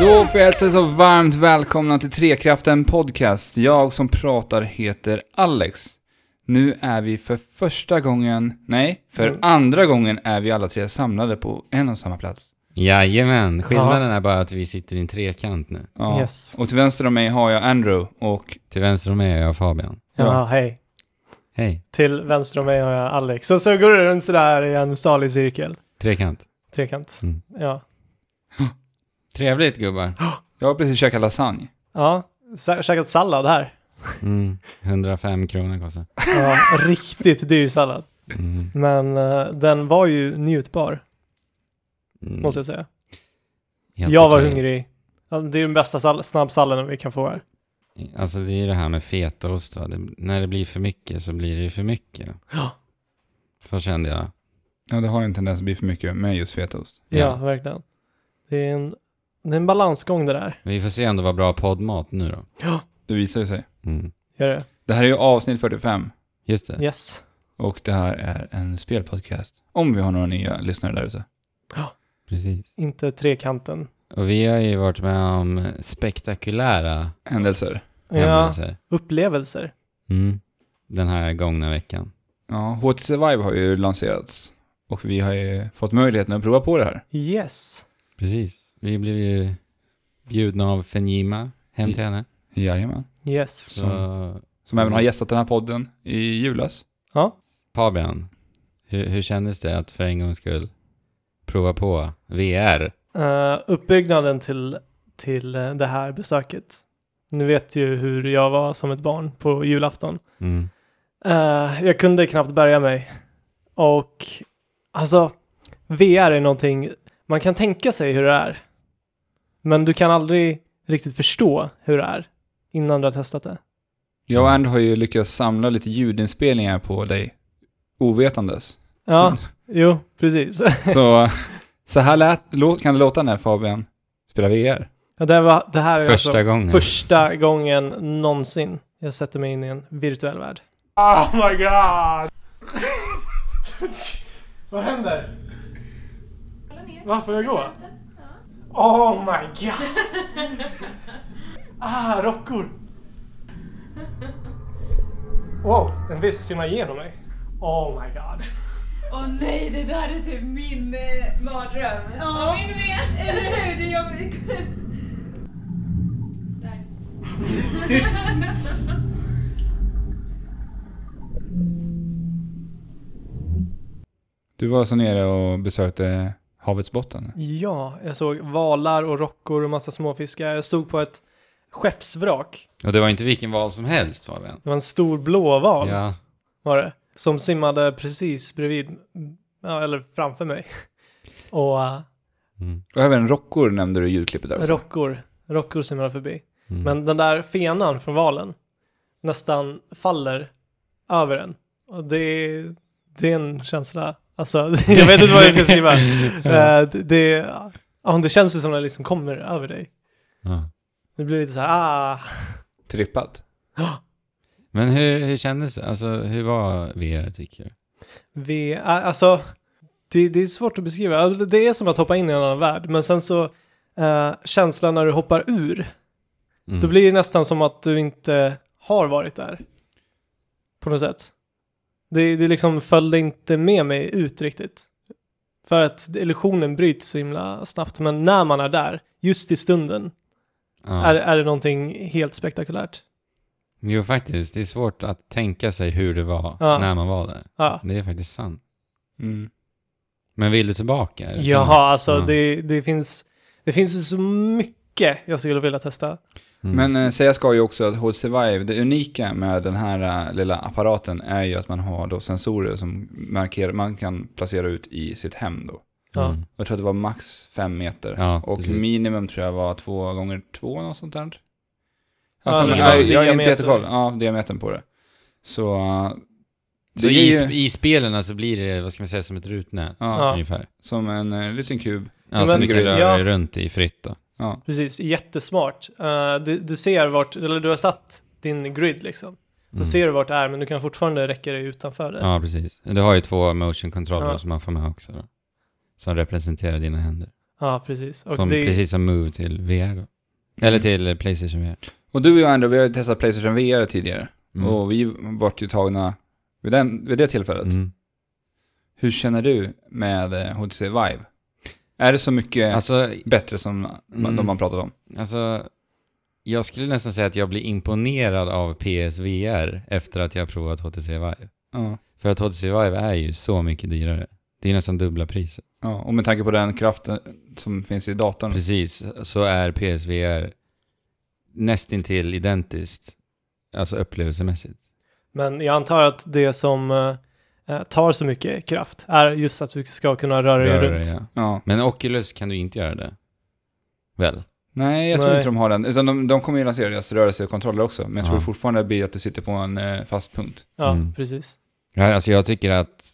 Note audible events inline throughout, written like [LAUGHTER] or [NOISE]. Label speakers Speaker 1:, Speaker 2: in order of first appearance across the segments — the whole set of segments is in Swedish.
Speaker 1: Då får jag hälsa er så varmt välkomna till Trekraften Podcast. Jag som pratar heter Alex. Nu är vi för första gången, nej, för andra gången är vi alla tre samlade på en och samma plats.
Speaker 2: Jajamän, skillnaden är bara att vi sitter i en trekant nu.
Speaker 1: Ja.
Speaker 3: Yes.
Speaker 1: Och till vänster om mig har jag Andrew och
Speaker 2: Till vänster om mig är jag Fabian.
Speaker 3: Ja,
Speaker 1: Ja.
Speaker 3: hej.
Speaker 2: Hej,
Speaker 3: Till vänster om mig har jag Alex. Och så går du runt sådär i en salig cirkel.
Speaker 2: trekant.
Speaker 3: Trekant.
Speaker 2: Mm.
Speaker 3: Ja.
Speaker 2: Trevligt gubbar.
Speaker 1: jag har precis käkat lasagne.
Speaker 3: Ja. Sä- Käkat sallad här.
Speaker 2: Mm, 105 kronor kostar.
Speaker 3: Ja, riktigt dyr sallad.
Speaker 2: Mm.
Speaker 3: Men eh, den var ju njutbar,
Speaker 2: Mm.
Speaker 3: måste jag säga.
Speaker 2: Helt
Speaker 3: jag var
Speaker 2: okej.
Speaker 3: hungrig. Ja, det är den bästa sall- snabbsalladen vi kan få här.
Speaker 2: Alltså det är ju det här med fetaost va? Det, när det blir för mycket så blir det ju för mycket.
Speaker 3: Ja.
Speaker 2: Så kände jag.
Speaker 1: Ja, det har ju en tendens att bli för mycket med just fetaost.
Speaker 3: Ja,
Speaker 2: Ja.
Speaker 3: verkligen. Det är, en, det är en balansgång det där.
Speaker 2: Vi får se om det var bra poddmat nu då.
Speaker 1: Det visar ju sig.
Speaker 2: Mm.
Speaker 3: Gör det?
Speaker 1: Det här är ju avsnitt 45
Speaker 2: Just det.
Speaker 3: Yes.
Speaker 1: och det här är en spelpodcast. Om vi har några nya lyssnare där ute.
Speaker 2: Precis.
Speaker 3: Inte trekanten.
Speaker 2: Och vi har ju varit med om spektakulära
Speaker 1: Händelser.
Speaker 3: Ja,
Speaker 2: händelser.
Speaker 3: upplevelser.
Speaker 2: Mm. Den här gångna veckan.
Speaker 1: Ja, Hot Survive har ju lanserats och vi har ju fått möjligheten att prova på det här.
Speaker 3: Yes.
Speaker 2: Precis. Vi blev ju bjudna av Fenjima hem till henne.
Speaker 1: Jajamän.
Speaker 3: Yes.
Speaker 2: Så
Speaker 1: Som även har gästat den här podden i julas.
Speaker 3: Ja.
Speaker 2: Fabian, hur, hur kändes det att för en gångs skull prova på VR?
Speaker 3: Eh, uppbyggnaden till, till eh, det här besöket. Nu vet ju hur jag var som ett barn på julafton.
Speaker 2: Mm.
Speaker 3: Eh, jag kunde knappt bärga mig. Och alltså, VR är någonting man kan tänka sig hur det är. Men du kan aldrig riktigt förstå hur det är innan du har testat det.
Speaker 1: Jag och Andy har ju lyckats samla lite ljudinspelningar på dig ovetandes.
Speaker 2: Typ.
Speaker 3: Ja, jo, precis.
Speaker 1: [LAUGHS]
Speaker 3: [LAUGHS]
Speaker 1: Så, så här lät, lå- kan det låta när Fabian spelar VR.
Speaker 3: Ja, det, här var, det här är
Speaker 2: Första
Speaker 3: alltså
Speaker 2: gången.
Speaker 3: första gången någonsin jag sätter mig in i en virtuell värld.
Speaker 4: Oh my god! Vad händer? Varför jag går? Oh my god! Ah, rockor!
Speaker 3: Wow, en fisk simmar igenom mig. Oh my god.
Speaker 5: Åh nej, det där är typ min eh, mardröm. Ja, min med. Eller hur? Det är jobbigt. Där.
Speaker 1: Du var så nere och besökte havets botten.
Speaker 3: Ja, jag såg valar och rockor och massa småfiskar. Jag stod på ett skeppsvrak.
Speaker 2: Och det var inte vilken val som helst Fabian.
Speaker 3: Det var en stor blåval
Speaker 2: Ja.
Speaker 3: var det. Som simmade precis bredvid, ja, eller framför mig. Och eh,
Speaker 2: Mm.
Speaker 1: Och även rockor nämnde du i ljudklippet där också.
Speaker 3: rockor, rockor simmade förbi.
Speaker 2: Mm.
Speaker 3: Men den där fenan från valen nästan faller över en. Och det, det är en känsla, alltså [LAUGHS] jag vet inte vad jag ska skriva. Eh, det, det, ja, det känns ju som att den liksom kommer över dig.
Speaker 2: Ja.
Speaker 3: Det blir lite så här, ah.
Speaker 1: Trippat.
Speaker 2: Men hur, hur kändes det? Alltså hur var VR tycker du?
Speaker 3: Vi, ah, alltså, det, det är svårt att beskriva. Alltså, Det är som att hoppa in i en annan värld, men sen så eh, känslan när du hoppar ur,
Speaker 2: Mm.
Speaker 3: då blir det nästan som att du inte har varit där. På något sätt. Det, det liksom följde inte med mig ut riktigt. För att illusionen bryts så himla snabbt, men när man är där, just i stunden,
Speaker 2: ja.
Speaker 3: är, är det någonting helt spektakulärt.
Speaker 2: Jo faktiskt, det är svårt att tänka sig hur det var
Speaker 3: Ja.
Speaker 2: när man var där.
Speaker 3: Ja.
Speaker 2: Det är faktiskt sant.
Speaker 1: Mm.
Speaker 2: Men vill du tillbaka? Är det sant?
Speaker 3: Jaha, alltså
Speaker 2: Mm.
Speaker 3: det, det finns det finns ju så mycket jag skulle vilja testa.
Speaker 2: Mm.
Speaker 1: Men eh, säga ska ju också att Hold Survive, det unika med den här eh, lilla apparaten är ju att man har då sensorer som markerar, man kan placera ut i sitt hem då.
Speaker 3: Ja.
Speaker 2: Mm.
Speaker 1: Jag tror att det var max fem meter.
Speaker 2: Ja,
Speaker 1: och
Speaker 2: precis.
Speaker 1: minimum tror jag var två gånger två något sånt där.
Speaker 3: Ja,
Speaker 1: Ja,
Speaker 3: det
Speaker 1: men,
Speaker 3: var
Speaker 1: jag, jag är inte
Speaker 3: diameter.
Speaker 1: jättekoll. Ja, diametern på det. Så... eh,
Speaker 2: Så
Speaker 1: det
Speaker 2: i,
Speaker 1: är ju
Speaker 2: i spelen så blir det, vad ska man säga, som ett rutnät
Speaker 1: ja,
Speaker 3: Ja.
Speaker 2: ungefär.
Speaker 1: som en eh, liten kub.
Speaker 2: Ja,
Speaker 3: Men-
Speaker 2: som du kan röra
Speaker 3: Ja.
Speaker 2: dig runt i fritt då.
Speaker 1: Ja.
Speaker 3: Precis, jättesmart. Eh, du, du ser vart, eller du har satt din grid liksom. Så
Speaker 2: Mm.
Speaker 3: ser du vart det är, men du kan fortfarande räcka dig utanför det.
Speaker 2: Ja, precis. Du har ju två motion controller
Speaker 3: Ja.
Speaker 2: som man får med också då. Som representerar dina händer.
Speaker 3: Ja, precis. Och
Speaker 2: Som,
Speaker 3: det, Mm.
Speaker 2: Precis som Move till VR då. Eller till eh, Playstation VR.
Speaker 1: Och du och jag ändå, vi har ju testat Playstation VR tidigare.
Speaker 2: Mm.
Speaker 1: Och vi vart ju tagna vid, den, vid det tillfället.
Speaker 2: Mm.
Speaker 1: Hur känner du med eh, HTC Vive? Är det så mycket
Speaker 2: Alltså,
Speaker 1: bättre som
Speaker 2: Mm.
Speaker 1: de man pratat om?
Speaker 2: Alltså, jag skulle nästan säga att jag blir imponerad av PSVR efter att jag har provat HTC Vive.
Speaker 1: Ja.
Speaker 2: För att HTC Vive är ju så mycket dyrare. Det är nästan dubbla priset.
Speaker 1: ja. Och med tanke på den kraften som finns i datorn.
Speaker 2: Precis, så är PSVR nästintill identiskt, alltså upplevelsemässigt.
Speaker 3: Men jag antar att det som eh, tar så mycket kraft är just att du ska kunna röra dig
Speaker 2: Rörare,
Speaker 3: runt.
Speaker 2: ja.
Speaker 1: Ja.
Speaker 2: Men Oculus kan du inte göra det. Väl?
Speaker 1: Nej, jag tror
Speaker 3: Nej.
Speaker 1: inte de har den. Utan de, de kommer ju lansera deras rörelsekontroller också. Men jag tror
Speaker 2: Ja.
Speaker 1: fortfarande det blir att du sitter på en eh, fast punkt.
Speaker 3: Ja,
Speaker 2: Mm.
Speaker 3: precis.
Speaker 2: Ja, alltså jag tycker att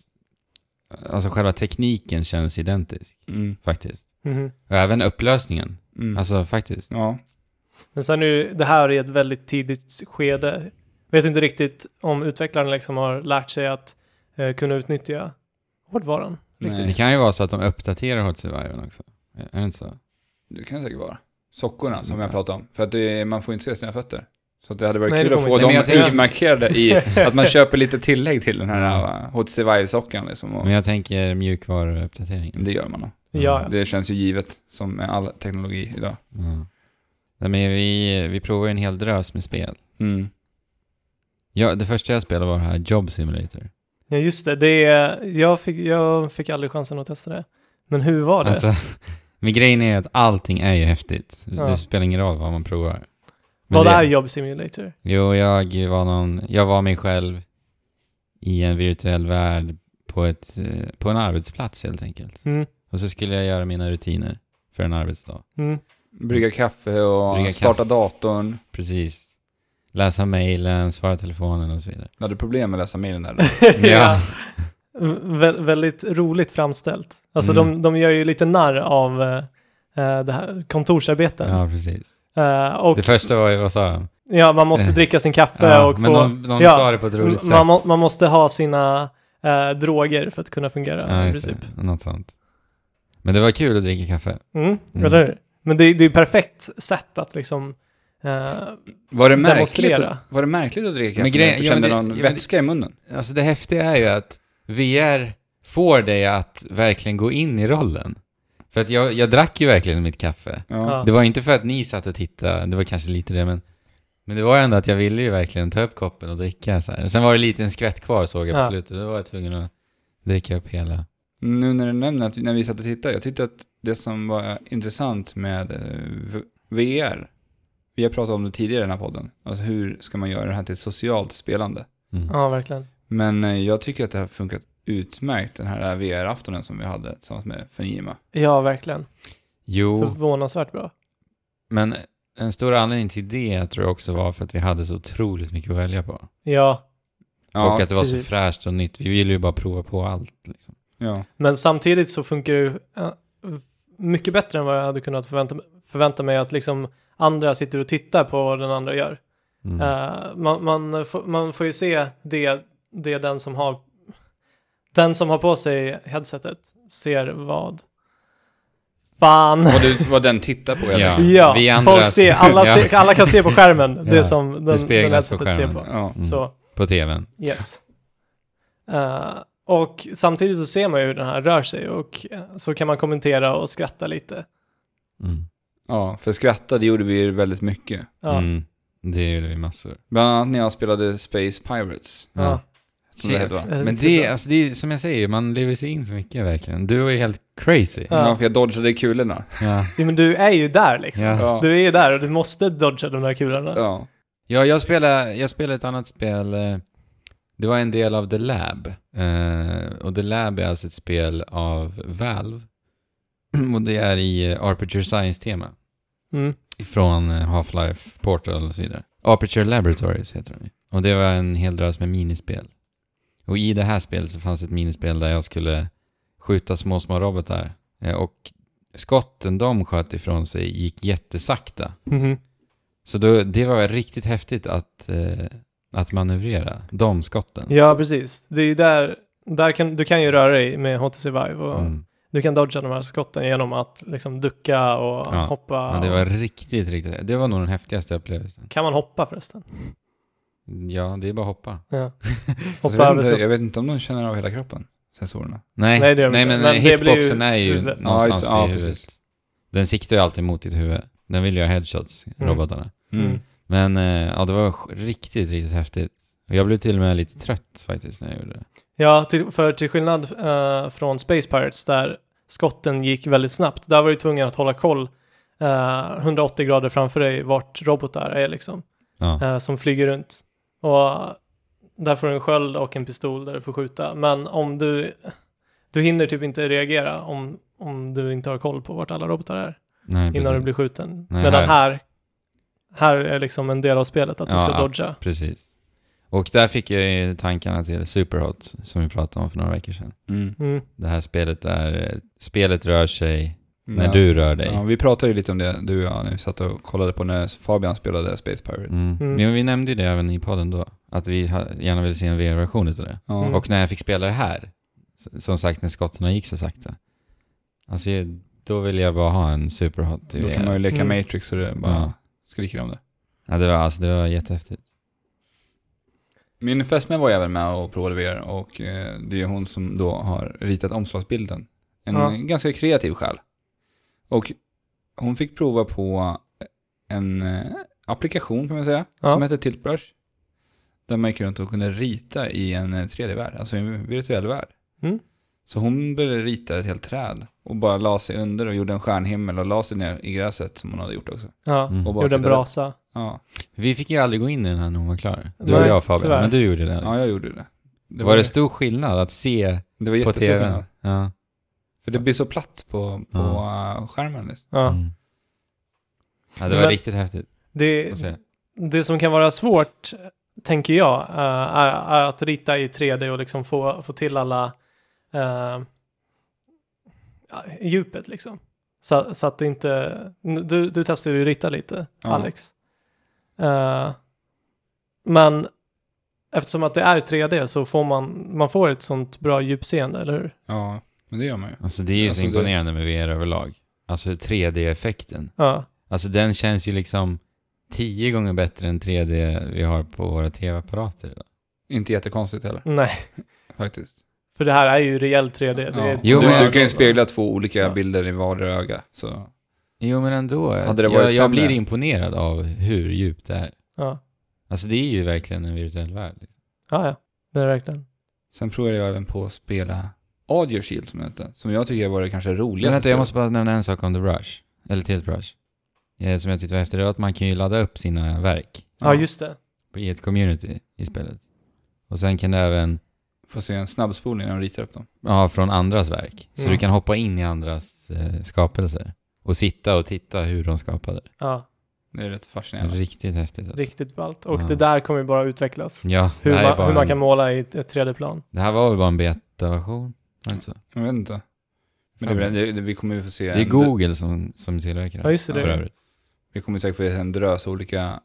Speaker 2: alltså själva tekniken känns identisk,
Speaker 1: Mm.
Speaker 2: faktiskt.
Speaker 3: Mhm.
Speaker 2: Och även upplösningen,
Speaker 1: Mm.
Speaker 2: alltså faktiskt.
Speaker 1: ja.
Speaker 3: Men sen är ju, det här är ett väldigt tidigt skede. Vet inte riktigt om utvecklaren liksom har lärt sig att eh, kunna utnyttja hårdvaran.
Speaker 1: Nej.
Speaker 2: Det kan ju vara så att de uppdaterar Hot Survivor också. Är det inte så?
Speaker 1: Det kan det säkert vara. Sockorna som
Speaker 2: Ja.
Speaker 1: jag pratade om. För att det, man får inte se sina fötter. Så att det hade varit
Speaker 3: Nej, det
Speaker 1: kul att
Speaker 3: får
Speaker 1: få
Speaker 3: man inte.
Speaker 1: dem
Speaker 2: Nej, men jag tänker-
Speaker 1: utmarkerade
Speaker 2: [LAUGHS]
Speaker 1: i att man köper lite tillägg till den här eh, HTC Vive-sockan liksom. Och
Speaker 2: Men jag tänker mjukvaruuppdateringen.
Speaker 1: det gör man nog.
Speaker 2: Mm.
Speaker 3: Ja, ja.
Speaker 1: Det känns ju givet som med all teknologi idag.
Speaker 2: Ja. Nej, men vi, vi provar ju en hel drös med spel.
Speaker 1: Mm.
Speaker 2: Ja, det första jag spelade var det här Job Simulator.
Speaker 3: ja just det. det är, jag, fick, jag fick aldrig chansen att testa det. Men hur var det?
Speaker 2: Alltså, [LAUGHS] men grejen är att allting är ju häftigt.
Speaker 3: Ja.
Speaker 2: Det spelar ingen roll vad man provar. Men
Speaker 3: Vad är Job Simulator?
Speaker 2: Jo, jag var någon, jag var mig själv i en virtuell värld på, ett, eh, på en arbetsplats helt enkelt.
Speaker 3: Mm.
Speaker 2: Och så skulle jag göra mina rutiner för en arbetsdag.
Speaker 3: Mm.
Speaker 1: Brygga kaffe och
Speaker 2: Brygga
Speaker 1: starta
Speaker 2: kaffe.
Speaker 1: datorn.
Speaker 2: Precis. Läsa mejlen, svara telefonen och så vidare.
Speaker 1: Du hade problem med att läsa mejlen där.
Speaker 3: ja. Vä- väldigt roligt framställt. Alltså
Speaker 2: Mm.
Speaker 3: de, de gör ju lite narr av eh, eh, det här kontorsarbeten.
Speaker 2: Ja, precis.
Speaker 3: Eh, och
Speaker 2: Det första var ju, vad sa de?
Speaker 3: ja, man måste dricka sin kaffe
Speaker 2: Ja,
Speaker 3: och
Speaker 2: men
Speaker 3: få,
Speaker 2: de, de
Speaker 3: ja,
Speaker 2: sa det på ett roligt sätt.
Speaker 3: man, må, man måste ha sina eh, droger för att kunna fungera
Speaker 2: ja,
Speaker 3: i
Speaker 2: just
Speaker 3: princip.
Speaker 2: det. Något sånt. Men det var kul att dricka kaffe.
Speaker 3: Mm,
Speaker 2: Mm.
Speaker 3: Eller hur? Men det, det är ju perfekt sätt att liksom eh,
Speaker 1: Var det märkligt,
Speaker 3: Demonstrera.
Speaker 1: att, var det märkligt att dricka kaffe?
Speaker 2: Men grejen-
Speaker 1: när du
Speaker 2: ja, men
Speaker 1: kände
Speaker 2: det-
Speaker 1: någon
Speaker 2: ja, men det-
Speaker 1: vätska i munnen?
Speaker 2: Alltså det häftiga är ju att VR får dig att verkligen gå in i rollen. För att jag, jag drack ju verkligen mitt kaffe.
Speaker 3: Ja.
Speaker 2: Det var inte för att ni satt och tittade, det var kanske lite det, men, men det var ändå att jag ville ju verkligen ta upp koppen och dricka så här. Sen var det lite en skvätt kvar såg jag på
Speaker 3: Ja.
Speaker 2: slutet, då var jag tvungen att dricka upp hela.
Speaker 1: Nu när du nämner att när vi satt och tittade, jag tyckte att det som var intressant med eh, v- VR, vi har pratat om det tidigare i den här podden, alltså hur ska man göra det här till socialt spelande?
Speaker 2: Mm.
Speaker 3: ja, verkligen.
Speaker 1: Men eh, jag tycker att det har funkat utmärkt den här VR-aftonen som vi hade tillsammans med Fenima.
Speaker 3: Ja, verkligen.
Speaker 2: Jo,
Speaker 3: Förvånansvärt bra.
Speaker 2: men en stor anledning till det tror jag också var för att vi hade så otroligt mycket att välja på.
Speaker 3: Ja,
Speaker 1: Ja,
Speaker 2: och att det var
Speaker 3: precis.
Speaker 2: så fräscht och nytt. Vi ville ju bara prova på allt. Liksom.
Speaker 1: ja.
Speaker 3: Men samtidigt så funkar det ju eh, mycket bättre än vad jag hade kunnat förvänta, förvänta mig att liksom andra sitter och tittar på vad den andra gör.
Speaker 2: Mm.
Speaker 3: Eh, man, man, får- man får ju se det, det den som har den som har på sig headsetet ser vad. Fan!
Speaker 1: Vad, du, vad den tittar på. helt
Speaker 2: Ja.
Speaker 1: enkelt.
Speaker 3: Ja,
Speaker 2: vi andra
Speaker 3: folk ser,
Speaker 2: [LAUGHS]
Speaker 3: alla,
Speaker 2: Ja.
Speaker 3: ser, alla kan se
Speaker 2: [LAUGHS]
Speaker 3: på skärmen det
Speaker 2: Ja,
Speaker 3: som den, den
Speaker 2: speglas på
Speaker 3: headsetet ser på.
Speaker 2: skärmen.
Speaker 1: ja.
Speaker 2: Mm.
Speaker 3: Så,
Speaker 2: På tvn.
Speaker 3: yes. Eh, och samtidigt så ser man ju hur den här rör sig och eh, så kan man kommentera och skratta lite.
Speaker 2: Mm.
Speaker 1: ja, för skratta det gjorde vi ju väldigt mycket.
Speaker 3: Ja.
Speaker 2: Mm. Det gjorde vi massor.
Speaker 1: Bland annat när jag spelade Space Pirates.
Speaker 3: Ja. typ
Speaker 1: Som det heter, va?
Speaker 2: Men det, alltså det är, som jag säger, man lever sig in så mycket verkligen. Du var ju helt crazy.
Speaker 3: Ja.
Speaker 1: Ja, för jag dodgade kulorna.
Speaker 2: Ja.
Speaker 3: Ja, men du är ju där liksom. [LAUGHS]
Speaker 2: Ja.
Speaker 1: Ja.
Speaker 3: Du är ju där och du måste dodga de där kulorna.
Speaker 1: Ja.
Speaker 2: Ja, jag spelade, jag spelade ett annat spel. eh, Det var en del av The Lab. Eh, och The Lab är alltså ett spel av Valve. [CLEARS THROAT] Och det är i eh, Aperture Science-tema.
Speaker 3: Mm.
Speaker 2: Från eh, Half-Life Portal och så vidare. Aperture Laboratories heter de ju. Och det var en hel drös med minispel. Och i det här spelet så fanns ett minispel där jag skulle skjuta små, små robotar. Eh, Och skotten de sköt ifrån sig gick jättesakta.
Speaker 3: Mhm.
Speaker 2: Så då, det var riktigt häftigt att, eh, att manövrera de skotten.
Speaker 3: Ja, precis. Det är ju där, där kan, du kan ju röra dig med HTC Vive och
Speaker 2: Mm.
Speaker 3: Du kan dodga de här skotten genom att liksom ducka och
Speaker 2: Ja,
Speaker 3: hoppa.
Speaker 2: Ja, det var riktigt, riktigt. Det var nog den häftigaste upplevelsen.
Speaker 3: Kan man hoppa förresten?
Speaker 2: Ja, det är bara att hoppa.
Speaker 3: Ja.
Speaker 1: Alltså,
Speaker 3: Hoppa
Speaker 1: jag,
Speaker 3: över
Speaker 1: vet inte,
Speaker 3: skott.
Speaker 1: jag vet inte om de känner av hela kroppen, sensorerna.
Speaker 2: Nej,
Speaker 3: Nej,
Speaker 2: nej,
Speaker 3: det gör de inte.
Speaker 2: men, eh,
Speaker 3: Men det blir ju
Speaker 2: hitboxen är ju
Speaker 3: huvudet.
Speaker 1: Ja,
Speaker 2: någonstans
Speaker 1: just- ja,
Speaker 2: i huvudet.
Speaker 1: precis.
Speaker 2: Den siktar ju alltid mot ditt huvud. Den vill göra headshots,
Speaker 3: Mm.
Speaker 2: robotarna.
Speaker 1: Mm.
Speaker 3: Mm.
Speaker 2: Men eh, ja, det var sj- riktigt, riktigt häftigt. Och jag blev till och med lite trött faktiskt när jag gjorde det.
Speaker 3: Ja, till, för till skillnad eh, från Space Pirates där skotten gick väldigt snabbt, där var du tvungen att hålla koll eh, 180 grader framför dig vart robotar är liksom,
Speaker 2: Ja,
Speaker 3: eh, som flyger runt. Och där får du en sköld och en pistol där du får skjuta, men om du, du hinner typ inte reagera om, om du inte har koll på vart alla robotar är
Speaker 2: nej,
Speaker 3: innan
Speaker 2: precis.
Speaker 3: du blir skjuten.
Speaker 2: Nej,
Speaker 3: Medan
Speaker 2: här-
Speaker 3: här, här är liksom en del av spelet att du
Speaker 2: Ja,
Speaker 3: ska
Speaker 2: att-
Speaker 3: dodga.
Speaker 2: Precis. Och där fick jag ju tankarna till Superhot som vi pratade om för några veckor sedan.
Speaker 1: Mm.
Speaker 3: Mm.
Speaker 2: Det här spelet där eh, spelet rör sig när
Speaker 1: Ja.
Speaker 2: du rör dig.
Speaker 1: Ja, vi pratade ju lite om det, du och jag, när vi satt och kollade på när Fabian spelade Space Pirate.
Speaker 2: Mm.
Speaker 3: Mm.
Speaker 2: Men vi nämnde ju det även i podden då, att vi ha- gärna vill se en VR-version utav det.
Speaker 1: Ja.
Speaker 3: Mm.
Speaker 2: Och när jag fick spela det här, s- som sagt när skottarna gick så sakta, alltså jag- då ville jag bara ha en superhot i
Speaker 1: Då kan man ju
Speaker 2: VR.
Speaker 1: leka
Speaker 3: Mm.
Speaker 1: Matrix så det bara
Speaker 2: Ja.
Speaker 1: skriker om det.
Speaker 2: Ja, det var, alltså, det var jättehäftigt.
Speaker 1: Min fästmö var ju även med och provade VR och eh, det är hon som då har ritat omslagsbilden. En
Speaker 3: Ja.
Speaker 1: ganska kreativ själ. Och hon fick prova på en eh, applikation kan man säga,
Speaker 3: Ja.
Speaker 1: som heter Tiltbrush. Där man gick runt och kunde rita i en eh, 3D-värld, alltså i en virtuell värld.
Speaker 3: Mm.
Speaker 1: Så hon började rita ett helt träd och bara la sig under och gjorde en stjärnhimmel och la sig ner i gräset som hon hade gjort också.
Speaker 3: Ja,
Speaker 2: Mm.
Speaker 1: Och bara
Speaker 3: gjorde en
Speaker 1: tittade.
Speaker 3: brasa.
Speaker 1: Ja,
Speaker 2: Vi fick ju aldrig gå in i den här när hon var klar. Du och
Speaker 3: Nej,
Speaker 2: jag Fabian,
Speaker 3: tyvärr.
Speaker 2: men du gjorde det. Alex.
Speaker 1: ja jag gjorde det.
Speaker 2: det var det stor skillnad att se
Speaker 1: det var
Speaker 2: på
Speaker 1: jättestor skillnad.
Speaker 2: tv? Ja.
Speaker 1: För det blir så platt på, på
Speaker 2: Ja.
Speaker 1: eh, skärmen. Liksom.
Speaker 3: Ja.
Speaker 2: Mm. ja, det var
Speaker 3: Men-
Speaker 2: riktigt häftigt
Speaker 3: Det,
Speaker 2: att se.
Speaker 3: det som kan vara svårt, tänker jag, eh, är, är att rita i 3D och liksom få, få till alla eh, ja, djupet liksom. Så, så att det inte, du, du testade ju rita lite,
Speaker 1: Ja.
Speaker 3: Alex. Eh, men eftersom att det är 3D så får man, man får ett sånt bra djupseende, eller hur?
Speaker 1: Ja, men det gör man ju.
Speaker 2: Alltså det är ju
Speaker 1: Alltså,
Speaker 2: så
Speaker 1: det-
Speaker 2: imponerande med VR överlag. Alltså 3D-effekten.
Speaker 3: Ja,
Speaker 2: Alltså den känns ju liksom tio gånger bättre än 3D vi har på våra tv-apparater. idag.
Speaker 1: Inte jättekonstigt heller,
Speaker 3: nej,
Speaker 1: faktiskt.
Speaker 3: för det här är ju rejäl 3D. Det
Speaker 1: Ja.
Speaker 3: är,
Speaker 2: Jo,
Speaker 1: du,
Speaker 2: men-
Speaker 1: du kan ju spegla två olika
Speaker 3: Ja.
Speaker 1: bilder i vardera öga. Så.
Speaker 2: Jo men ändå.
Speaker 1: Hade det varit
Speaker 2: jag, jag
Speaker 1: sämre?
Speaker 2: blir imponerad av hur djupt det är.
Speaker 3: Ja,
Speaker 2: Alltså det är ju verkligen en virtuell värld. liksom.
Speaker 3: ja, ja. det är det verkligen.
Speaker 1: Sen provade jag även på att spela Audio Shield som det hette, som jag tycker var det kanske
Speaker 2: Men
Speaker 1: roligaste.
Speaker 2: vänta, jag
Speaker 1: spelet.
Speaker 2: måste bara nämna en sak om The Brush. Eller till Brush. Eh, Som jag tyckte var häftigt, det var att man kan ju ladda upp sina verk
Speaker 3: Ja, just det.
Speaker 2: i ett community i spelet. Och sen kan du även,
Speaker 1: Får se en snabbspolning när de ritar upp dem.
Speaker 2: ja från andras verk. Så
Speaker 3: Mm.
Speaker 2: du kan hoppa in i andras eh, skapelser. Och sitta och titta hur de skapade.
Speaker 3: Ja.
Speaker 1: Det är rätt fascinerande.
Speaker 2: Riktigt häftigt. Alltså.
Speaker 3: Riktigt ballt. Och
Speaker 2: Ja.
Speaker 3: det där kommer ju bara utvecklas.
Speaker 2: Ja,
Speaker 3: Hur,
Speaker 2: det här är
Speaker 3: man,
Speaker 2: bara
Speaker 3: hur man
Speaker 2: en-
Speaker 3: kan måla i ett, ett 3D-plan.
Speaker 2: Det här var väl bara en betaversion? Var det inte så?
Speaker 1: Jag vet inte. Men det, är väl- det, det, vi kommer ju få se...
Speaker 2: Det är
Speaker 1: en-
Speaker 2: Google som, som tillverkar
Speaker 3: Ja,
Speaker 2: det.
Speaker 3: just det.
Speaker 2: För
Speaker 3: det.
Speaker 2: övrigt.
Speaker 1: Vi kommer säkert få se en drös olika
Speaker 2: Mm.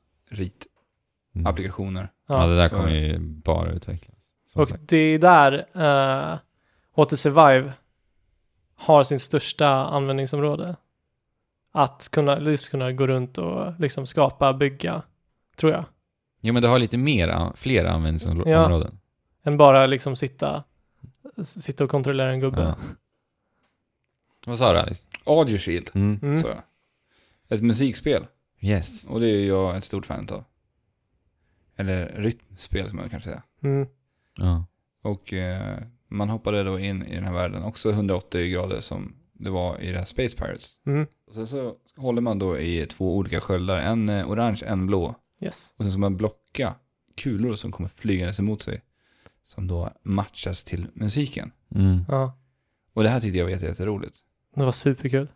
Speaker 1: ritapplikationer.
Speaker 2: Ja, det
Speaker 3: Ja.
Speaker 2: där kommer ju bara utvecklas. Som
Speaker 3: Och
Speaker 2: sagt.
Speaker 3: det är där uh, HT Survive har sin största användningsområde. Att kunna, just kunna gå runt och liksom skapa, bygga, tror jag.
Speaker 2: Jo, men det har lite mer, an- fler användningsområden.
Speaker 3: Än bara liksom sitta, s- sitta och kontrollera en gubbe.
Speaker 2: Ja. Vad sa du Alice?
Speaker 1: Audio Shield,
Speaker 2: Mm.
Speaker 3: Mm.
Speaker 1: sa jag. Ett musikspel.
Speaker 2: Yes.
Speaker 1: Och det är jag ett stort fan av. Eller rytmspel som jag kanske säger.
Speaker 3: Mm.
Speaker 2: Ja.
Speaker 1: Och eh, man hoppade då in i den här världen, också 180 grader som det var i det här Space Pirates.
Speaker 3: Mm.
Speaker 1: Och sen så håller man då i två olika sköldar, en eh, orange, en blå.
Speaker 3: Yes.
Speaker 1: Och sen ska man blocka kulor som kommer flygandes emot sig. Som då matchas till musiken.
Speaker 2: Mm.
Speaker 3: Ja.
Speaker 1: Och det här tyckte jag var jätte- jätteroligt.
Speaker 3: Det var superkul.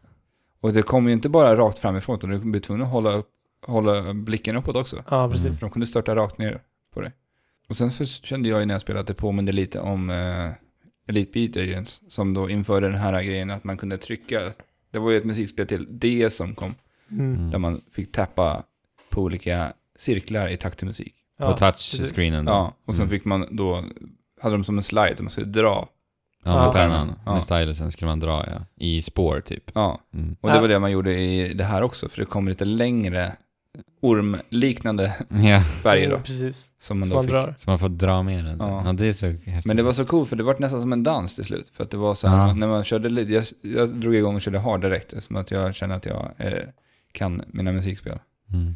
Speaker 1: Och det kom ju inte bara rakt framifrån, utan du blev tvungen att hålla, upp, hålla blicken uppåt också.
Speaker 3: Ja, precis.
Speaker 2: Mm.
Speaker 1: För de kunde störta rakt ner på dig. Och sen för- kände jag ju när jag spelade att det påminde lite om eh, Elite Beat Agents som då införde den här grejen att man kunde trycka. Det var ju ett musikspel till det som kom
Speaker 3: Mm.
Speaker 1: där
Speaker 2: Mm.
Speaker 1: man fick tappa på olika cirklar i takt till musik.
Speaker 3: Ja,
Speaker 2: På touchscreenen. då.
Speaker 1: Ja, och sen
Speaker 2: Mm.
Speaker 1: fick man då, hade de som en slide som man skulle dra
Speaker 2: Ja,
Speaker 3: Ja.
Speaker 2: med pennan.
Speaker 1: Ja.
Speaker 2: Med stylusen skulle man dra, ja. I spår typ.
Speaker 1: Ja,
Speaker 2: Mm.
Speaker 1: och det var det man gjorde i det här också, för det kom lite längre ormliknande
Speaker 2: [LAUGHS] Ja,
Speaker 1: färger då.
Speaker 3: Mm, Precis.
Speaker 1: Oh. Som man
Speaker 3: Som
Speaker 1: då
Speaker 3: man
Speaker 1: fick.
Speaker 3: drar.
Speaker 2: så man får dra med den.
Speaker 1: Ja.
Speaker 2: Ja. ja, det är så häftigt.
Speaker 1: Men det var så coolt för det var nästan som en dans till slut. För att det var så här,
Speaker 2: Ja.
Speaker 1: när man körde lite, jag, jag drog igång och körde hard direkt. Som att jag känner att jag eh, kan mina musikspel.
Speaker 2: Mm.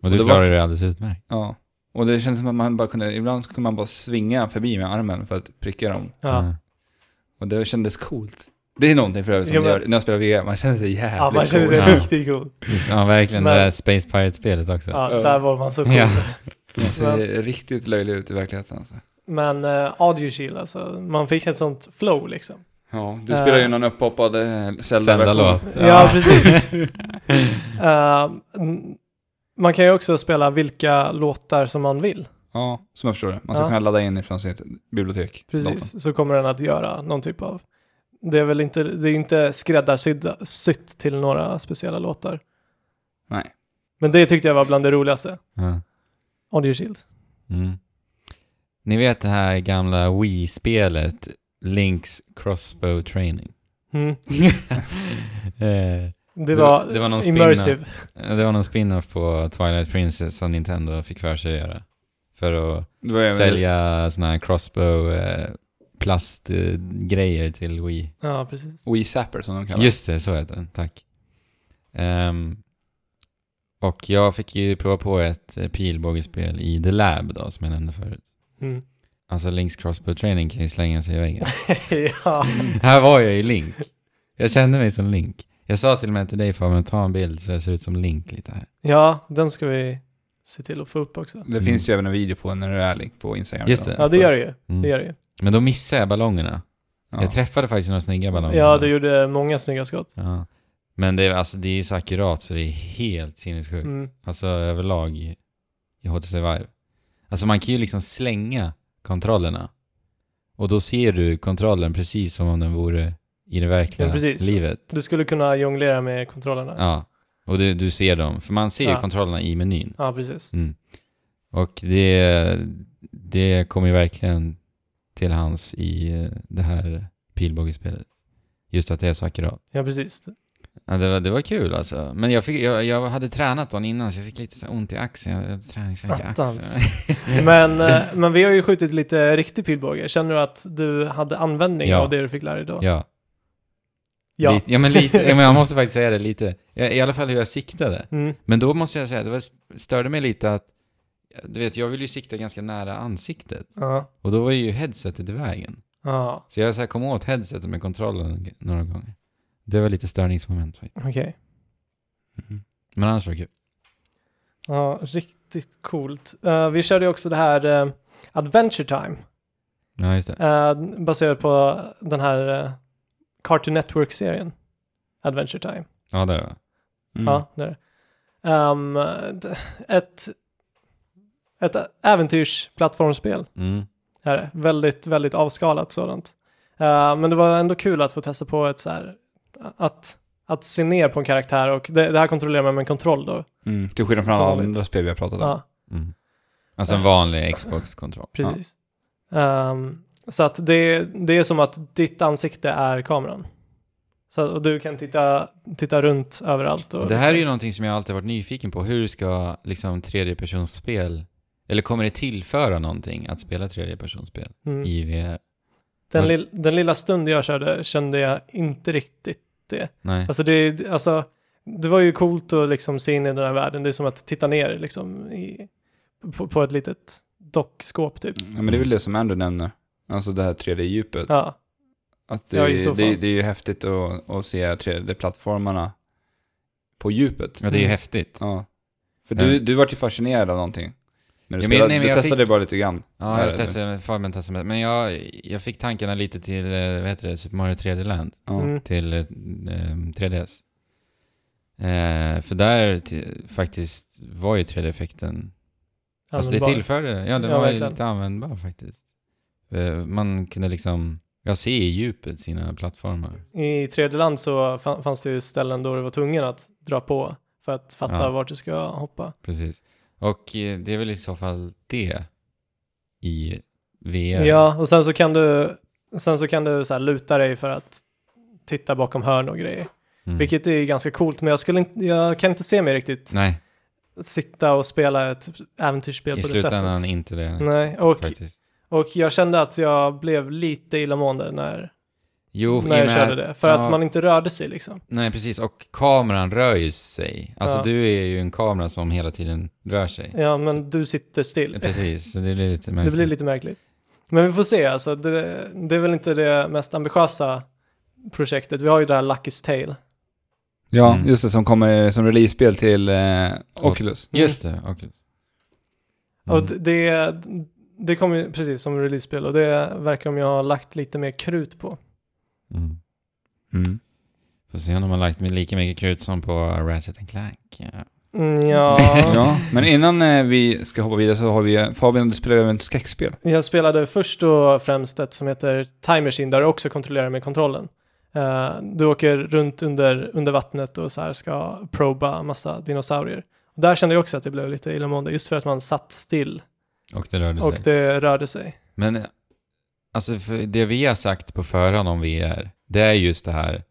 Speaker 1: Och
Speaker 2: Och du
Speaker 1: det var-
Speaker 2: klarar det alldeles utmärkt.
Speaker 1: Ja. Och det kändes som att man bara kunde, ibland så kunde man bara svinga förbi med armen för att pricka dem.
Speaker 3: Ja.
Speaker 2: Ja.
Speaker 1: Och det kändes coolt. Det är någonting för övrigt som
Speaker 3: Ja, men-
Speaker 1: gör, när jag spelar VR, man känner sig jävligt
Speaker 3: Ja, man känner
Speaker 1: cool. [LAUGHS]
Speaker 3: sig riktigt cool.
Speaker 2: ja, verkligen.
Speaker 3: Men-
Speaker 2: Det där Space Pirate-spelet också.
Speaker 3: Ja,
Speaker 1: Ja.
Speaker 3: där var man så cool.
Speaker 2: Ja.
Speaker 1: Man ser riktigt löjlig ut i verkligheten alltså.
Speaker 3: Men uh, audio shield alltså, man fick ett sånt flow liksom.
Speaker 1: Ja, du
Speaker 3: Eh.
Speaker 1: spelar ju någon upphoppad eh, Zelda-version.
Speaker 2: Zelda-låt.
Speaker 3: Ja, precis. Eh, n- man kan ju också spela vilka låtar som man vill.
Speaker 1: Ja, som jag förstår det. Man ska
Speaker 3: Ja.
Speaker 1: kunna ladda in ifrån sitt bibliotek. datorn.
Speaker 3: Precis, så kommer den att göra någon typ av... Det är väl inte, det är ju inte skräddarsytt till några speciella låtar.
Speaker 1: Nej.
Speaker 3: Men det tyckte jag var bland det roligaste.
Speaker 2: [LAUGHS] Ja.
Speaker 3: Audio Shield.
Speaker 2: Mm. Ni vet det här gamla Wii-spelet Links Crossbow Training? [LAUGHS]
Speaker 3: Mm.
Speaker 2: Eh,
Speaker 3: Det,
Speaker 2: Det
Speaker 3: var,
Speaker 2: var- det var någon
Speaker 3: immersive.
Speaker 2: det var någon spin-off på Twilight Princess som Nintendo fick för sig att göra. För att
Speaker 1: Det var ju-
Speaker 2: sälja såna här crossbow eh, plastgrejer till Wii.
Speaker 3: Ja, precis.
Speaker 1: Wii Zapper som de kallar det.
Speaker 2: Just det, så heter den. Tack. Ehm, och jag fick ju prova på ett eh, pilbågespel i The Lab då, som jag nämnde förut.
Speaker 3: Mm. [LAUGHS]
Speaker 2: Alltså Links Crossbow Training kan ju slänga sig i väggen.
Speaker 3: ja.
Speaker 2: Här var jag ju Link. Jag kände mig som Link. Jag sa till och med till dig Fabian, ta en bild så jag ser ut som Link lite här.
Speaker 3: ja, den ska vi se till att få upp också.
Speaker 1: Det
Speaker 2: Mm.
Speaker 1: finns ju även en video på när du är link på Instagram.
Speaker 2: Just det.
Speaker 3: Ja, det gör det ju.
Speaker 2: Mm.
Speaker 3: Det gör det ju.
Speaker 2: Men då missade jag ballongerna.
Speaker 1: Ja.
Speaker 2: Jag träffade faktiskt några snygga ballonger.
Speaker 3: Ja, du gjorde många snygga skott.
Speaker 2: Ja. Men det är, alltså, det är ju så akkurat så det är helt sinnessjukt.
Speaker 3: Mm.
Speaker 2: Alltså överlag i- i HTC Vive. Alltså man kan ju liksom slänga kontrollerna. Och då ser du kontrollen precis som om den vore i det verkliga
Speaker 3: Ja, precis.
Speaker 2: livet.
Speaker 3: Du skulle kunna jonglera med kontrollerna.
Speaker 2: Ja. Och du, du ser dem. För man ser ju
Speaker 3: Ja.
Speaker 2: kontrollerna i menyn.
Speaker 3: Ja, precis.
Speaker 2: Mm. Och det, det kommer ju verkligen till hans i eh, det här pilbågespelet. Just att det är så akkurat.
Speaker 3: Ja, precis.
Speaker 2: Ja, det, var, det var kul alltså. Men jag, fick, jag, jag hade tränat dagen innan så jag fick lite så här ont i axeln. Jag hade träningsvärk i [LAUGHS] axeln.
Speaker 3: Attans. Men, eh, men vi har ju skjutit lite riktig pilbåge. Känner du att du hade användning
Speaker 2: Ja.
Speaker 3: av det du fick lära dig idag?
Speaker 2: Ja.
Speaker 3: Ja.
Speaker 2: Lite, ja, men lite. Ja, men jag måste faktiskt säga det lite. Jag, I alla fall hur jag siktade.
Speaker 3: [LAUGHS] Mm.
Speaker 2: Men då måste jag säga, det var, störde mig lite att, du vet, jag vill ju sikta ganska nära ansiktet.
Speaker 3: Ja.
Speaker 2: Och då var ju headsetet i vägen.
Speaker 3: Ja,
Speaker 2: Så jag så här kom åt headsetet med kontrollen några gånger. Det var lite störningsmoment faktiskt.
Speaker 3: okej.
Speaker 1: Mhm.
Speaker 2: Men annars var det kul.
Speaker 3: Ja, riktigt coolt. Eh, vi körde ju också det här eh, Adventure Time.
Speaker 2: Ja, just det.
Speaker 3: Eh, baserat på den här eh, Cartoon Network-serien. Adventure Time.
Speaker 2: Ja, det var
Speaker 1: Mm.
Speaker 3: Ja, det är det. Ehm, d- ett, ett äventyrsplattformsspel
Speaker 2: mm.
Speaker 3: är det. Väldigt, väldigt avskalat sådant. Eh, men det var ändå kul att få testa på ett så här, att, att se ner på en karaktär och det, det här kontrollerar man med en kontroll då.
Speaker 1: Mm. Till skillnad från
Speaker 3: Som
Speaker 1: alla
Speaker 3: vanligt.
Speaker 1: andra spel vi har pratat om.
Speaker 3: Ja,
Speaker 2: Mm. Alltså en vanlig Xbox-kontroll.
Speaker 3: precis. Ehm, så att det, det är som att ditt ansikte är kameran. Så, och du kan titta, titta runt överallt. Och
Speaker 2: Det här är ju någonting som jag alltid varit nyfiken på. Hur ska liksom tredjepersonsspel, eller kommer det tillföra någonting att spela tredjepersonsspel
Speaker 3: Mm.
Speaker 2: i VR?
Speaker 3: Den, lill, den lilla stund jag körde kände jag inte riktigt det.
Speaker 2: Nej.
Speaker 3: Alltså det, alltså, det var ju coolt att liksom se in i den här världen. Det är som att titta ner liksom i, på, på ett litet dockskåp typ.
Speaker 2: Mm.
Speaker 1: Ja, men det är väl det som Andrew nämner. Alltså det här 3D-djupet.
Speaker 3: Ja,
Speaker 1: Att det,
Speaker 3: Ja,
Speaker 1: är,
Speaker 3: i så
Speaker 1: det,
Speaker 3: fall.
Speaker 1: det är ju häftigt att, att se 3D-plattformarna på djupet.
Speaker 2: Ja, det är ju häftigt.
Speaker 1: Ja. För du,
Speaker 2: Ja.
Speaker 1: du vart ju fascinerad av någonting. När du,
Speaker 2: Ja, men-
Speaker 1: spelade,
Speaker 2: nej, men
Speaker 1: du
Speaker 2: jag
Speaker 1: testade
Speaker 2: fick-
Speaker 1: bara lite grann.
Speaker 2: Ja,
Speaker 1: Här
Speaker 2: jag
Speaker 1: är det.
Speaker 2: testade, Fabian testade med. Men jag, jag fick tankarna lite till, eh, vad heter det, Super Mario 3D Land.
Speaker 1: Ja.
Speaker 3: Mm.
Speaker 2: till eh, eh, 3DS. Eh, för där ti- faktiskt var ju 3D-effekten, alltså det
Speaker 3: användbar.
Speaker 2: tillförde, ja den
Speaker 3: Ja,
Speaker 2: var ju
Speaker 3: verkligen.
Speaker 2: lite användbar faktiskt. Eh, man kunde liksom, jag ser i djupet sina plattformar.
Speaker 3: I tredje land så fa- fanns det ju ställen då du var tvungen att dra på för att fatta
Speaker 2: Ja.
Speaker 3: vart du ska hoppa.
Speaker 2: Precis. Och eh, det är väl i så fall det i VR.
Speaker 3: Ja, och sen så kan du Och Sen så kan du så här luta dig för att titta bakom hörn och grejer.
Speaker 2: Mm.
Speaker 3: Vilket är ganska coolt, men jag, skulle inte, jag kan inte se mig riktigt
Speaker 2: Nej,
Speaker 3: sitta och spela ett äventyrsspel
Speaker 2: i
Speaker 3: på det sättet.
Speaker 2: slutändan inte det.
Speaker 3: Nej, och,
Speaker 2: Faktiskt.
Speaker 3: och jag kände att jag blev lite illamående när,
Speaker 2: Jo, i och
Speaker 3: när jag
Speaker 2: med
Speaker 3: körde det. För
Speaker 2: ja.
Speaker 3: att man inte rörde sig liksom.
Speaker 2: Nej, precis. Och kameran rör ju sig. Alltså
Speaker 3: Ja.
Speaker 2: du är ju en kamera som hela tiden rör sig.
Speaker 3: Ja, men du sitter still.
Speaker 2: Precis, så det blir lite
Speaker 3: Det
Speaker 2: märkligt.
Speaker 3: blir lite märkligt. Men vi får se, alltså, det, det är väl inte det mest ambitiösa projektet. Vi har ju det här Lucky's Tale.
Speaker 1: Ja,
Speaker 2: Mm.
Speaker 1: just det, som kommer som release-spel till eh, Oculus.
Speaker 2: Just det, Mm. okej.
Speaker 3: Mm. Och d- det, det kommer ju precis som release-spel och det verkar de ju ha lagt lite mer krut på.
Speaker 2: Mm.
Speaker 1: Mm.
Speaker 2: Får se om de har lagt med lika mycket krut som på Ratchet and Clank. Ja.
Speaker 3: Mm,
Speaker 2: [LAUGHS]
Speaker 3: Ja,
Speaker 1: Ja, men innan eh, vi ska hoppa vidare så har vi, eh, Fabian, du spelar även ett skräckspel.
Speaker 3: jag spelade först och främst ett som heter Time Machine där du också kontrollerar med kontrollen. Eh, du åker runt under, under vattnet och så här ska proba massa dinosaurier. Och där kände jag också att det blev lite illamående just för att man satt still
Speaker 2: Och det rörde
Speaker 3: och
Speaker 2: sig.
Speaker 3: det rörde sig.
Speaker 2: Men eh, alltså, för det vi har sagt på förhand om VR, det är just det här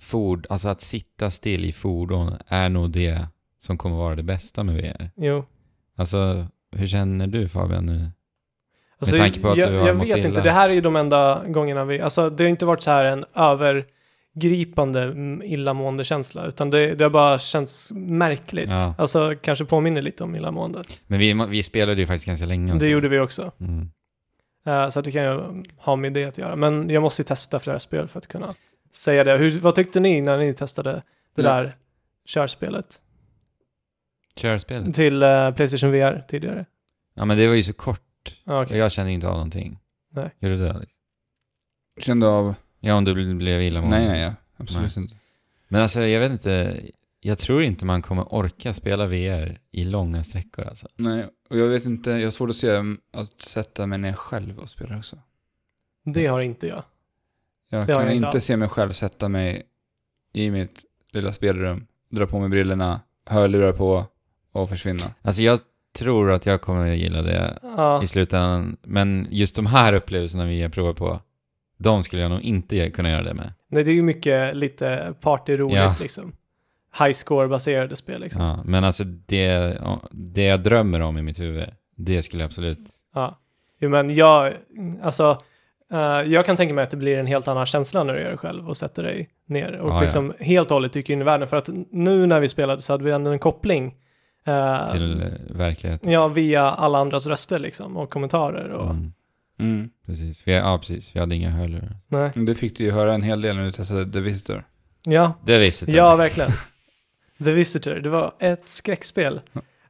Speaker 2: ford, alltså att sitta still i fordon är nog det som kommer vara det bästa med VR.
Speaker 3: Jo.
Speaker 2: Alltså, hur känner du Fabian nu?
Speaker 3: Alltså,
Speaker 2: tanke på att
Speaker 3: jag,
Speaker 2: du har
Speaker 3: jag
Speaker 2: mått
Speaker 3: vet
Speaker 2: illa.
Speaker 3: inte, det här är ju de enda gångerna vi, alltså det har inte varit så här en övergripande mm, illamående känsla, utan det, det har bara känts märkligt.
Speaker 2: Ja.
Speaker 3: Alltså kanske påminner lite om illamående.
Speaker 2: Men vi, vi spelade ju faktiskt ganska länge.
Speaker 3: Det
Speaker 2: också.
Speaker 3: gjorde vi också.
Speaker 2: Mm.
Speaker 3: Eh, så att det kan ju ha med det att göra. Men jag måste ju testa flera spel för att kunna säga det. Hur, vad tyckte ni när ni testade det
Speaker 1: Ja.
Speaker 3: där körspelet
Speaker 2: Kör spelet.
Speaker 3: till eh, Playstation VR tidigare?
Speaker 2: Ja, men det var ju så kort.
Speaker 3: Ja, okej.
Speaker 2: Och jag kände inte av någonting.
Speaker 3: Nej.
Speaker 2: Gjorde du det? Alex?
Speaker 1: Kände av...
Speaker 2: Ja, om du bl- blev illamående.
Speaker 1: Nej, nej, ja. absolut inte.
Speaker 2: Men alltså, jag vet inte. Jag tror inte man kommer orka spela VR i långa sträckor alltså.
Speaker 1: Nej, och jag vet inte, jag har svårt att se att sätta mig ner själv och spela också.
Speaker 3: Det har inte jag.
Speaker 1: Jag
Speaker 3: Det har
Speaker 1: kan
Speaker 3: jag inte
Speaker 1: inte
Speaker 3: alls.
Speaker 1: se mig själv sätta mig i mitt lilla spelrum, dra på mig brillorna, hörlurar på och försvinna.
Speaker 2: Alltså jag tror att jag kommer gilla det
Speaker 3: Ja.
Speaker 2: i slutändan. Men just de här upplevelserna vi har provat på, de skulle jag nog inte ge- kunna göra det med.
Speaker 3: Nej, det är ju mycket lite partyroligt
Speaker 2: Ja.
Speaker 3: liksom. High score-baserade spel liksom.
Speaker 2: Ja, men alltså det, ja, det jag drömmer om i mitt huvud, det skulle jag absolut...
Speaker 3: Jo, men jag, alltså, eh, jag kan tänka mig att det blir en helt annan känsla när du gör det själv och sätter dig ner och
Speaker 2: Ja, ja.
Speaker 3: liksom helt och hållet dyker in i världen. För att nu när vi spelade så hade vi ändå en koppling eh,
Speaker 2: Till eh, verkligheten.
Speaker 3: ja, via alla andras röster liksom och kommentarer och
Speaker 2: Mm,
Speaker 1: Mm.
Speaker 2: precis. Vi, ja, precis. Vi hade inga hörlurar.
Speaker 3: nej.
Speaker 1: Det fick du ju höra en hel del när du testade The Visitor.
Speaker 3: Ja,
Speaker 2: Det visste jag.
Speaker 3: Ja, verkligen. The Visitor, det var ett skräckspel.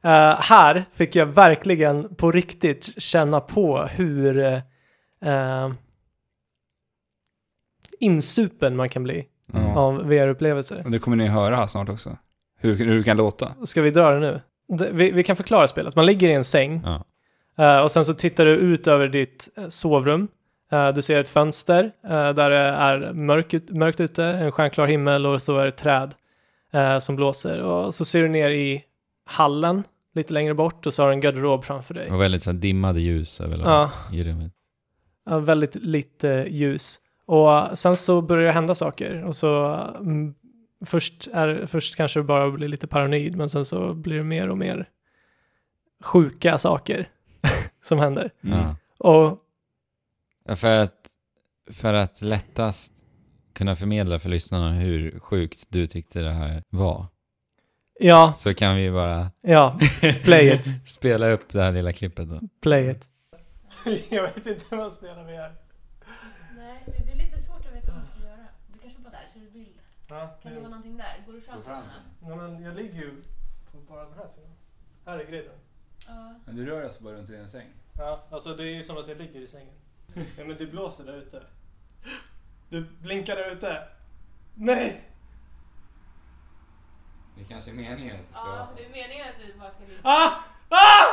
Speaker 3: Eh, här fick jag verkligen på riktigt känna på hur eh, insupen man kan bli
Speaker 2: Mm.
Speaker 1: Ja.
Speaker 3: av VR-upplevelser.
Speaker 1: Och det kommer ni höra här snart också. Hur, hur det kan låta.
Speaker 3: Ska vi dra det nu? Det- Vi, vi kan förklara spelet. Man ligger i en säng
Speaker 2: Ja.
Speaker 3: eh, och sen så tittar du ut över ditt eh, sovrum. Eh, Du ser ett fönster eh, där det är mörk ut, mörkt ute, en stjärnklar himmel och så är det träd eh, som blåser. Och så ser du ner i hallen lite längre bort och så har du en garderob framför dig.
Speaker 2: Och väldigt så här dimmade ljus överlag
Speaker 3: Ja,
Speaker 2: i rummet.
Speaker 3: ja, eh, väldigt lite eh, ljus. Och sen så börjar det hända saker och så mm, först, är, först kanske du bara blir lite paranoid men sen så blir det mer och mer sjuka saker [LAUGHS] som händer.
Speaker 1: Mm.
Speaker 2: Ja.
Speaker 3: Och
Speaker 2: Ja, För att, för att lättast kunna förmedla för lyssnarna hur sjukt du tyckte det här var,
Speaker 3: ja,
Speaker 2: så kan vi bara
Speaker 3: ja, [LAUGHS] play
Speaker 2: [LAUGHS]
Speaker 3: it,
Speaker 2: spela upp det här lilla klippet då.
Speaker 3: play it.
Speaker 6: [LAUGHS] jag vet inte hur man spelar VR.
Speaker 5: Nej, men det är lite svårt att veta vad man ska göra. Du kanske bara där, så är det bild.
Speaker 6: Ja,
Speaker 5: Kan det vara någonting där? Går du fram?
Speaker 6: ja, men jag ligger ju på bara den här sidan. Här är grejen.
Speaker 5: Ja.
Speaker 1: Men du rör alltså bara runt i en säng?
Speaker 6: Ja, alltså det är ju som att jag ligger i sängen. [LAUGHS] Ja, men det blåser där ute. Du blinkar där ute. Nej!
Speaker 2: Det kanske är meningen att det
Speaker 5: Ja, alltså det är meningen att du bara ska ligga.
Speaker 6: Ah! Ah!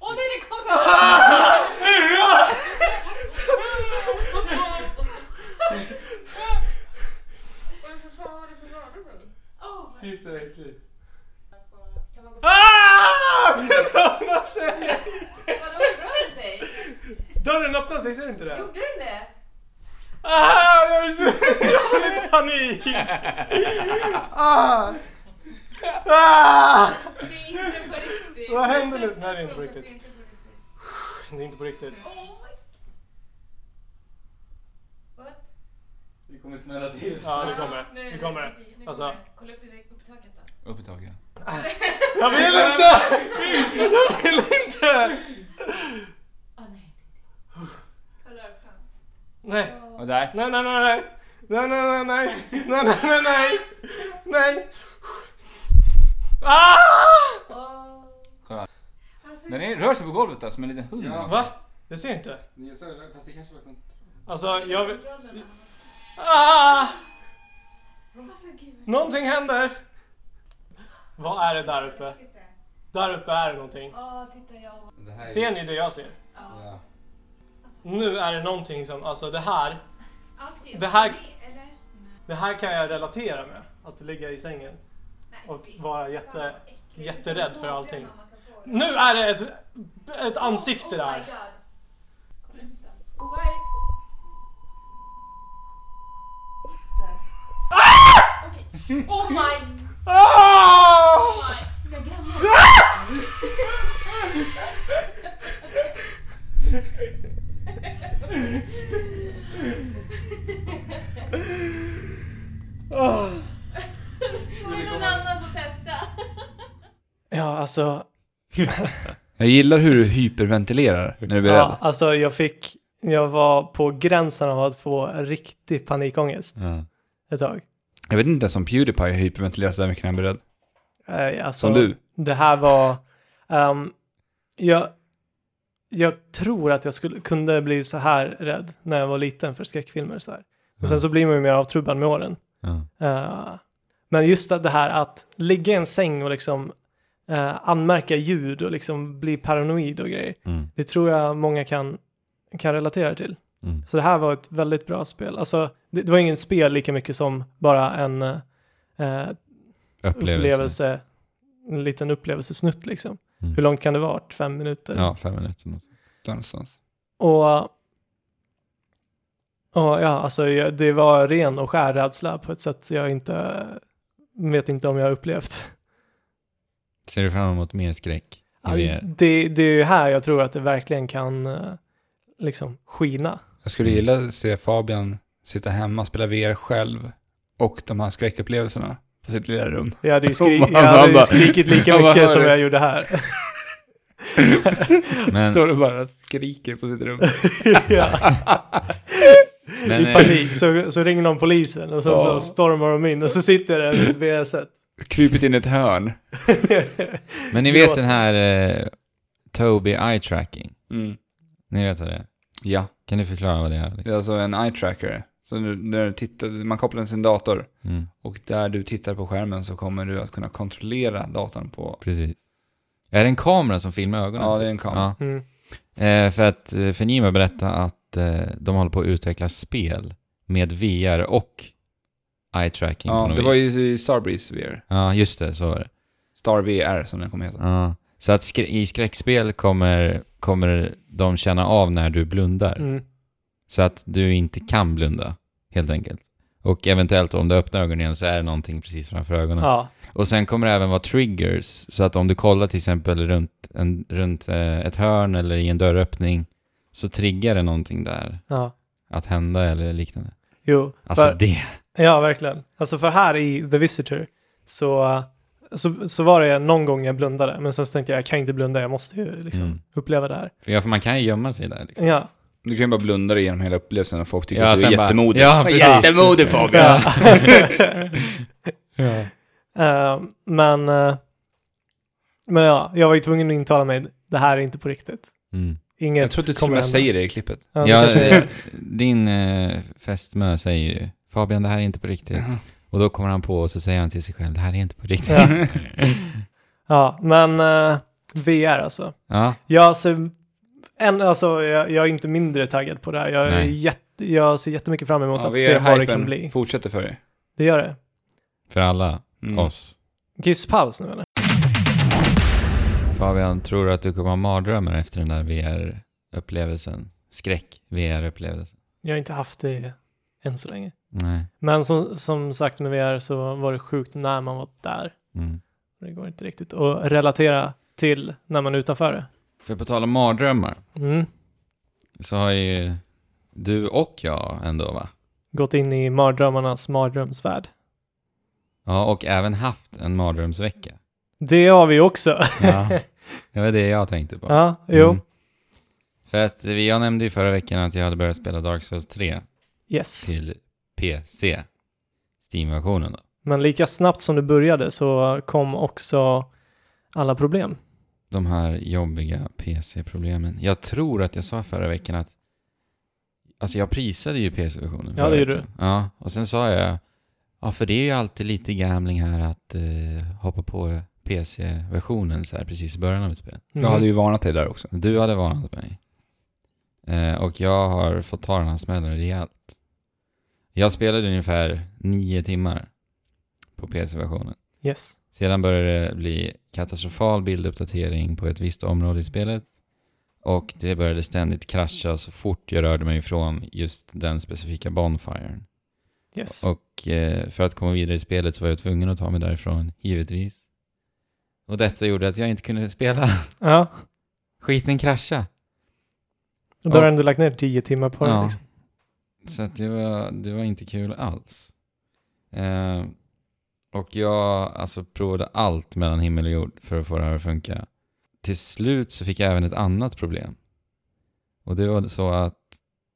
Speaker 5: Åh nej, det kom! Oj, för fan vad det som rörde sig. Åh,
Speaker 6: Sitter äckligt.
Speaker 5: kan man gå
Speaker 6: [LAUGHS] Ah! Den öppnar sig!
Speaker 5: Vadå, rör det sig?
Speaker 3: Dörren öppnar sig, ser du inte det?
Speaker 5: Gjorde den det?
Speaker 3: Ah, jag är så-
Speaker 6: [LAUGHS]
Speaker 3: jag får lite panik! Ah! Ah!
Speaker 5: Det är inte på riktigt.
Speaker 3: Vad händer nu? Nej, det är inte på riktigt.
Speaker 5: Det är inte på riktigt.
Speaker 3: Det är inte på riktigt.
Speaker 5: Oh my... What?
Speaker 1: Det kommer smälla till.
Speaker 3: Ja, det kommer.
Speaker 5: Nu-
Speaker 3: Nu kommer det.
Speaker 5: nu kommer
Speaker 3: Alltså.
Speaker 5: det. Kolla upp i upp i taket då.
Speaker 1: Upp i taket.
Speaker 3: Jag vill inte! Jag vill inte!
Speaker 5: Ah nej. Kolla upp den.
Speaker 3: Nej.
Speaker 1: Och där.
Speaker 3: Nej, nej, nej, nej. Nej, nej, nej, nej. Nej, nej, nej, nej. Nej. Ah!
Speaker 5: Åh.
Speaker 1: Kolla.
Speaker 5: Alltså,
Speaker 1: Den är, rör sig på golvet alltså, som en liten hund.
Speaker 2: Ja.
Speaker 3: Ah! Va? Jag ser inte.
Speaker 1: Jag sa det, fast det kanske var kont-
Speaker 3: Alltså, jag vill...
Speaker 5: kontrollen.
Speaker 3: Ah!
Speaker 5: Alltså gud.
Speaker 3: Någonting händer. Vad är det där uppe? Där uppe är det någonting.
Speaker 5: Ja, titta jag.
Speaker 1: det här är-
Speaker 3: Ser ni det jag ser?
Speaker 5: Ja. alltså,
Speaker 1: Ja.
Speaker 3: Nu är det någonting som, alltså det här,
Speaker 5: Allt är upp
Speaker 3: Mm. Det här-
Speaker 5: och ner, Eller?
Speaker 3: det här kan jag relatera med. Att ligga i sängen
Speaker 5: Nej,
Speaker 3: och
Speaker 5: fy
Speaker 3: vara
Speaker 5: fan, vad
Speaker 3: jätte...
Speaker 5: äckligt.
Speaker 3: jätterädd för allting.
Speaker 5: Mardrömmar man kan få.
Speaker 3: Nu är det ett, ett ansikte
Speaker 5: oh my
Speaker 3: där.
Speaker 5: god. Kolla upp den. Och vad är det? Där. Okej. Oh my...
Speaker 3: Ah!
Speaker 5: Oh my... Mina grannar.
Speaker 3: Ah!
Speaker 5: Så är det någon annan som testar.
Speaker 3: Ja, alltså
Speaker 1: Jag gillar hur du hyperventilerar när du blir
Speaker 3: Ja,
Speaker 1: rädd.
Speaker 3: alltså jag fick, jag var på gränsen av att få riktig panikångest
Speaker 2: Ja.
Speaker 3: ett tag.
Speaker 1: Jag vet inte ens om Pewdiepie hyperventilerar så där mycket när han blir rädd.
Speaker 3: Eh, Alltså,
Speaker 1: Som du.
Speaker 3: Det här var, ehm, jag, jag tror att jag skulle, kunde bli så här rädd när jag var liten för skräckfilmer så här. Och
Speaker 1: Mm.
Speaker 3: sen så blir man ju mer avtrubbad med åren.
Speaker 2: Ja.
Speaker 3: Eh, men just att det här att ligga i en säng och liksom eh, anmärka ljud och liksom bli paranoid och grejer.
Speaker 2: Mm.
Speaker 3: Det tror jag många kan, kan relatera till.
Speaker 2: Mm.
Speaker 3: Så det här var ett väldigt bra spel. Alltså, det, det var ingen spel lika mycket som bara en eh,
Speaker 2: Upplevelse.
Speaker 3: upplevelse, en liten upplevelsesnutt liksom.
Speaker 2: Mm.
Speaker 3: Hur långt kan det vara? Fem minuter?
Speaker 2: Ja, fem minuter. Något.
Speaker 1: Där någonstans.
Speaker 3: Och, och ja, alltså jag- det var ren och skär rädsla på ett sätt som jag inte vet inte om jag har upplevt.
Speaker 2: Ser du fram emot mer skräck i
Speaker 3: Aj,
Speaker 2: VR?
Speaker 3: [LAUGHS] Det, det är ju här jag tror att det verkligen kan eh, liksom skina.
Speaker 1: Jag skulle gilla att se Fabian sitta hemma, spela VR själv och de här skräckupplevelserna på sitt lilla [LAUGHS] rum.
Speaker 3: Jag hade ju, skri-
Speaker 1: Han
Speaker 3: jag hade
Speaker 1: bara-
Speaker 3: ju skrikit
Speaker 2: [LAUGHS]
Speaker 3: lika
Speaker 1: han bara
Speaker 3: mycket som
Speaker 1: hördes.
Speaker 3: jag gjorde här.
Speaker 2: Men,
Speaker 1: Står och bara skriker på sitt rum.
Speaker 3: ja.
Speaker 2: men,
Speaker 3: I
Speaker 2: eh,
Speaker 3: panik så, så ringer någon polisen och sen
Speaker 1: Ja.
Speaker 3: så stormar de in och så sitter det
Speaker 2: [LAUGHS]
Speaker 3: ett VR-set.
Speaker 1: Krypit in i ett hörn.
Speaker 2: men ni vet den här eh, Toby Eye Tracking?
Speaker 1: Mm.
Speaker 2: Ni vet vad det är?
Speaker 1: Ja,
Speaker 2: Kan du förklara vad det är?
Speaker 1: det är alltså en eye tracker. Så nu, när du tittar, man kopplar den till sin dator
Speaker 2: Mm,
Speaker 1: och där du tittar på skärmen så kommer du att kunna kontrollera datorn på...
Speaker 2: precis. Är det en kamera som filmar ögonen?
Speaker 1: Ja,
Speaker 2: typ?
Speaker 1: det är en kamera.
Speaker 3: Mm.
Speaker 2: Eh, för att eh, Fenima berättade att eh, de håller på att utveckla spel med VR och eye tracking på
Speaker 1: Ja,
Speaker 2: något
Speaker 1: det var
Speaker 2: vis.
Speaker 1: ju i Starbreeze VR.
Speaker 2: Ja, just det, så var det.
Speaker 1: Star VR som den kommer heta.
Speaker 2: Ja. Så att skrä- i skräckspel kommer, kommer de känna av när du blundar.
Speaker 3: Mm.
Speaker 2: Så att du inte kan blunda, helt enkelt. Och eventuellt om du öppnar ögonen igen så är det någonting precis framför ögonen.
Speaker 3: Ja.
Speaker 2: Och sen kommer det även vara triggers, så att om du kollar till exempel runt, en, runt eh, ett hörn eller i en dörröppning så triggar det någonting där
Speaker 3: ja.
Speaker 2: att hända eller liknande.
Speaker 3: Jo.
Speaker 2: Alltså
Speaker 3: för,
Speaker 2: det...
Speaker 3: Ja, verkligen. Alltså för här i The Visitor så, så, så var det någon gång jag blundade, men sen så tänkte jag jag kan inte blunda, jag måste ju liksom
Speaker 2: Mm.
Speaker 3: uppleva det här.
Speaker 2: För, ja, för man kan ju gömma sig där liksom.
Speaker 3: Ja.
Speaker 1: Du kan ju bara blunda dig genom hela upplevelsen och folk tycker
Speaker 2: Ja,
Speaker 1: att du är
Speaker 2: sen bara-
Speaker 1: jättemodig.
Speaker 2: Ja, precis.
Speaker 1: Jättemodig Fabian!
Speaker 3: ja. [LAUGHS] Eh, men, eh, men ja, jag var ju tvungen att intala mig, det här är inte på riktigt.
Speaker 2: Mm.
Speaker 3: Inget
Speaker 1: Jag tror att du till och
Speaker 3: kommer
Speaker 1: med
Speaker 3: hända.
Speaker 1: säger det i klippet.
Speaker 3: Ja, det
Speaker 2: Ja,
Speaker 3: kanske jag
Speaker 2: eh,
Speaker 3: gör.
Speaker 2: din eh, fästmö säger ju Fabian, det här är inte på riktigt. Och då kommer han på och så säger han till sig själv, det här är inte på riktigt.
Speaker 3: ja. ja, men eh, VR alltså.
Speaker 2: [LAUGHS] Ja,
Speaker 3: Ja, alltså, en, alltså jag, jag är inte mindre taggad på det här. Jag, är
Speaker 2: Nej.
Speaker 3: jätte, jag ser jättemycket fram emot
Speaker 1: Ja,
Speaker 3: att se vad det kan
Speaker 1: VR-hypen
Speaker 3: bli.
Speaker 1: fortsätter för dig.
Speaker 3: Det gör det.
Speaker 2: för alla
Speaker 1: Mm.
Speaker 2: oss.
Speaker 3: Kisspaus nu eller?
Speaker 2: Fabian, tror du att du kommer ha mardrömmar efter den där VR-upplevelsen? skräck, VR-upplevelse.
Speaker 3: Jag har inte haft det än så länge.
Speaker 2: Nej.
Speaker 3: Men som, som sagt med VR så var det sjukt när man var där.
Speaker 2: Mm.
Speaker 3: Det går inte riktigt att relatera till när man är utanför det.
Speaker 2: För på tal om mardrömmar
Speaker 3: Mm.
Speaker 2: så har ju du och jag ändå va?
Speaker 3: Gått in i mardrömmarnas mardrömsvärld.
Speaker 2: Ja, och även haft en mardrömsvecka.
Speaker 3: Det har vi också.
Speaker 2: Ja, [LAUGHS] det var det jag tänkte på.
Speaker 3: [LAUGHS] ja, jo.
Speaker 2: Mm. För att vi- jag nämnde ju förra veckan att jag hade börjat spela Dark Souls 3
Speaker 3: Yes.
Speaker 2: till PC, Steam-versionen då.
Speaker 3: Men lika snabbt som det började så kom också alla problem.
Speaker 2: De här jobbiga PC-problemen. Jag tror att jag sa förra veckan att Alltså jag prisade ju PC-versionen.
Speaker 3: Ja,
Speaker 2: förra
Speaker 3: det gjorde
Speaker 2: veckan. Ja, och sen sa jag Ja, för det är ju alltid lite gambling här att eh, hoppa på PC-versionen så här precis i början av ett spel.
Speaker 1: Jag hade ju varnat dig där också.
Speaker 2: Du hade varnat mig. Eh, och jag har fått ta den här smällen rejält. Jag spelade ungefär nio timmar på PC-versionen.
Speaker 3: Yes.
Speaker 2: Sedan började det bli katastrofal bilduppdatering på ett visst område i spelet. Och det började ständigt krascha så fort jag rörde mig ifrån just den specifika bonfiren.
Speaker 3: Yes.
Speaker 2: Och eh, för att komma vidare i spelet så var jag tvungen att ta mig därifrån, givetvis. Och detta gjorde att jag inte kunde spela. [LAUGHS]
Speaker 3: Ja.
Speaker 2: Skiten krascha.
Speaker 3: Och då har
Speaker 2: Ja.
Speaker 3: du ändå lagt ner tio timmar på det.
Speaker 2: Ja.
Speaker 3: Liksom.
Speaker 2: Så att det, var, det var inte kul alls. Eh, och jag alltså, provade allt mellan himmel och jord för att få det här att funka. Till slut så fick jag även ett annat problem. Och det var så att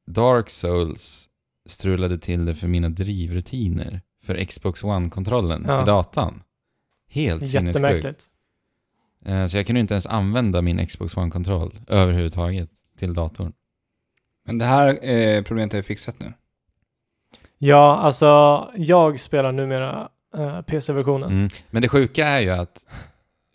Speaker 2: Dark Souls strulade till det för mina drivrutiner för Xbox One-kontrollen
Speaker 3: Ja.
Speaker 2: till datan. Helt sinnessjukt.
Speaker 3: Jättemärkligt.
Speaker 2: Eh, så jag kunde inte ens använda min Xbox One-kontroll överhuvudtaget till datorn.
Speaker 1: Men det här eh, problemet är fixat nu.
Speaker 3: Ja, alltså jag spelar numera eh, PC-versionen.
Speaker 2: Mm. Men det sjuka är ju att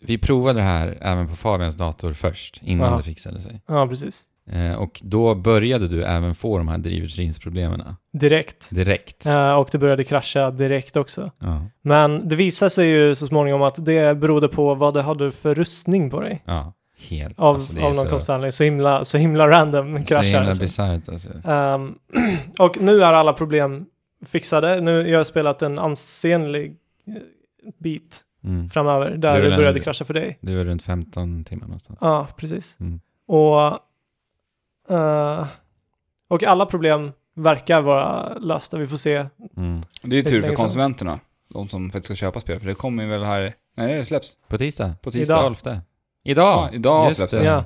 Speaker 2: vi provade det här även på Fabians dator först, innan
Speaker 3: Ja.
Speaker 2: det fixade sig.
Speaker 3: Ja, precis.
Speaker 2: Eh, och då började du även få de här drivrutinsproblemen
Speaker 3: Direkt.
Speaker 2: direkt.
Speaker 3: Eh, och det började krascha direkt också.
Speaker 2: Ja.
Speaker 3: Men det visade sig ju så småningom att det berodde på vad det hade för rustning på dig.
Speaker 2: ja. Helt.
Speaker 3: Av,
Speaker 2: alltså, det är
Speaker 3: av någon
Speaker 2: så,
Speaker 3: konstig anledning. Så himla, så himla random kraschar.
Speaker 2: Så himla
Speaker 3: alltså.
Speaker 2: bisarrt alltså.
Speaker 3: Ehm, [CLEARS THROAT] och nu är alla problem fixade. Nu jag har spelat en ansenlig eh, bit
Speaker 2: Mm.
Speaker 3: framöver
Speaker 2: Det är
Speaker 3: där det
Speaker 2: väl en-
Speaker 3: började krascha för dig.
Speaker 2: Det var runt 15 timmar någonstans.
Speaker 3: Ja, precis.
Speaker 2: Mm.
Speaker 3: Och, eh, och alla problem verkar vara lösta. Vi får se.
Speaker 2: Mm.
Speaker 1: Det är
Speaker 3: Lite
Speaker 1: tur
Speaker 3: längre
Speaker 1: för
Speaker 3: fram.
Speaker 1: konsumenterna. De som faktiskt ska köpa spel. För det kommer ju väl här... Nej, det släpps.
Speaker 2: På tisdag?
Speaker 1: På tisdag.
Speaker 2: Idag. 12. Idag!
Speaker 1: Ja, idag
Speaker 2: Just
Speaker 1: släpps
Speaker 2: det.
Speaker 1: det.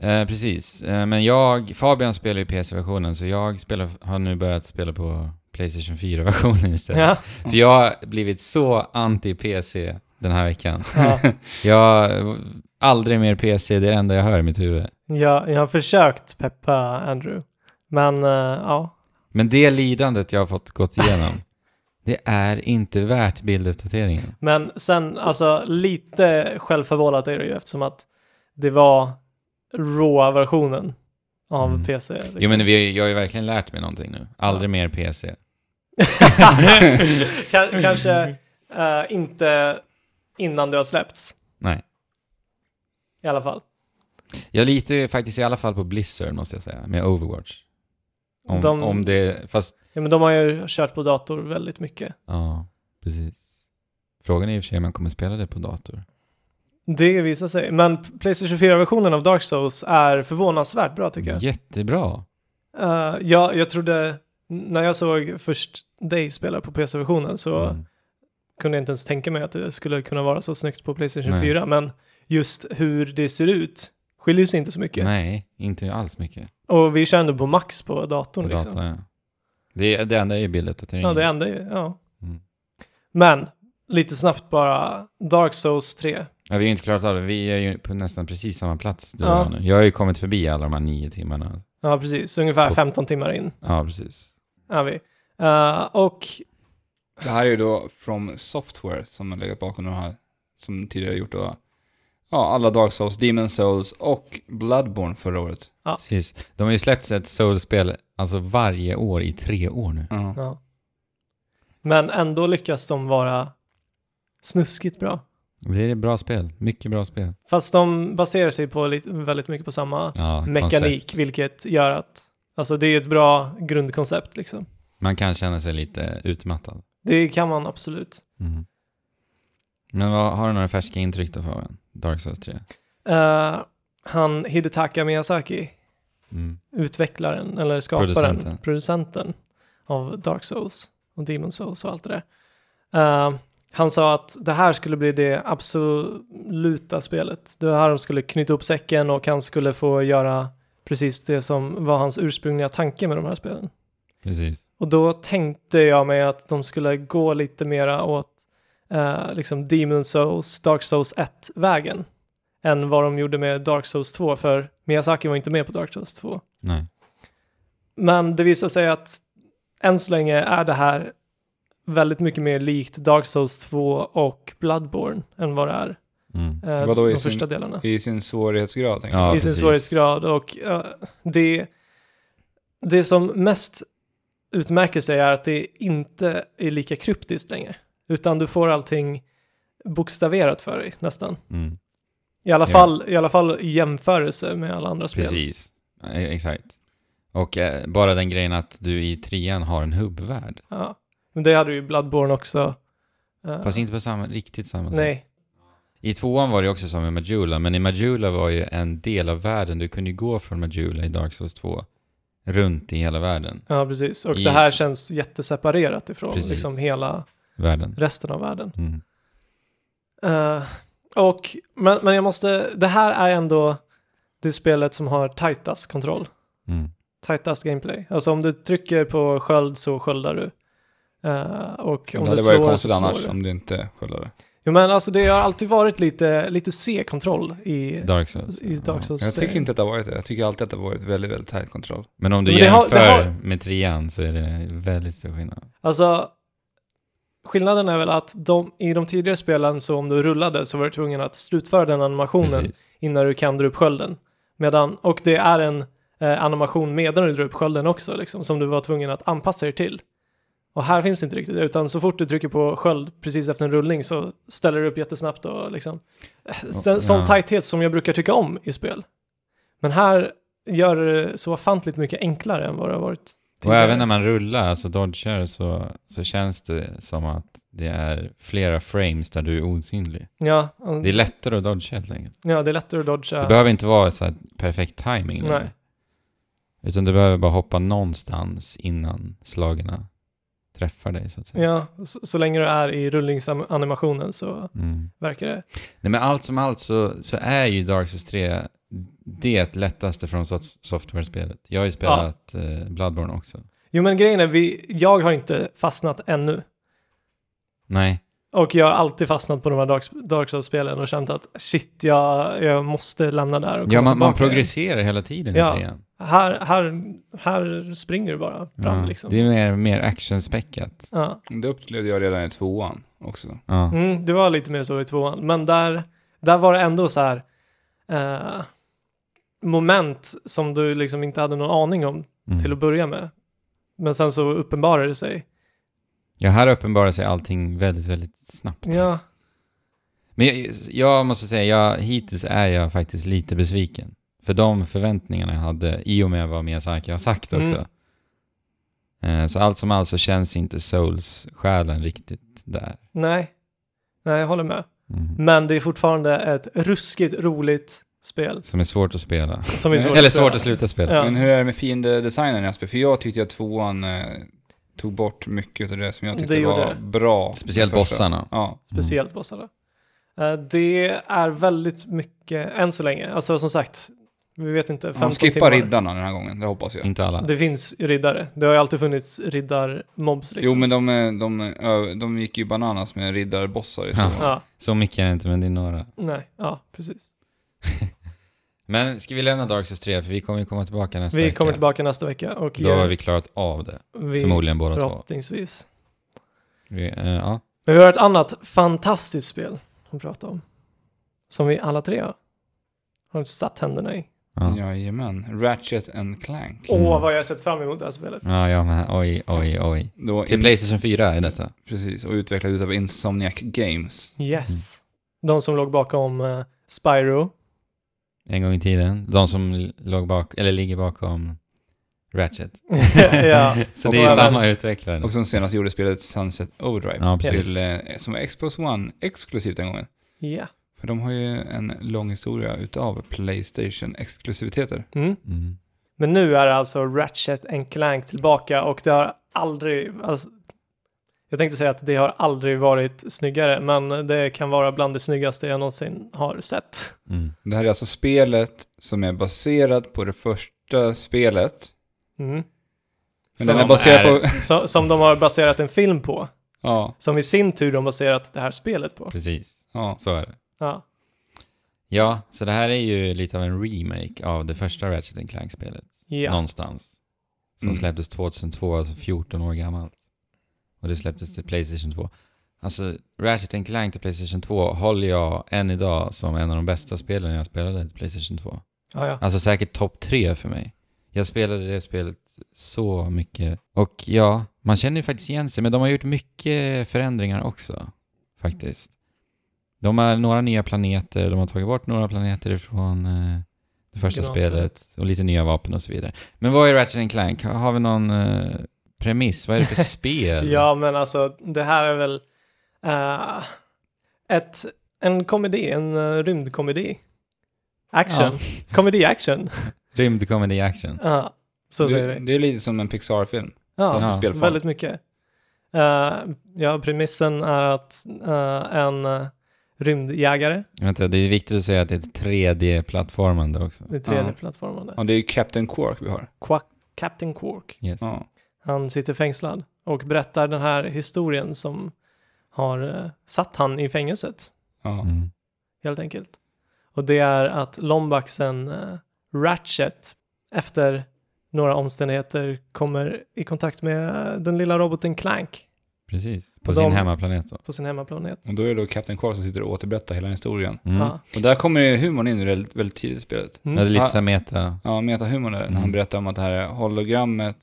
Speaker 3: Ja.
Speaker 2: Eh, precis. Eh, men jag, Fabian spelar ju PC-versionen, så jag spelar, har nu börjat spela på Playstation 4-versionen
Speaker 3: [LAUGHS]
Speaker 2: istället.
Speaker 3: Ja,
Speaker 2: För jag har blivit så anti-PC den här veckan.
Speaker 3: ja.
Speaker 2: [LAUGHS] Jag, aldrig mer PC, det är det enda jag hör i mitt huvud.
Speaker 3: Jag, jag har försökt peppa Andrew. Men eh, ja,
Speaker 2: Men det lidandet jag har fått gått
Speaker 3: [LAUGHS]
Speaker 2: igenom, det är inte värt bilduppdateringen.
Speaker 3: Men sen, alltså lite självförvållat är det ju eftersom att det var RAW-versionen av
Speaker 2: Mm.
Speaker 3: PC. liksom.
Speaker 2: Jo men vi, jag har ju verkligen lärt mig någonting nu. Aldrig mer PC.
Speaker 3: [LAUGHS] Kan- kanske eh, inte innan det har släppts
Speaker 2: Nej.
Speaker 3: i alla fall.
Speaker 2: Jag litar ju faktiskt i alla fall på Blizzard måste jag säga, med Overwatch. Om,
Speaker 3: De-
Speaker 2: om det, fast,
Speaker 3: Ja, men de har ju kört på dator väldigt mycket.
Speaker 2: ja, precis. Frågan är i och för sig om jag kommer spela det på dator.
Speaker 3: Det visar sig. Men Playstation 4-versionen av Dark Souls är förvånansvärt bra tycker jag.
Speaker 2: Jättebra.
Speaker 3: Eh, jag. Jag trodde, när jag såg först dig spela på PC-versionen så
Speaker 2: Mm.
Speaker 3: kunde jag inte ens tänka mig att det skulle kunna vara så snyggt på Playstation
Speaker 2: Nej.
Speaker 3: 4, men just hur det ser ut skiljer sig inte så mycket.
Speaker 2: Nej, inte alls mycket.
Speaker 3: Och vi kör ändå på max på datorn
Speaker 2: På
Speaker 3: liksom.
Speaker 2: data, ja. Det, det enda är ju bilduppdateringen.
Speaker 3: Ja, det enda är, ja.
Speaker 2: Mm.
Speaker 3: Men, lite snabbt bara, Dark Souls 3.
Speaker 2: Ja, vi har ju inte klarat av det. Vi är ju på nästan precis samma plats du
Speaker 3: Ja.
Speaker 2: och jag nu. Jag har ju kommit förbi alla de här nio timmarna.
Speaker 3: Ja, precis. Ungefär
Speaker 2: På-
Speaker 3: 15 timmar in
Speaker 2: Ja, precis.
Speaker 3: är vi. Eh, och,
Speaker 1: Det här är ju då From Software som har legat bakom de här. Som tidigare gjort då... Ja, alla Dark Souls, Demon Souls och Bloodborne förra året.
Speaker 2: precis. De har ju släppt ett Soul-spel alltså varje år i tre år nu.
Speaker 1: Ja.
Speaker 3: ja. Men ändå lyckas de vara snuskigt bra.
Speaker 2: Det är bra spel. Mycket bra spel.
Speaker 3: Fast de baserar sig på lite, väldigt mycket på samma
Speaker 2: Ja,
Speaker 3: mekanik,
Speaker 2: koncept.
Speaker 3: vilket gör att alltså det är ett bra grundkoncept liksom.
Speaker 2: Man kan känna sig lite utmattad.
Speaker 3: Det kan man absolut.
Speaker 2: Mm. Men vad, har du några färska intryck då Fabian? Dark Souls 3?
Speaker 3: Eh, han Hidetaka Miyazaki,
Speaker 2: Mm.
Speaker 3: utvecklaren eller skaparen,
Speaker 2: Producenten.
Speaker 3: producenten, av Dark Souls och Demon Souls och allt det där. Eh, han sa att det här skulle bli det absoluta spelet. Det var här de skulle knyta upp säcken och han skulle få göra precis det som var hans ursprungliga tanke med de här spelen.
Speaker 2: Precis.
Speaker 3: Och då tänkte jag mig att de skulle gå lite mera åt eh, liksom Demon Souls, Dark Souls 1-vägen än vad de gjorde med Dark Souls 2, för Miyazaki var inte med på Dark Souls 2.
Speaker 2: Nej.
Speaker 3: Men det visar sig att än så länge är det här väldigt mycket mer likt Dark Souls 2 och Bloodborne än vad det är
Speaker 2: Mm.
Speaker 3: eh,
Speaker 1: Vadå, i
Speaker 3: de
Speaker 1: sin-
Speaker 3: första delarna.
Speaker 1: I sin svårighetsgrad, tänker
Speaker 2: Ja,
Speaker 1: jag.
Speaker 3: I sin
Speaker 2: precis.
Speaker 3: svårighetsgrad och eh, det, det som mest utmärker sig är att det inte är lika kryptiskt längre. Utan du får allting bokstaverat för dig nästan.
Speaker 2: Mm.
Speaker 3: I alla,
Speaker 2: Ja.
Speaker 3: fall, i, alla fall i jämförelse med alla andra spel.
Speaker 2: Precis. E- Exakt. Och eh, bara den grejen att du i trean har en hubbvärld.
Speaker 3: Ja. Men det hade ju Bloodborne också. eh,
Speaker 2: Fast inte på samma, riktigt samma sätt.
Speaker 3: Nej,
Speaker 2: I tvåan var det också som i Majula, men i Majula var ju en del av världen. Du kunde ju gå från Majula i Dark Souls 2 runt i hela världen.
Speaker 3: ja precis. Och
Speaker 2: I-
Speaker 3: det här känns jätteseparerat ifrån
Speaker 2: Precis.
Speaker 3: liksom hela
Speaker 2: Världen.
Speaker 3: resten av världen.
Speaker 2: Mm.
Speaker 3: Eh, och, men, men jag måste, det här är ändå det spelet som har tajtast kontroll,
Speaker 2: Mm.
Speaker 3: tajtast gameplay. Alltså om du trycker på sköld så sköldar du. Eh, och
Speaker 1: Det
Speaker 3: om
Speaker 1: hade varit
Speaker 3: du slår så
Speaker 1: konstigt
Speaker 3: slår
Speaker 1: annars
Speaker 3: du.
Speaker 1: om du inte sköldade.
Speaker 3: Jo men alltså det har alltid varit lite, lite C-kontroll i,
Speaker 2: Dark Souls.
Speaker 3: i Dark Souls.
Speaker 1: Jag tycker
Speaker 3: serien.
Speaker 1: inte att det har varit det. Jag tycker alltid att det har varit väldigt, väldigt tajt kontroll.
Speaker 2: Men om du
Speaker 3: Men det har-
Speaker 2: jämför
Speaker 3: det har-
Speaker 2: med trean så är det väldigt stor skillnad.
Speaker 3: Alltså, skillnaden är väl att de, i de tidigare spelen så om du rullade så var du tvungen att slutföra den animationen
Speaker 2: Precis.
Speaker 3: innan du kan dra upp skölden. Medan, och det är en eh, animation medan du drar upp skölden också, liksom, som du var tvungen att anpassa dig till. Och här finns det inte riktigt det, utan så fort du trycker på sköld precis efter en rullning så ställer du upp jättesnabbt och liksom... eh, Sen,
Speaker 2: Ja.
Speaker 3: Sån tajthet som jag brukar tycka om i spel. Men här gör det så ofantligt mycket enklare än vad det har varit
Speaker 2: Och även när man rullar, alltså dodgar, så, så känns det som att det är flera frames där du är osynlig.
Speaker 3: Ja,
Speaker 2: Det är lättare att dodga helt enkelt.
Speaker 3: ja, det är lättare att dodga.
Speaker 2: Det behöver inte vara så här perfekt timing.
Speaker 3: Nej.
Speaker 2: längre. Utan du behöver bara hoppa någonstans innan slagen träffar dig så att säga.
Speaker 3: Ja, så, så länge du är i rullningsanimationen så
Speaker 2: Mm.
Speaker 3: verkar det.
Speaker 2: Nej men allt som allt så, så är ju Dark Souls 3 det lättaste från soft- software-spelet. Jag har ju spelat eh, Bloodborne också.
Speaker 3: Jo men grejen är, vi, jag har inte fastnat ännu.
Speaker 2: Nej,
Speaker 3: Och jag har alltid fastnat på de här Dark, Dark Souls-spelen och känt att shit, jag, jag måste lämna där och komma
Speaker 2: ja, man, man
Speaker 3: tillbaka.
Speaker 2: progresserar hela tiden
Speaker 3: Ja.
Speaker 2: i trean.
Speaker 3: Här, här, här springer du bara fram
Speaker 2: Ja,
Speaker 3: liksom.
Speaker 2: Det är mer, mer actionspäckat.
Speaker 3: Ja.
Speaker 1: Det upplevde jag redan i tvåan också.
Speaker 2: Ja.
Speaker 3: Mm, det var lite mer så i tvåan, men där, där var det ändå så här eh, moment som du liksom inte hade någon aning om
Speaker 2: Mm.
Speaker 3: till att börja med. Men sen så uppenbarar det sig.
Speaker 2: Ja, här uppenbarar sig allting väldigt, väldigt snabbt.
Speaker 3: Ja,
Speaker 2: Men jag, jag måste säga, jag, hittills är jag faktiskt lite besviken. För de förväntningarna jag hade, i och med vad Miyazaki har sagt också.
Speaker 3: Mm.
Speaker 2: Eh, Så allt som allt så känns inte Souls-själen riktigt där.
Speaker 3: nej. Nej, jag håller med.
Speaker 2: Mm.
Speaker 3: Men det är fortfarande ett ruskigt roligt spel.
Speaker 2: Som är svårt att spela.
Speaker 3: Som är svårt
Speaker 2: Mm. Eller
Speaker 3: att spela.
Speaker 2: svårt att sluta spela.
Speaker 3: Ja.
Speaker 1: Men hur är det med fiendedesignen Jesper? För jag tyckte att tvåan eh, tog bort mycket av det som jag tyckte
Speaker 3: Det gjorde
Speaker 1: var
Speaker 3: det.
Speaker 1: bra.
Speaker 2: Speciellt
Speaker 1: Första.
Speaker 2: bossarna.
Speaker 1: Ja.
Speaker 3: Speciellt bossarna. Eh, Det är väldigt mycket, än så länge, alltså som sagt, vi vet inte, 15
Speaker 1: Han skippar
Speaker 3: timmar.
Speaker 1: riddarna den här gången, det hoppas jag.
Speaker 2: Inte alla.
Speaker 3: Det finns riddare. Det har ju alltid funnits riddarmobs liksom.
Speaker 1: Jo men de, eh, de, eh, de gick ju bananas med riddarbossar i
Speaker 2: Ja.
Speaker 1: tvåan.
Speaker 3: Ja,
Speaker 2: Så mycket är det inte, men det är några.
Speaker 3: nej, ja, precis.
Speaker 2: Men ska vi lämna Dark Souls 3? För vi kommer ju komma tillbaka nästa
Speaker 3: Vi
Speaker 2: vecka.
Speaker 3: kommer tillbaka nästa vecka och
Speaker 2: Då har vi klarat av det.
Speaker 3: vi
Speaker 2: Förmodligen båda två.
Speaker 3: förhoppningsvis.
Speaker 2: Vi, eh, ja.
Speaker 3: Men vi har ett annat fantastiskt spel att prata om. Som vi alla tre har satt händerna i.
Speaker 2: Ja.
Speaker 1: Jajamän. Ratchet and Clank.
Speaker 3: Åh,
Speaker 2: Mm.
Speaker 3: vad jag har sett fram emot det här spelet.
Speaker 2: ja, ja, men oj, oj, oj.
Speaker 1: Då
Speaker 2: Till
Speaker 1: in-
Speaker 2: Playstation 4 är detta.
Speaker 1: Precis, och utvecklad utav Insomniac Games.
Speaker 3: Yes. De som låg bakom eh, Spyro.
Speaker 2: En gång i tiden. De som låg bak, eller ligger bakom
Speaker 1: [LAUGHS]
Speaker 2: Ratchet.
Speaker 3: ja.
Speaker 2: Så
Speaker 1: Och
Speaker 2: det är
Speaker 1: även-
Speaker 2: samma utvecklare. nu.
Speaker 1: Och som senast gjorde spelet Sunset Overdrive.
Speaker 2: Ja, precis.
Speaker 1: Till, eh, som var Xbox One exklusivt den gången.
Speaker 3: ja.
Speaker 1: För de har ju en lång historia utav Playstation-exklusiviteter.
Speaker 3: Mm.
Speaker 2: Mm.
Speaker 3: Men nu är det alltså Ratchet and Clank tillbaka och det har aldrig, alltså, jag tänkte säga att det har aldrig varit snyggare, men det kan vara bland det snyggaste jag någonsin har sett.
Speaker 2: Mm.
Speaker 1: Det här är alltså spelet som är baserat på det första spelet.
Speaker 3: Mm.
Speaker 1: Men
Speaker 3: Som
Speaker 1: den är baserad på... [LAUGHS]
Speaker 3: Så, som de har baserat en film på,
Speaker 1: Ja,
Speaker 3: som i sin tur de baserat det här spelet på.
Speaker 2: Precis,
Speaker 1: ja.
Speaker 2: så är det.
Speaker 3: Ja.
Speaker 2: Ja, så det här är ju lite av en remake av det första Ratchet and Clank-spelet.
Speaker 3: Ja.
Speaker 2: Någonstans. Som
Speaker 1: Mm.
Speaker 2: släpptes 2002, alltså 14 år gammalt. Och det släpptes till Playstation 2. Alltså, Ratchet and Clank till Playstation 2 håller jag än idag som en av de bästa spelen jag spelade till Playstation 2.
Speaker 3: Ja, ja.
Speaker 2: Alltså säkert topp tre för mig. Jag spelade det spelet så mycket. Och ja, man känner ju faktiskt igen sig, men de har gjort mycket förändringar också. Faktiskt. De har några nya planeter, de har tagit bort några planeter från eh, det första
Speaker 3: Originalspelet.
Speaker 2: spelet. Och lite nya vapen och så vidare. Men vad är Ratchet and Clank? Har vi någon eh, premiss? Vad är det
Speaker 3: [LAUGHS]
Speaker 2: för spel?
Speaker 3: Ja, men alltså det här är väl eh, ett, en komedi, en eh, rymdkomedi. Action.
Speaker 1: [LAUGHS]
Speaker 3: Komedi-action.
Speaker 2: Rymd comedy action.
Speaker 3: Ja, så säger
Speaker 1: Det,
Speaker 3: vi.
Speaker 1: det är lite som en Pixar-film.
Speaker 3: Ja,
Speaker 1: Fast i
Speaker 2: Ja.
Speaker 1: spelform.
Speaker 3: väldigt mycket. Eh, ja, premissen är att eh, en eh, rymdjägare,
Speaker 2: Vänta, det är viktigt att säga att det är ett 3D-plattformande också.
Speaker 3: det tredje
Speaker 1: Ja.
Speaker 3: plattformande,
Speaker 1: Ja, det är ju Captain Quark vi har.
Speaker 3: Quack, Captain Quark,
Speaker 2: Yes.
Speaker 1: Ja.
Speaker 3: han sitter fängslad och berättar den här historien som har eh, satt han i fängelset,
Speaker 1: ja.
Speaker 2: Mm.
Speaker 3: helt enkelt. Och det är att Lombaxen eh, Ratchet efter några omständigheter kommer i kontakt med eh, den lilla roboten Clank
Speaker 2: Precis. På
Speaker 3: Och
Speaker 2: sin
Speaker 3: de-
Speaker 2: hemmaplanet då.
Speaker 3: på sin hemmaplanet.
Speaker 1: Och då är det då Captain Quark som sitter och återberättar hela historien.
Speaker 2: Mm.
Speaker 3: Ja.
Speaker 1: Och där kommer ju humorn in väldigt, väldigt tidigt i spelet.
Speaker 3: Mm.
Speaker 2: Ja, det är lite
Speaker 1: Ja.
Speaker 2: såhär meta.
Speaker 1: Ja, metahumorn där, när
Speaker 2: Mm.
Speaker 1: han berättar om att det här är hologrammet,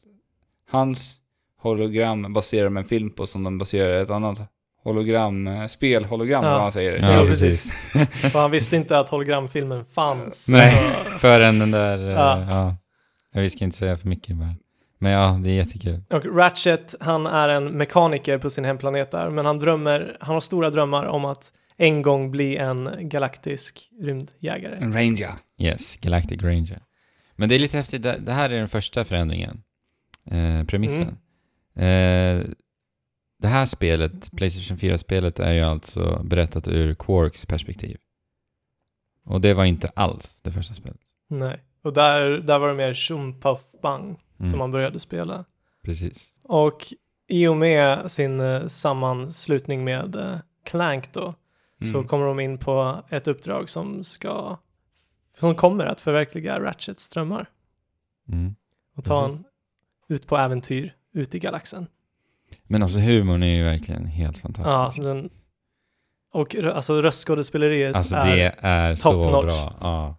Speaker 1: hans hologram baserar de en film på som de baserar ett annat hologram, eh, spelhologram,
Speaker 3: Ja.
Speaker 1: vad han säger.
Speaker 2: Ja,
Speaker 3: Ja,
Speaker 2: precis.
Speaker 3: För han visste inte att hologramfilmen fanns.
Speaker 2: [LAUGHS] Nej.
Speaker 3: Så-
Speaker 2: Förrän den där... eh,
Speaker 3: Ja.
Speaker 2: Ja. ja. Vi ska inte säga för mycket bara. Men ja, det är jättekul.
Speaker 3: Och Ratchet, han är en mekaniker på sin hemplanet där, men han drömmer, han har stora drömmar om att en gång bli en galaktisk
Speaker 2: Mm.
Speaker 3: rymdjägare.
Speaker 1: En ranger.
Speaker 2: Yes, Galactic Ranger. Men det är lite häftigt, det det här är den första förändringen. Eh, premissen.
Speaker 3: Mm.
Speaker 2: Eh, det här spelet, Playstation 4-spelet, är ju alltså berättat ur Quarks perspektiv. Och det var inte alls det första spelet.
Speaker 3: Nej. Och där, där var det mer tjum puff bang
Speaker 2: Mm,
Speaker 3: som han började spela.
Speaker 2: Precis.
Speaker 3: Och i och med sin eh, sammanslutning med eh, Clank då, så
Speaker 1: Mm.
Speaker 3: kommer de in på ett uppdrag som ska, som kommer att förverkliga Ratchets drömmar
Speaker 2: Mm.
Speaker 3: och ta
Speaker 2: Precis.
Speaker 3: en ut på äventyr ut i galaxen.
Speaker 2: Men alltså humorn är ju verkligen helt fantastisk.
Speaker 3: Ja, den, och rö- alltså röstskådespeleriet
Speaker 2: Alltså
Speaker 3: är...
Speaker 2: det är så
Speaker 3: top notch.
Speaker 2: bra. Ja.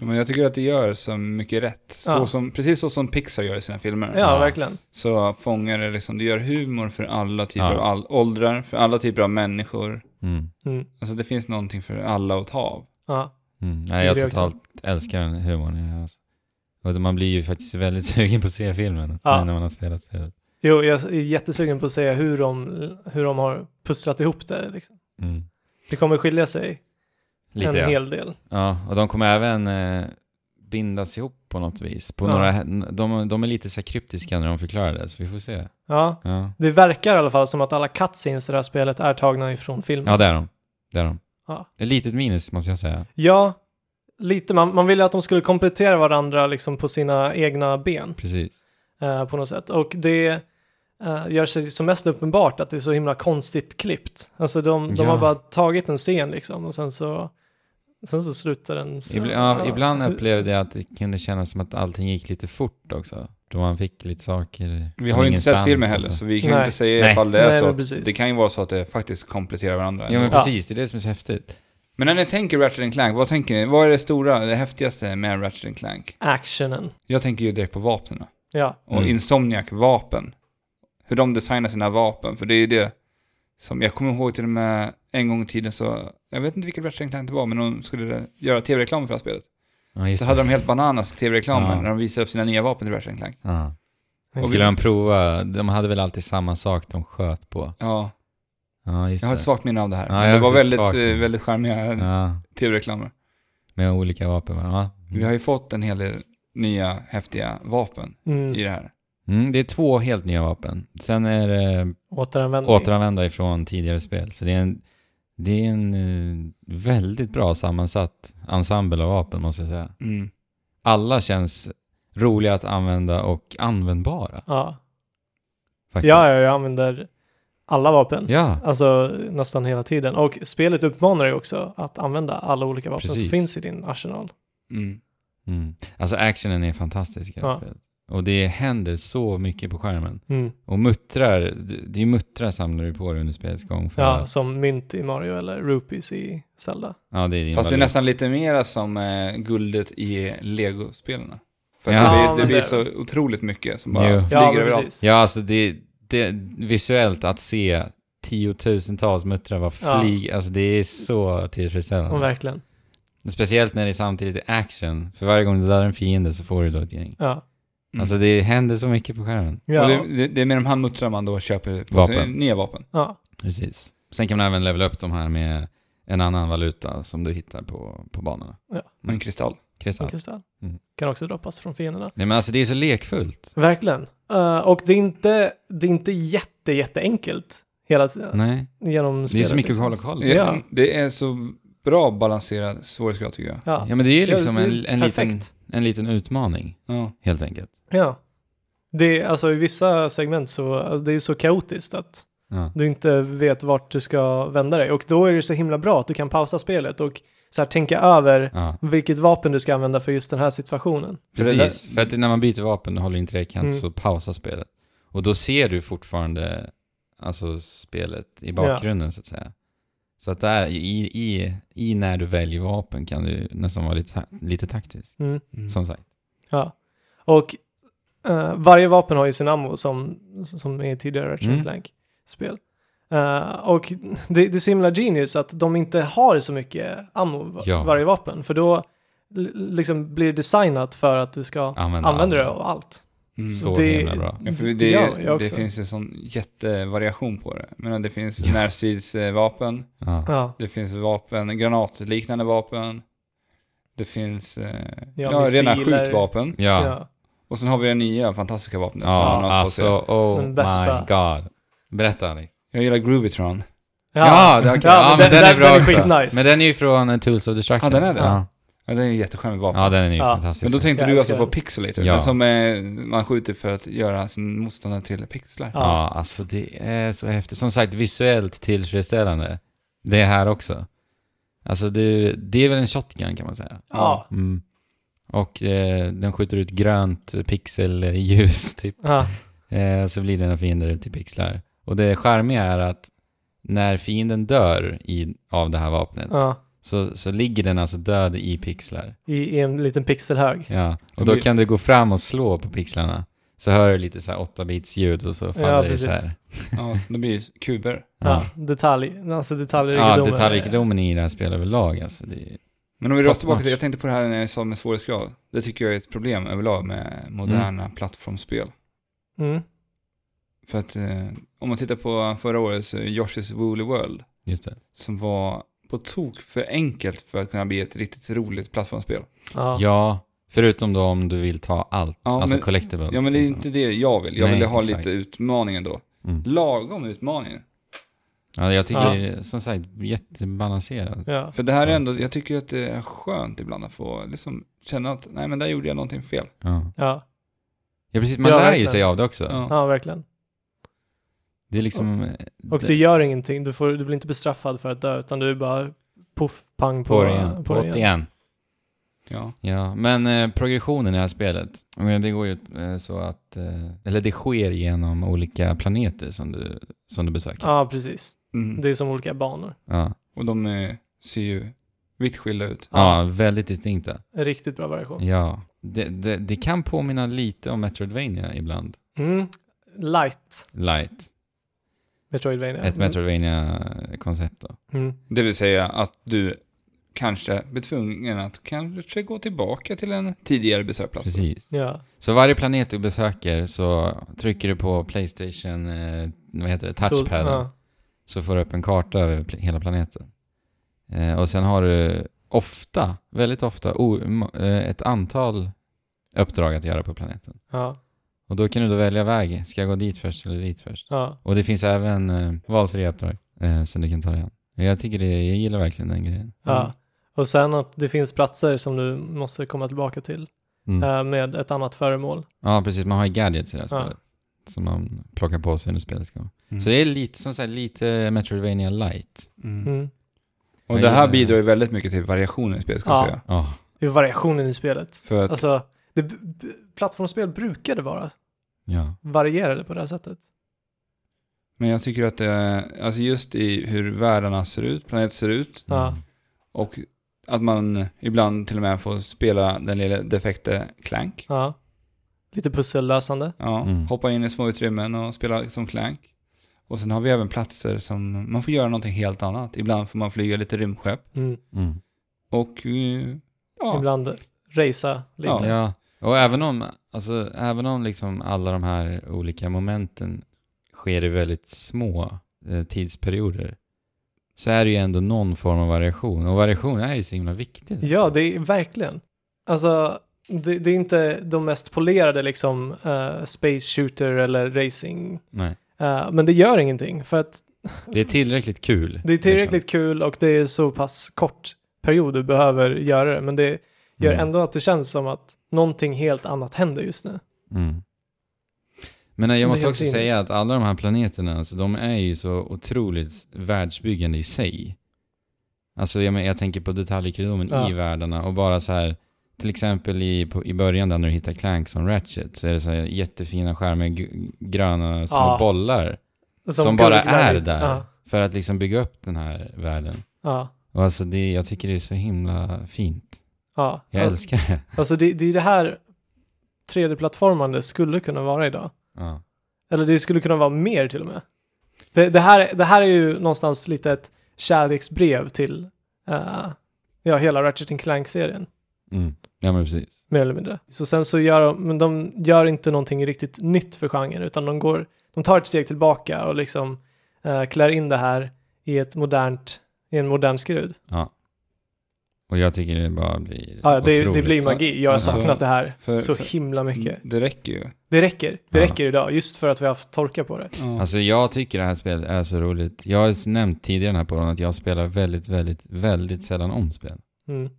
Speaker 1: Ja, Men jag tycker att det gör så mycket rätt. Så
Speaker 3: Ja.
Speaker 1: som, precis så som Pixar gör i sina filmer.
Speaker 3: ja,
Speaker 2: Ja.
Speaker 3: verkligen.
Speaker 1: Så fångar det liksom, det gör humor för alla typer
Speaker 2: Ja.
Speaker 1: av all, åldrar, för alla typer av människor.
Speaker 2: Mm.
Speaker 3: Mm.
Speaker 1: Alltså det finns någonting för alla att ta av.
Speaker 3: Ja.
Speaker 2: Mm. Nej, jag
Speaker 3: det också.
Speaker 2: totalt älskar den humorn. i det här, Alltså. Och det- man blir ju faktiskt väldigt [LAUGHS] sugen på att se filmen
Speaker 3: Ja.
Speaker 2: när man har spelat spelet.
Speaker 3: Jo, jag är jättesugen på att se hur de, hur de har pusslat ihop det. Liksom.
Speaker 2: Mm.
Speaker 3: Det kommer skilja sig
Speaker 2: Lite
Speaker 3: en
Speaker 2: ja.
Speaker 3: hel del.
Speaker 2: ja. Och de kommer även eh, bindas ihop på något vis. På
Speaker 3: Ja.
Speaker 2: några, de, de är lite så här kryptiska när de förklarar det, så vi får se.
Speaker 3: Ja.
Speaker 2: Ja,
Speaker 3: Det verkar i alla fall som att alla cutscenes i det här spelet är tagna ifrån filmen.
Speaker 2: ja det är de. Det är de.
Speaker 3: Ja.
Speaker 2: Ett litet minus måste jag säga.
Speaker 3: Ja, lite. Man, man ville att de skulle komplettera varandra liksom på sina egna ben.
Speaker 2: Precis.
Speaker 3: eh, på något sätt. Och det eh, gör sig som mest uppenbart att det är så himla konstigt klippt. Alltså de, de
Speaker 2: Ja.
Speaker 3: har bara tagit en scen liksom och sen så, sen så slutar den. Så,
Speaker 2: Ibl ja, ibland upplevde jag att det kunde kännas som att allting gick lite fort också. Då man fick lite saker
Speaker 1: Vi har ju inte sett
Speaker 2: ingenstans
Speaker 1: filmen
Speaker 2: och
Speaker 1: heller,
Speaker 2: så.
Speaker 1: så vi kan
Speaker 3: Nej.
Speaker 1: ju inte säga
Speaker 2: alltså.
Speaker 1: ifall
Speaker 2: Nej.
Speaker 1: det är
Speaker 3: Nej, men
Speaker 1: så.
Speaker 3: precis.
Speaker 1: Att, det kan ju vara så att det faktiskt kompletterar varandra.
Speaker 2: Ja men
Speaker 3: Ja.
Speaker 2: precis, det är det som är så häftigt.
Speaker 1: Men när ni tänker Ratchet and Clank, vad tänker ni? Vad är det stora, det häftigaste med Ratchet and Clank?
Speaker 3: Actionen.
Speaker 1: Jag tänker ju direkt på vapnen.
Speaker 3: Ja,
Speaker 1: Och
Speaker 2: Mm.
Speaker 1: Insomniac vapen. Hur de designar sina vapen, för det är ju det som, jag kommer ihåg till och med en gång i tiden så jag vet inte vilket världsreklam det var, men de skulle göra tv-reklam för det här spelet.
Speaker 2: Ja, just
Speaker 1: Så
Speaker 2: det.
Speaker 1: hade de helt bananas tv-reklamen
Speaker 2: Ja.
Speaker 1: när de visade upp sina nya vapen till Ratchet Clank.
Speaker 2: Ja.
Speaker 1: Och
Speaker 2: Skulle
Speaker 1: vi-
Speaker 2: de prova, de hade väl alltid samma sak de sköt på?
Speaker 1: Ja,
Speaker 2: Ja, just
Speaker 1: jag har ett
Speaker 2: det.
Speaker 1: svagt minne av det här.
Speaker 2: Ja,
Speaker 1: Men
Speaker 2: jag
Speaker 1: det
Speaker 2: har
Speaker 1: var
Speaker 2: också ett
Speaker 1: väldigt,
Speaker 2: svagt
Speaker 1: eh,
Speaker 2: minne.
Speaker 1: väldigt charmiga
Speaker 2: Ja,
Speaker 1: tv-reklamer.
Speaker 2: med olika vapen. va? Ja.
Speaker 1: Vi har ju fått en hel del nya häftiga vapen i
Speaker 3: Mm.
Speaker 1: det här.
Speaker 2: Mm, det är två helt nya vapen. Sen är det
Speaker 3: Återanvändning.
Speaker 2: återanvända ifrån tidigare spel. Så det är en, det är en eh, väldigt bra sammansatt ensemble av vapen måste jag säga.
Speaker 1: Mm.
Speaker 2: Alla känns roliga att använda och användbara.
Speaker 3: ja.
Speaker 2: Faktiskt.
Speaker 3: ja, ja, jag använder alla vapen.
Speaker 2: Ja,
Speaker 3: Alltså nästan hela tiden. Och spelet uppmanar dig också att använda alla olika vapen som
Speaker 2: Precis.
Speaker 3: finns i din arsenal.
Speaker 1: Mm.
Speaker 2: Mm. Alltså actionen är fantastisk i det här
Speaker 3: Ja.
Speaker 2: spelet. Och det händer så mycket på skärmen.
Speaker 3: Mm.
Speaker 2: Och muttrar, det- det är ju muttrar samlar du på dig under spelets gång. För
Speaker 3: Ja,
Speaker 2: att,
Speaker 3: som mynt i Mario eller rupees i Zelda.
Speaker 2: ja, det är din
Speaker 1: Fast det är
Speaker 2: valuta.
Speaker 1: nästan lite mera som eh, guldet i Lego-spelarna. För att
Speaker 2: Ja.
Speaker 1: det, blir,
Speaker 3: Ja,
Speaker 1: det
Speaker 3: men
Speaker 1: blir
Speaker 3: det-
Speaker 1: så otroligt mycket som bara
Speaker 2: Jo.
Speaker 1: flyger
Speaker 3: Ja, men
Speaker 1: överallt.
Speaker 3: precis.
Speaker 2: Ja, alltså det, det visuellt att se tiotusentals muttrar bara
Speaker 3: Ja.
Speaker 2: flyg, alltså det är så
Speaker 3: Och
Speaker 2: tillfredsställande.
Speaker 3: verkligen.
Speaker 2: Speciellt när det samtidigt är action, för varje gång du dödar en fiende så får du då ett gäng.
Speaker 3: Ja.
Speaker 1: Mm.
Speaker 2: Alltså det händer så mycket på skärmen.
Speaker 3: Ja.
Speaker 1: Och det, det, det är med de här muttrarna man då köper på
Speaker 2: Vapen.
Speaker 1: sig nya vapen.
Speaker 3: ja.
Speaker 2: Precis. Sen kan man även levela upp de här med en annan valuta som du hittar på, på banorna. Mm.
Speaker 1: Och en kristall.
Speaker 2: Kristall.
Speaker 3: En kristall.
Speaker 2: Mm.
Speaker 3: Kan också droppas från fienderna.
Speaker 2: Nej men alltså det är så lekfullt.
Speaker 3: Verkligen. Eh, och det är inte, det är inte jätte, jätteenkelt hela tiden
Speaker 2: Nej,
Speaker 3: genom
Speaker 2: det är
Speaker 3: spelet,
Speaker 2: så mycket att
Speaker 3: liksom.
Speaker 2: hålla koll på.
Speaker 3: Ja.
Speaker 1: Det är så bra balanserad svårighetsgrad tycker jag.
Speaker 3: Ja.
Speaker 2: Ja men det är ju liksom
Speaker 3: Ja, det är
Speaker 2: en, en, liten,
Speaker 3: perfekt.
Speaker 2: en liten utmaning,
Speaker 1: Ja.
Speaker 2: helt enkelt.
Speaker 3: Ja. Det är, alltså i vissa segment så, alltså, det är så kaotiskt att
Speaker 2: Ja.
Speaker 3: du inte vet vart du ska vända dig. Och då är det så himla bra att du kan pausa spelet och så här, tänka över
Speaker 2: Ja.
Speaker 3: vilket vapen du ska använda för just den här situationen.
Speaker 1: För det där-
Speaker 2: Precis, för att när man byter vapen och håller in trekant
Speaker 3: Mm.
Speaker 2: så pausar spelet. Och då ser du fortfarande alltså spelet i bakgrunden så att säga. Så att där, i, i, i när du väljer vapen kan du nästan vara lite, ta- lite taktisk.
Speaker 3: Mm.
Speaker 1: Mm.
Speaker 2: Som sagt.
Speaker 3: Ja. Och eh, varje vapen har ju sin ammo som, som är i tidigare Ratchet
Speaker 2: Mm.
Speaker 3: Clank-spel. Eh, och det, det är så himla genius att de inte har så mycket ammo va-
Speaker 2: Ja.
Speaker 3: varje vapen. För då l- liksom blir det designat för att du ska
Speaker 2: Använda
Speaker 3: använda det
Speaker 2: alla.
Speaker 3: av allt.
Speaker 1: Mm.
Speaker 2: Så
Speaker 3: Det-
Speaker 2: himla bra.
Speaker 1: Ja, för
Speaker 3: d-
Speaker 1: det,
Speaker 3: ja, jag
Speaker 1: det
Speaker 3: också.
Speaker 1: finns en sån jättevariation på det. Men det finns närstridsvapen,
Speaker 2: Ja.
Speaker 3: Ja,
Speaker 1: det finns vapen, granatliknande vapen, det finns eh, ja,
Speaker 3: Ja,
Speaker 1: rena
Speaker 3: missiler.
Speaker 1: skjutvapen.
Speaker 2: Ja, ja.
Speaker 3: ja.
Speaker 1: Och sen har vi det nya fantastiska vapnet. som man har fått
Speaker 2: alltså
Speaker 1: se.
Speaker 2: oh
Speaker 3: Den bästa.
Speaker 2: my god. Berätta Alex.
Speaker 1: Jag gillar Groovitron.
Speaker 2: Ja, det, okay. ja, men den, är bra
Speaker 3: den
Speaker 2: också.
Speaker 3: skitnice.
Speaker 2: Men den är ju från eh, Tools of Destruction.
Speaker 1: Ja, den är det.
Speaker 2: Ja,
Speaker 1: Ja, det är ju jätteskärmigt vapen.
Speaker 2: ja den är ju
Speaker 3: Ja.
Speaker 2: fantastisk.
Speaker 1: Men då tänkte
Speaker 3: Jag
Speaker 1: du alltså
Speaker 3: älskar
Speaker 1: på
Speaker 3: den.
Speaker 1: Pixelator,
Speaker 2: Ja.
Speaker 1: den som eh, man skjuter för att göra sin motståndare till pixlar.
Speaker 3: Ja.
Speaker 2: Ja. alltså det är så häftigt. Som sagt, visuellt tillfredsställande. Det är här också. Alltså det, det är väl en shotgun kan man säga.
Speaker 3: ja.
Speaker 2: Mm. Och eh, den skjuter ut grönt pixelljus [LAUGHS] typ.
Speaker 3: Ja.
Speaker 2: Eh, så blir dina fiender till pixlar. Och det charmiga är att när fienden dör i, av det här vapnet
Speaker 3: ja.
Speaker 2: så, så ligger den alltså död i pixlar.
Speaker 3: I, I en liten pixelhög.
Speaker 2: Ja. Och
Speaker 1: Men
Speaker 2: då
Speaker 1: vi-
Speaker 2: kan du gå fram och slå på pixlarna. Så hör du lite så här 8-bits ljud och så faller det
Speaker 3: precis.
Speaker 2: isär.
Speaker 1: Ja, det blir ju kuber.
Speaker 3: Ja. Detalj, alltså
Speaker 2: Ja,
Speaker 3: detaljrikedomen. är-
Speaker 2: detaljrikedomen i det här spelet överlag alltså. Det,
Speaker 1: Men om vi rör
Speaker 2: Top
Speaker 1: tillbaka
Speaker 2: notch.
Speaker 1: till, jag tänkte på det här när jag sa med svårighetsgrad. Det tycker jag är ett problem överlag med moderna plattformsspel.
Speaker 3: Mm.
Speaker 1: För att eh, om man tittar på förra årets eh, Yoshi's Woolly World,
Speaker 2: just det.
Speaker 1: som var på tok för enkelt för att kunna bli ett riktigt roligt plattformsspel.
Speaker 3: Ja.
Speaker 2: Ja, förutom då om du vill ta allt,
Speaker 1: Ja,
Speaker 2: alltså
Speaker 1: men-
Speaker 2: collectibles.
Speaker 1: Ja men det är ju
Speaker 2: liksom.
Speaker 1: inte det jag vill, jag
Speaker 2: Nej,
Speaker 1: vill ha
Speaker 2: exakt.
Speaker 1: lite utmaning ändå.
Speaker 2: Mm.
Speaker 1: Lagom utmaning.
Speaker 2: Ja, jag tycker det är som sagt jättebalanserat.
Speaker 3: Ja.
Speaker 1: För det här är ändå, jag tycker att det är skönt ibland att få liksom känna att nej men där gjorde jag någonting fel.
Speaker 2: Ja,
Speaker 3: Ja.
Speaker 2: ja precis. Man
Speaker 3: Ja,
Speaker 2: lär ju
Speaker 3: verkligen.
Speaker 2: sig av det också.
Speaker 1: Ja.
Speaker 3: ja, verkligen.
Speaker 2: Det är liksom... eh,
Speaker 3: Och det gör ingenting, du, får, du blir inte bestraffad för att dö, utan du är bara poff, pang på,
Speaker 2: på det igen. På
Speaker 3: det
Speaker 2: det igen.
Speaker 1: Ja.
Speaker 2: Ja, men eh, progressionen i det här spelet, jag menar, det går ju eh, så att... Eh, eller det sker genom olika planeter som du, som du besöker.
Speaker 3: Ja, precis.
Speaker 1: Mm.
Speaker 3: Det är som olika banor.
Speaker 2: Ja.
Speaker 1: Och de eh, ser ju vitt skilda ut.
Speaker 2: ja, väldigt distinkta.
Speaker 3: En riktigt bra variation.
Speaker 2: Ja. Det, det, det kan påminna lite om Metroidvania ibland.
Speaker 3: Mm. Light.
Speaker 2: Light.
Speaker 3: Metroidvania.
Speaker 2: Ett metroidvania koncept då.
Speaker 3: Mm.
Speaker 1: Det vill säga att du kanske blir tvungen att kanske gå tillbaka till en tidigare besökplats.
Speaker 2: Precis.
Speaker 3: Ja.
Speaker 2: Så varje planet du besöker så trycker du på Playstation, eh, vad heter det, touchpaden.
Speaker 3: Ja.
Speaker 2: Så får du upp en karta över pl- hela planeten. Eh, och sen har du ofta, väldigt ofta, o- m- eh, ett antal uppdrag att göra på planeten.
Speaker 3: Ja.
Speaker 2: Och då kan du då välja väg. Ska jag gå dit först eller dit först?
Speaker 3: ja.
Speaker 2: Och det finns även eh, valfria uppdrag eh, som du kan ta dig an. Jag tycker det, jag gillar verkligen den grejen.
Speaker 1: Mm.
Speaker 3: ja. Och sen att det finns platser som du måste komma tillbaka till
Speaker 2: Mm.
Speaker 3: eh, med ett annat föremål.
Speaker 2: Ja, precis. Man har ju gadgets i det här
Speaker 3: Ja.
Speaker 2: spelet. Som man plockar på sig under spelets gång.
Speaker 1: Mm.
Speaker 2: Så det är lite, som sagt, lite Metroidvania light.
Speaker 1: Mm.
Speaker 3: Mm.
Speaker 1: Och det här bidrar ju väldigt mycket till variationen i spelet, ska jag
Speaker 3: Ja.
Speaker 1: säga.
Speaker 2: Ja.
Speaker 3: Det är variationen i spelet.
Speaker 1: För att
Speaker 3: Alltså, det, b- b- plattformsspel brukade vara
Speaker 2: Ja.
Speaker 3: varierade på det här sättet.
Speaker 1: Men jag tycker att det, alltså just i hur världarna ser ut, planeter ser ut
Speaker 3: Ja.
Speaker 2: Mm.
Speaker 1: och att man ibland till och med får spela den lilla defekte Clank.
Speaker 3: Ja. Lite pussellösande.
Speaker 1: Ja,
Speaker 2: Mm.
Speaker 1: hoppa in i små utrymmen och spela som Clank. Och sen har vi även platser som man får göra någonting helt annat. Ibland får man flyga lite rymdskepp
Speaker 3: Mm.
Speaker 2: Mm.
Speaker 1: och eh, ja,
Speaker 3: Ibland racea lite.
Speaker 1: Ja.
Speaker 2: ja. Och även om, alltså, även om liksom alla de här olika momenten sker i väldigt små eh, tidsperioder så är det ju ändå någon form av variation. Och variation är ju så himla viktigt.
Speaker 3: Ja,
Speaker 2: alltså.
Speaker 3: det är verkligen. Alltså, det, det är inte de mest polerade liksom eh, space shooter eller racing.
Speaker 2: Nej.
Speaker 3: Eh, men det gör ingenting för att
Speaker 2: det är tillräckligt kul.
Speaker 3: det är tillräckligt kul och det är så pass kort period du behöver göra det. Men det gör
Speaker 2: Mm.
Speaker 3: ändå att det känns som att någonting helt annat händer just nu.
Speaker 2: Mm. Men eh, jag
Speaker 3: det
Speaker 2: måste
Speaker 3: är
Speaker 2: också
Speaker 3: helt
Speaker 2: säga att
Speaker 3: sinnessjukt.
Speaker 2: alla de här planeterna, alltså, de är ju så otroligt världsbyggande i sig. Alltså jag, men, jag tänker på detaljrikedomen
Speaker 3: Ja.
Speaker 2: i världarna och bara så här, till exempel i, på, i början där när du hittar Clank som Ratchet så är det så här jättefina skärmar, gr- gröna små
Speaker 3: Ja.
Speaker 2: bollar som, bara är
Speaker 3: guldglajjor.
Speaker 2: där
Speaker 3: Ja,
Speaker 2: för att liksom bygga upp den här världen.
Speaker 3: ja,
Speaker 2: Och alltså det, jag tycker det är så himla fint.
Speaker 3: ja.
Speaker 2: Jag
Speaker 3: Alltså-
Speaker 2: älskar det.
Speaker 3: Alltså det, det är det här 3D-plattformande skulle kunna vara idag.
Speaker 2: Ja.
Speaker 3: Eller det skulle kunna vara mer till och med. Det, det, här, det här är ju någonstans lite ett kärleksbrev till eh, ja, hela Ratchet and Clank-serien,
Speaker 2: Mm. ja, men precis.
Speaker 3: mer eller mindre. Så sen så gör de, men de gör inte någonting riktigt nytt för genren, utan de går, de tar ett steg tillbaka och liksom eh, klär in det här i ett modernt, i en modern skrud.
Speaker 2: Och jag tycker det bara blir
Speaker 3: Ja, det, det
Speaker 2: otroligt.
Speaker 3: blir magi. Jag har
Speaker 1: Alltså,
Speaker 3: saknat det här
Speaker 1: för-
Speaker 3: så
Speaker 1: för- Mm.
Speaker 3: himla mycket.
Speaker 1: det räcker ju.
Speaker 3: Det räcker. Det
Speaker 2: Ja.
Speaker 3: räcker idag, just för att vi har haft torka på det.
Speaker 1: Ja.
Speaker 2: Alltså jag tycker det här spelet är så roligt. Jag har s- nämnt tidigare den här podden att jag spelar väldigt, väldigt, väldigt sällan om spel.
Speaker 3: Mm.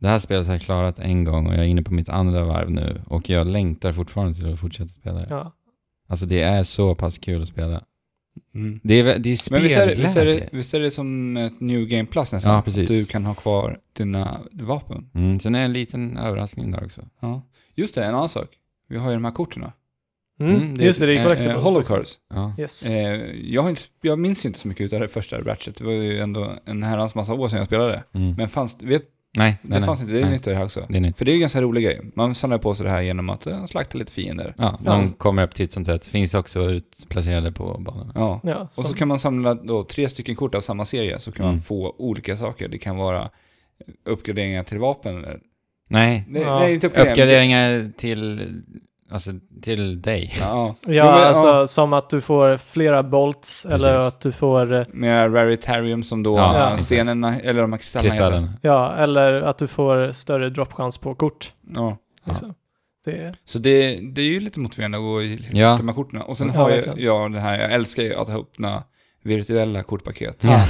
Speaker 2: Det här spelet har jag klarat en gång och jag är inne på mitt andra varv nu och jag längtar fortfarande till att fortsätta spela det.
Speaker 3: Ja.
Speaker 2: Alltså det är så pass kul att spela.
Speaker 1: Mm.
Speaker 2: Det är, vä- det är
Speaker 1: Men visst är, det- visst, är det,
Speaker 2: spelglädje.
Speaker 1: visst är det som ett New Game Plus nästan?
Speaker 2: Ja, precis.
Speaker 1: Att du kan ha kvar dina vapen.
Speaker 2: Mm, sen är det en liten överraskning där också.
Speaker 1: Ja. Just det, en annan sak. Vi har ju de här korten.
Speaker 3: Mm.
Speaker 2: Mm, det är-
Speaker 3: Just det, det är collectibles.
Speaker 1: Eh,
Speaker 3: också.
Speaker 1: Holocards.
Speaker 2: Ja.
Speaker 3: Yes.
Speaker 1: Eh, jag, har inte, jag minns inte så mycket av det första Ratchet. Det var ju ändå en herrans massa år sedan jag spelade.
Speaker 2: Mm.
Speaker 1: Men fanns, vet,
Speaker 2: nej,
Speaker 1: det
Speaker 2: nej, nej,
Speaker 1: fanns inte. Det är
Speaker 2: nej.
Speaker 1: nytt det här också.
Speaker 2: Det är nytt.
Speaker 1: För det är ju en ganska rolig grej. Man samlar på sig det här genom att eh, slakta lite fiender.
Speaker 2: Ja,
Speaker 3: Ja.
Speaker 2: de kommer upp titt som tätt. Finns också utplacerade på banorna.
Speaker 1: Ja.
Speaker 3: Ja,
Speaker 1: Och så
Speaker 3: som-
Speaker 1: kan man samla då tre stycken kort av samma serie så kan
Speaker 2: Mm.
Speaker 1: man få olika saker. Det kan vara uppgraderingar till vapen. Eh, eller-
Speaker 2: Nej,
Speaker 1: Nej,
Speaker 3: Ja.
Speaker 1: nej inte uppgraderingar.
Speaker 2: uppgraderingar till, alltså, till dig.
Speaker 1: Ja, ja. Jo,
Speaker 3: ja,
Speaker 1: men,
Speaker 3: alltså som att du får flera bolts
Speaker 2: Precis.
Speaker 3: eller att du får, eh,
Speaker 1: Mera raritarium som då
Speaker 2: Ja,
Speaker 1: eh,
Speaker 3: exakt.
Speaker 1: stenarna, eller de här kristallerna. heter.
Speaker 2: Kristallerna.
Speaker 3: ja, eller att du får större droppchans på kort.
Speaker 1: Ja.
Speaker 3: Liksom. Det är,
Speaker 1: Så det, det är ju lite motiverande att gå i
Speaker 2: Ja.
Speaker 1: de här korten. Och sen
Speaker 3: Ja,
Speaker 1: har jag,
Speaker 3: verkligen.
Speaker 1: jag det här, jag älskar ju att öppna virtuella kortpaket.
Speaker 2: Ja.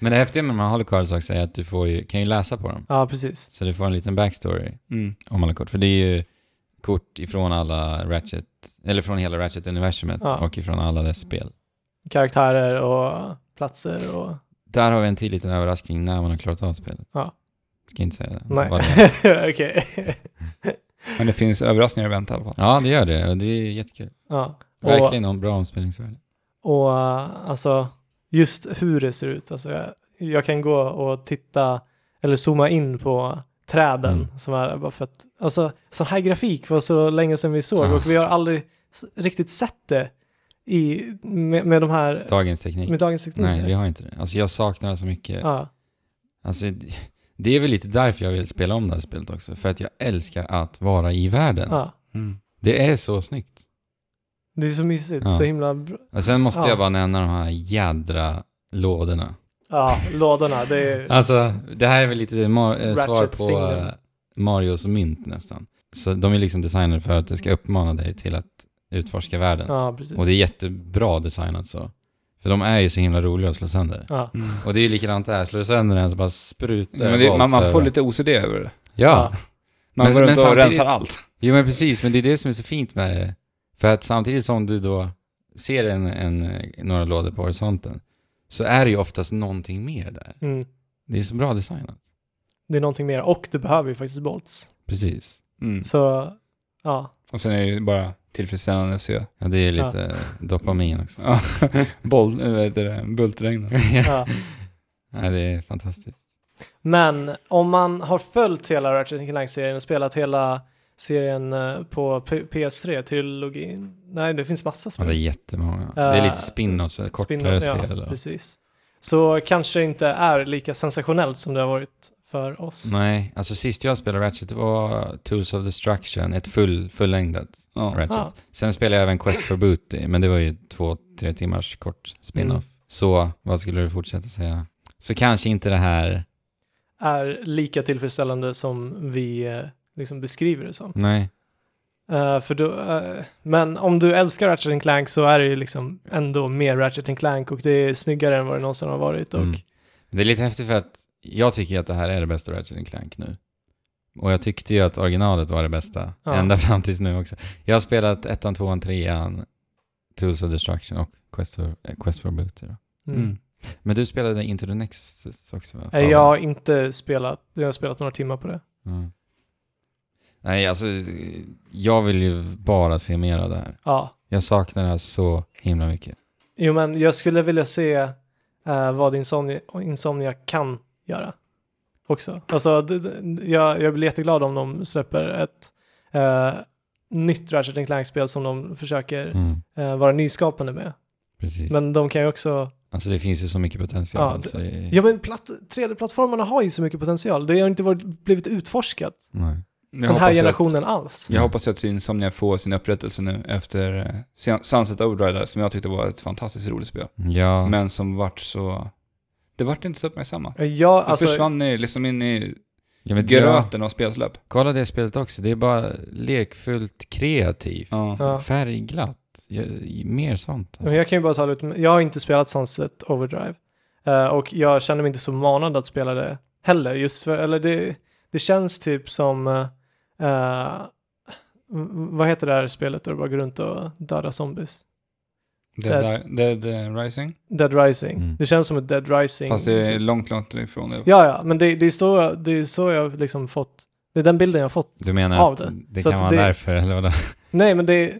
Speaker 2: Men det häftiga med de här holocards också är att du får ju, kan ju läsa på dem.
Speaker 3: ja, precis.
Speaker 2: Så du får en liten backstory
Speaker 1: Mm.
Speaker 2: om alla kort. För det är ju kort ifrån alla Ratchet, eller från hela Ratchet-universumet
Speaker 3: Ja.
Speaker 2: och ifrån alla dess spel.
Speaker 3: Karaktärer och platser
Speaker 2: Mm,
Speaker 3: och...
Speaker 2: Där har vi en till liten överraskning när man har klarat av spelet.
Speaker 3: Ja.
Speaker 2: Ska inte säga det.
Speaker 3: Nej, [LAUGHS]
Speaker 2: Vad det är.
Speaker 3: okej.
Speaker 1: Men det finns överraskningar att vänta i alla fall.
Speaker 2: Ja, det gör det och det är jättekul.
Speaker 3: ja. Och,
Speaker 2: Verkligen en bra omspelningsvärde.
Speaker 3: och eh, alltså just hur det ser ut. Alltså, jag, jag kan gå och titta eller zooma in på träden
Speaker 2: Mm.
Speaker 3: som är där bara för att alltså sån här grafik var så länge sedan vi såg
Speaker 2: Ah.
Speaker 3: och vi har aldrig s- riktigt sett det i, med, med de här,
Speaker 2: Dagens teknik.
Speaker 3: med dagens teknik?
Speaker 2: Nej, vi har inte det. Alltså jag saknar det så mycket.
Speaker 3: ja.
Speaker 2: Alltså, det är väl lite därför jag vill spela om det här spelet också. För att jag älskar att vara i världen.
Speaker 3: ja.
Speaker 1: Mm.
Speaker 2: Det är så snyggt.
Speaker 3: Det är så mysigt,
Speaker 2: Ja.
Speaker 3: så himla bra.
Speaker 2: Och sen måste
Speaker 3: Ja.
Speaker 2: jag bara nämna de här jädra lådorna.
Speaker 3: Ja, lådorna,
Speaker 2: [LAUGHS]
Speaker 3: det är...
Speaker 2: Alltså, det här är väl lite mar- eh, svar
Speaker 3: Ratchet
Speaker 2: på
Speaker 3: Single.
Speaker 2: eh, Marios mynt nästan. Så de är liksom designade för att det ska uppmana dig till att utforska världen.
Speaker 3: Ja, precis.
Speaker 2: Och det är jättebra designat så. För de är ju så himla roliga att slå sönder.
Speaker 3: Ja.
Speaker 1: Mm.
Speaker 2: Och det är ju likadant där, slår du sönder den så bara sprutar
Speaker 1: Men det,
Speaker 2: våld
Speaker 1: man, man
Speaker 2: så-
Speaker 1: får lite OCD över det.
Speaker 2: Ja,
Speaker 1: Man
Speaker 2: Men-
Speaker 1: går
Speaker 2: men
Speaker 1: runt och
Speaker 2: samtidigt-
Speaker 1: rensar allt.
Speaker 2: Jo men precis, men det är det som är så fint med det. För att samtidigt som du då ser en, en, eh, några lådor på horisonten så är det ju oftast någonting mer där.
Speaker 3: Mm.
Speaker 2: Det är så bra designat.
Speaker 3: Det är någonting mer, och du behöver ju faktiskt bolts.
Speaker 2: Precis.
Speaker 1: Mm.
Speaker 3: Så,
Speaker 2: [LAUGHS]
Speaker 3: ja.
Speaker 1: Och sen är det ju bara tillfredsställande att se.
Speaker 2: Ja, det är ju lite dopamin [LAUGHS] också.
Speaker 1: Ja, [LAUGHS] Boll, eh, vad heter det, bultregn.
Speaker 3: ja.
Speaker 2: Ja, det är fantastiskt.
Speaker 3: Men om man har följt hela Ratchet Clank-serien och spelat hela serien eh, på P- PS3, trilogin. Nej, det finns massa
Speaker 2: Ja,
Speaker 3: spel.
Speaker 2: det är jättemånga. det är
Speaker 3: Eh,
Speaker 2: lite spin-offs, eller kortare
Speaker 3: Spin-off,
Speaker 2: spel.
Speaker 3: Ja,
Speaker 2: och-
Speaker 3: precis. Så kanske inte är lika sensationellt som det har varit för oss.
Speaker 2: Nej, alltså sist jag spelade Ratchet det var Tools of Destruction, ett full, fullängdat
Speaker 1: Ja.
Speaker 2: Ratchet.
Speaker 3: Ah.
Speaker 2: Sen spelade jag även Quest for Booty, men det var ju två, tre timmars kort spin-off.
Speaker 3: Mm.
Speaker 2: Så vad skulle du fortsätta säga? Så kanske inte det här,
Speaker 3: Är lika tillfredsställande som vi eh, liksom beskriver det som.
Speaker 2: nej.
Speaker 3: Eh, för då, eh, men om du älskar Ratchet and Clank så är det ju liksom ändå mer Ratchet and Clank och det är snyggare än vad det någonsin har varit. Och,
Speaker 2: Mm. Det är lite häftigt för att jag tycker att det här är det bästa Ratchet Clank nu. Och jag tyckte ju att originalet var det bästa,
Speaker 3: Ja.
Speaker 2: ända fram tills nu också. Jag har spelat ettan, tvåan, trean, Tools of Destruction och Quest for, eh, Quest for Booty. Då.
Speaker 3: mm.
Speaker 1: Mm.
Speaker 2: Men du spelade Into the Nexus också va?
Speaker 3: Eh,
Speaker 2: Fan,
Speaker 3: Jag
Speaker 2: va?
Speaker 3: har inte spelat, jag har spelat några timmar på det.
Speaker 2: Mm. Nej, alltså jag vill ju bara se mer av det här.
Speaker 3: Ja,
Speaker 2: Jag saknar det här så himla mycket.
Speaker 3: jo men jag skulle vilja se eh, vad Insomnia, Insomnia kan göra också. Alltså, d- d- jag, jag blir jätteglad om de släpper ett eh, nytt Ratchet and Clank-spel som de försöker
Speaker 2: Mm,
Speaker 3: eh, vara nyskapande med.
Speaker 2: precis.
Speaker 3: Men de kan ju också
Speaker 2: alltså det finns ju så mycket potential.
Speaker 3: Ja,
Speaker 2: alltså, det,
Speaker 1: Mm.
Speaker 3: Ja men platt, 3D-plattformarna har ju så mycket potential. Det har inte varit, blivit utforskat
Speaker 2: nej.
Speaker 1: Jag
Speaker 3: den här
Speaker 1: hoppas ju att-
Speaker 3: generationen alls.
Speaker 1: Jag hoppas ju att Insomnia får sin upprättelse nu efter eh, Sun- Sunset Overdrive som jag tyckte var ett fantastiskt roligt spel.
Speaker 2: Ja,
Speaker 1: Men som vart så... Det vart inte så uppmärksammat.
Speaker 3: Ja,
Speaker 1: Det
Speaker 3: alltså,
Speaker 1: försvann i, liksom in i
Speaker 2: ja, men ja,
Speaker 1: gröten av spelsläpp.
Speaker 2: kolla det spelet också. Det är bara lekfullt kreativt.
Speaker 1: Ja.
Speaker 3: Ja.
Speaker 2: Färgglatt. Ja, mer sånt.
Speaker 3: men
Speaker 2: Alltså.
Speaker 3: jag kan ju bara tala ut, jag har inte spelat Sunset Overdrive. Eh, och jag känner mig inte så manad att spela det heller. Just för, eller det, det känns typ som, eh, eh, v- vad heter det här spelet där du bara går runt och dödar zombies?
Speaker 1: Dead, Dead, Dead Rising.
Speaker 3: Dead Rising.
Speaker 2: Mm.
Speaker 3: Det känns som ett Dead Rising.
Speaker 1: Fast det är långt, långt ifrån det.
Speaker 3: Ja, ja, men det, det, är så, jag- det är så jag liksom fått, det är den bilden jag har fått
Speaker 2: Du menar
Speaker 3: Av
Speaker 2: att
Speaker 3: det.
Speaker 2: det,
Speaker 3: Så
Speaker 2: kan
Speaker 3: att
Speaker 2: vara
Speaker 3: det-
Speaker 2: därför, eller vadå?
Speaker 3: Nej, men det,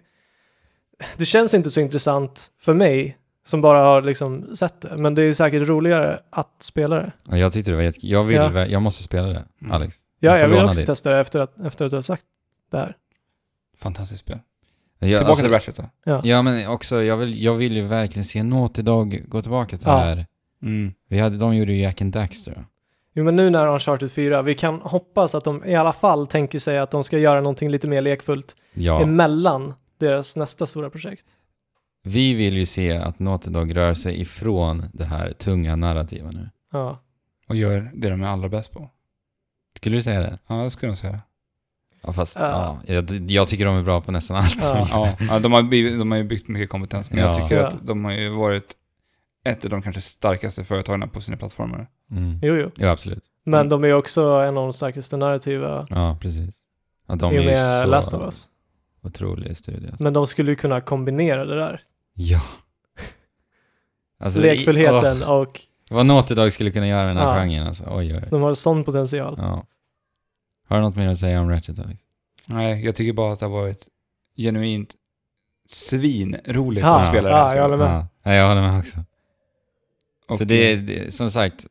Speaker 3: det känns inte så intressant för mig som bara har liksom sett det. Men det är säkert roligare att spela det.
Speaker 2: Ja, Jag tyckte det var jättekul. Jag, vill,
Speaker 3: Ja.
Speaker 2: ver- jag måste spela det,
Speaker 1: Mm.
Speaker 2: Alex.
Speaker 3: Ja,
Speaker 2: Jag
Speaker 3: jag vill
Speaker 2: förlånar
Speaker 3: också
Speaker 2: dig.
Speaker 3: testa det efter att, efter att du har sagt det här.
Speaker 1: Fantastiskt spel.
Speaker 2: Jag,
Speaker 1: Tillbaka
Speaker 2: alltså-
Speaker 1: till Ratchet då.
Speaker 2: Ja, men också, jag vill, jag vill ju verkligen se något idag gå tillbaka till
Speaker 3: Ja.
Speaker 2: det här.
Speaker 1: Mm.
Speaker 2: Vi hade, de gjorde ju Jack and Daxter.
Speaker 3: Jo, men nu när Uncharted 4, vi kan hoppas att de i alla fall tänker sig att de ska göra någonting lite mer lekfullt Mm.
Speaker 2: Ja.
Speaker 3: emellan deras nästa stora projekt.
Speaker 2: Vi vill ju se att Naughty Dog rör sig ifrån det här tunga narrativet nu.
Speaker 3: Ja.
Speaker 1: Och gör det de är allra bäst på.
Speaker 2: Skulle du säga det?
Speaker 1: Ja, det skulle jag säga.
Speaker 2: Ja, fast
Speaker 3: Ja.
Speaker 2: ja. jag, jag tycker de är bra på nästan allt.
Speaker 3: Ja.
Speaker 1: Ja, [LAUGHS] ja de, har blivit, de har ju byggt mycket kompetens, men jag
Speaker 2: Ja.
Speaker 1: tycker
Speaker 3: Ja.
Speaker 1: att de har ju varit ett av de kanske starkaste företagen på sina plattformar.
Speaker 2: [LAUGHS] Mm.
Speaker 3: Jo, jo.
Speaker 2: Jo, absolut.
Speaker 3: Men
Speaker 1: Mm.
Speaker 3: de är ju också en av de starkaste narrativa
Speaker 2: Ja, precis. Ja, de
Speaker 3: i
Speaker 2: är
Speaker 3: och
Speaker 2: ju
Speaker 3: med Last of
Speaker 2: så
Speaker 3: Us.
Speaker 2: otroliga studier. Alltså.
Speaker 3: Men de skulle ju kunna kombinera det där. [LAUGHS]
Speaker 2: Ja. Alltså, det-
Speaker 3: Lekfullheten och
Speaker 2: åh, vad Naughty Dog skulle kunna göra i den här
Speaker 3: Ja.
Speaker 2: genren alltså. Oj, oj, oj.
Speaker 3: de har sån potential.
Speaker 2: Ja. Har du något mer att säga om Ratchet, Alex?
Speaker 1: Nej, jag tycker bara att det har varit genuint svinroligt
Speaker 3: Ja,
Speaker 1: att spela det
Speaker 3: ja,
Speaker 1: här
Speaker 3: jag håller
Speaker 1: spelet.
Speaker 3: med.
Speaker 2: Ja, ja, jag håller med också.
Speaker 1: Och
Speaker 2: så det är, det, som sagt,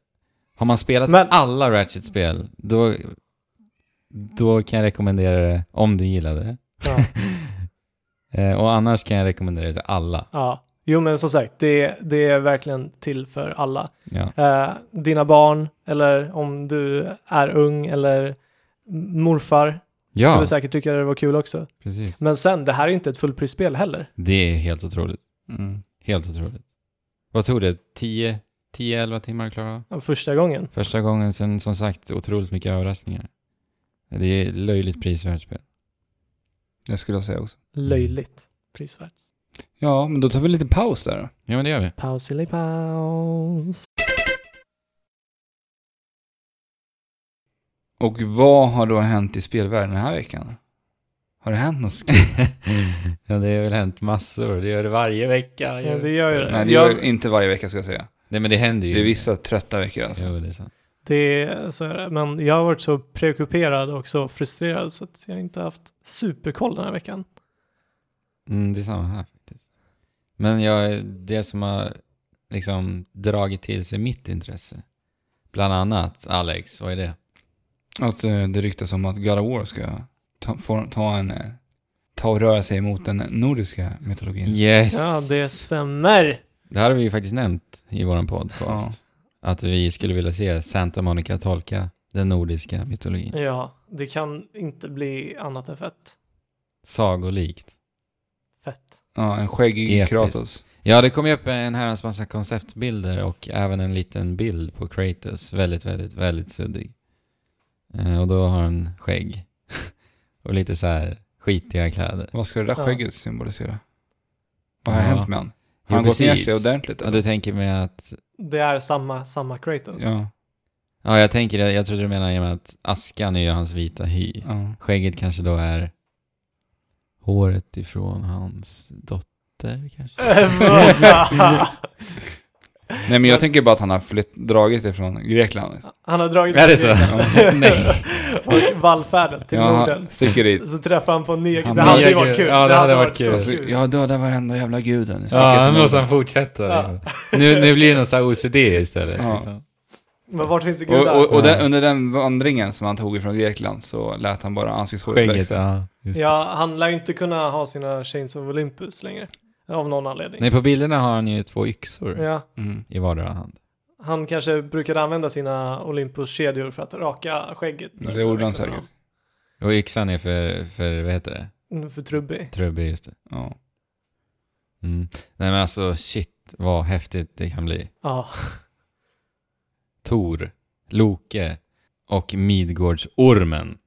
Speaker 2: har man spelat
Speaker 3: Men-
Speaker 2: alla Ratchet-spel, då, då kan jag rekommendera det om du gillade det. [LAUGHS]
Speaker 3: Ja.
Speaker 2: Eh, Och annars kan jag rekommendera det till alla.
Speaker 3: Ja, Jo men som sagt, det, det är verkligen till för alla.
Speaker 2: Ja.
Speaker 3: Eh, dina barn, eller om du är ung, eller morfar,
Speaker 2: Ja,
Speaker 3: skulle säkert tycka det var kul också.
Speaker 2: precis.
Speaker 3: Men sen, det här är inte ett fullprisspel heller.
Speaker 2: Det är helt otroligt.
Speaker 1: Mm.
Speaker 2: Helt otroligt. Vad tog det? 10, 10 11 timmar Klara?
Speaker 3: av Första gången.
Speaker 2: Första gången sen som sagt otroligt mycket överraskningar. Det är löjligt prisvärt spel.
Speaker 1: Det skulle jag säga också.
Speaker 3: Löjligt prisvärt.
Speaker 1: Ja, men då tar vi lite paus där då.
Speaker 2: Ja men det [LAUGHS] gör vi.
Speaker 3: Paus eller paus.
Speaker 1: Och vad har då hänt i spelvärlden den här veckan? Har det hänt något? sk-
Speaker 2: ja det har väl hänt massor. Det gör det varje vecka.
Speaker 3: Ja, det gör ju det.
Speaker 1: Nej, det
Speaker 3: Jag-
Speaker 1: är inte varje vecka ska jag säga.
Speaker 2: Nej men det händer ju.
Speaker 1: Det är vissa trötta veckor alltså.
Speaker 2: Jo, det är sant.
Speaker 3: Det är, så är det. Men jag har varit så preockuperad och så frustrerad så att jag inte haft superkoll den här veckan.
Speaker 2: Mm, det är samma här faktiskt. Men jag, det som har liksom dragit till sig mitt intresse, bland annat Alex, vad är det?
Speaker 1: Att eh, det ryktas om att God of War ska ta, få, ta en... eh, Ta och röra sig mot den nordiska mytologin.
Speaker 2: Yes!
Speaker 3: Ja, det stämmer.
Speaker 2: Det här har vi ju faktiskt nämnt i vår podcast. Att vi skulle vilja se Santa Monica tolka den nordiska mytologin.
Speaker 3: Ja, det kan inte bli annat än fett.
Speaker 2: Sagolikt.
Speaker 3: Fett.
Speaker 1: Ja, en skäggig
Speaker 2: Episkt.
Speaker 1: Kratos.
Speaker 2: Ja, det kom ju upp en herrans massa konceptbilder och även en liten bild på Kratos. Väldigt, väldigt, väldigt suddig. Eh, och då har han skägg. [LAUGHS] och lite så här skitiga kläder.
Speaker 1: Vad ska det där
Speaker 3: Ja.
Speaker 1: skägget symbolisera? Vad har
Speaker 2: Ja.
Speaker 1: hänt med han? Har
Speaker 2: Jo,
Speaker 1: han gått ner
Speaker 2: precis.
Speaker 1: sig ordentligt?
Speaker 2: Ja,
Speaker 1: eller?
Speaker 2: du tänker med att...
Speaker 3: Det är samma, samma Kratos.
Speaker 1: Ja.
Speaker 2: Ja, jag tänker det. Jag trodde du menade i och med att askan är ju hans vita hy.
Speaker 1: ja.
Speaker 2: Skägget kanske då är håret ifrån hans dotter kanske?
Speaker 1: Nej, men jag tänker bara att han har flytt, dragit ifrån Grekland.
Speaker 3: [LAUGHS] Han har dragit
Speaker 2: Är det så?
Speaker 3: [LAUGHS]
Speaker 2: Nej.
Speaker 3: och vallfärdat till
Speaker 1: Ja, han
Speaker 3: Norden.
Speaker 1: sticker
Speaker 3: [LAUGHS]
Speaker 1: dit.
Speaker 3: Så träffar han på Neg.
Speaker 1: Han
Speaker 3: Det hade ju
Speaker 2: Neger.
Speaker 3: varit kul.
Speaker 2: Ja, det hade varit kul.
Speaker 1: Alltså,
Speaker 3: så
Speaker 1: jag dödar varenda jävla guden. Jag sticker till
Speaker 2: Ja, alltså, nu
Speaker 1: Norden.
Speaker 2: måste han fortsätta.
Speaker 3: Ja.
Speaker 2: liksom. Nu, nu blir det någon så här OCD istället.
Speaker 1: Ja.
Speaker 2: Liksom.
Speaker 3: Men vart finns det
Speaker 1: Och,
Speaker 3: gudar?
Speaker 1: och, och den,
Speaker 2: Ja.
Speaker 1: under den vandringen som han tog ifrån Grekland så lät han bara ansiktshåret
Speaker 2: Skägget,
Speaker 1: växa.
Speaker 2: ja. Just. det.
Speaker 3: ja, han lär ju inte kunna ha sina Chains of Olympus längre. Av någon anledning.
Speaker 2: Nej, på bilderna har han ju två yxor
Speaker 3: Ja,
Speaker 1: Mm.
Speaker 2: i vardera hand.
Speaker 3: han kanske brukade använda sina Olympus-kedjor för att raka skägget. Liksom.
Speaker 1: Det gjorde han säkert.
Speaker 2: Och yxan är för, för vad heter det?
Speaker 3: Mm, För trubbig.
Speaker 2: Trubbig, just det.
Speaker 1: Ja.
Speaker 2: Mm. Nej men alltså shit vad häftigt det kan bli. [LAUGHS]
Speaker 3: Ja,
Speaker 2: Tor, Loke och Midgårdsormen.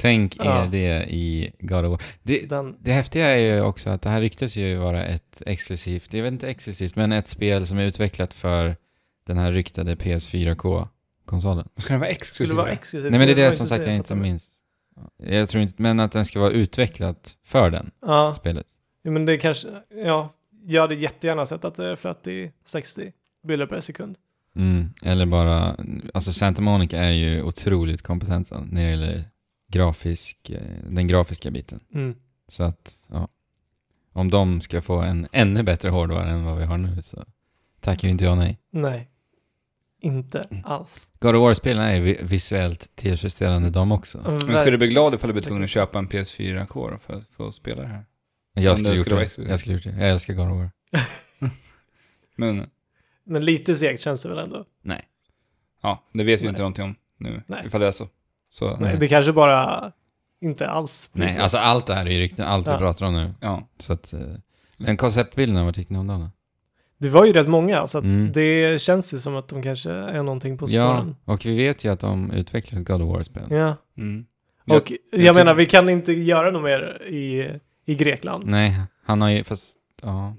Speaker 2: Tänk
Speaker 3: Ja.
Speaker 2: er det i God of War. Det,
Speaker 3: den,
Speaker 2: det häftiga är ju också att det här ryktas ju vara ett exklusivt, jag vet inte exklusivt, men ett spel som är utvecklat för den här ryktade PS4K-konsolen.
Speaker 1: Ska den vara
Speaker 3: skulle
Speaker 1: exklusiv?
Speaker 3: vara exklusivt.
Speaker 2: Nej men det är
Speaker 3: var
Speaker 2: det som sagt
Speaker 3: så
Speaker 2: jag inte
Speaker 3: fattar.
Speaker 2: minns. Jag tror inte, men att den ska vara utvecklat för den,
Speaker 3: Ja,
Speaker 2: spelet.
Speaker 3: jo, men det kanske, ja. Jag hade jättegärna sett att det flöt i 60 bilder per sekund.
Speaker 2: Mm. Eller bara, alltså Santa Monica är ju otroligt kompetenta när det gäller grafisk, eh, den grafiska biten.
Speaker 3: Mm.
Speaker 2: Så att, ja. Om de ska få en ännu bättre hårdvara än vad vi har nu så tackar ju inte jag nej.
Speaker 3: Nej, inte
Speaker 2: Mm.
Speaker 3: alls.
Speaker 2: God of War-spelen är ju vi- visuellt tillfredsställande de också.
Speaker 1: Men ska du bli glad ifall du blir tvungen att köpa en PS4K då för att få spela det här?
Speaker 2: Jag skulle,
Speaker 1: det
Speaker 2: gjort
Speaker 1: skulle vara
Speaker 2: det.
Speaker 1: exklusivt.
Speaker 2: jag skulle gjort det. Jag älskar God of War.
Speaker 1: Men
Speaker 3: Men lite segt känns det väl ändå.
Speaker 1: ja, det vet vi
Speaker 3: Nej.
Speaker 1: inte någonting om nu,
Speaker 3: Nej.
Speaker 1: ifall det är så. Så
Speaker 2: Nej.
Speaker 3: Det kanske bara inte alls blir
Speaker 2: Nej,
Speaker 3: så.
Speaker 2: alltså allt det här är ju riktigt, allt vi
Speaker 3: Ja.
Speaker 2: pratar om nu.
Speaker 1: ja,
Speaker 2: Så att, eh, men konceptbilderna, vad tyckte ni om dem då?
Speaker 3: Det var ju rätt många, så att
Speaker 2: Mm.
Speaker 3: det känns ju som att de kanske är någonting på
Speaker 2: Ja,
Speaker 3: spåren.
Speaker 2: och vi vet ju att de utvecklar ett God of War-spel.
Speaker 3: Ja.
Speaker 1: mm. Jag-
Speaker 3: Och jag,
Speaker 1: jag
Speaker 3: menar,
Speaker 1: tycker-
Speaker 3: vi kan inte göra något mer i, i Grekland.
Speaker 2: Nej, han har ju, fast, ja.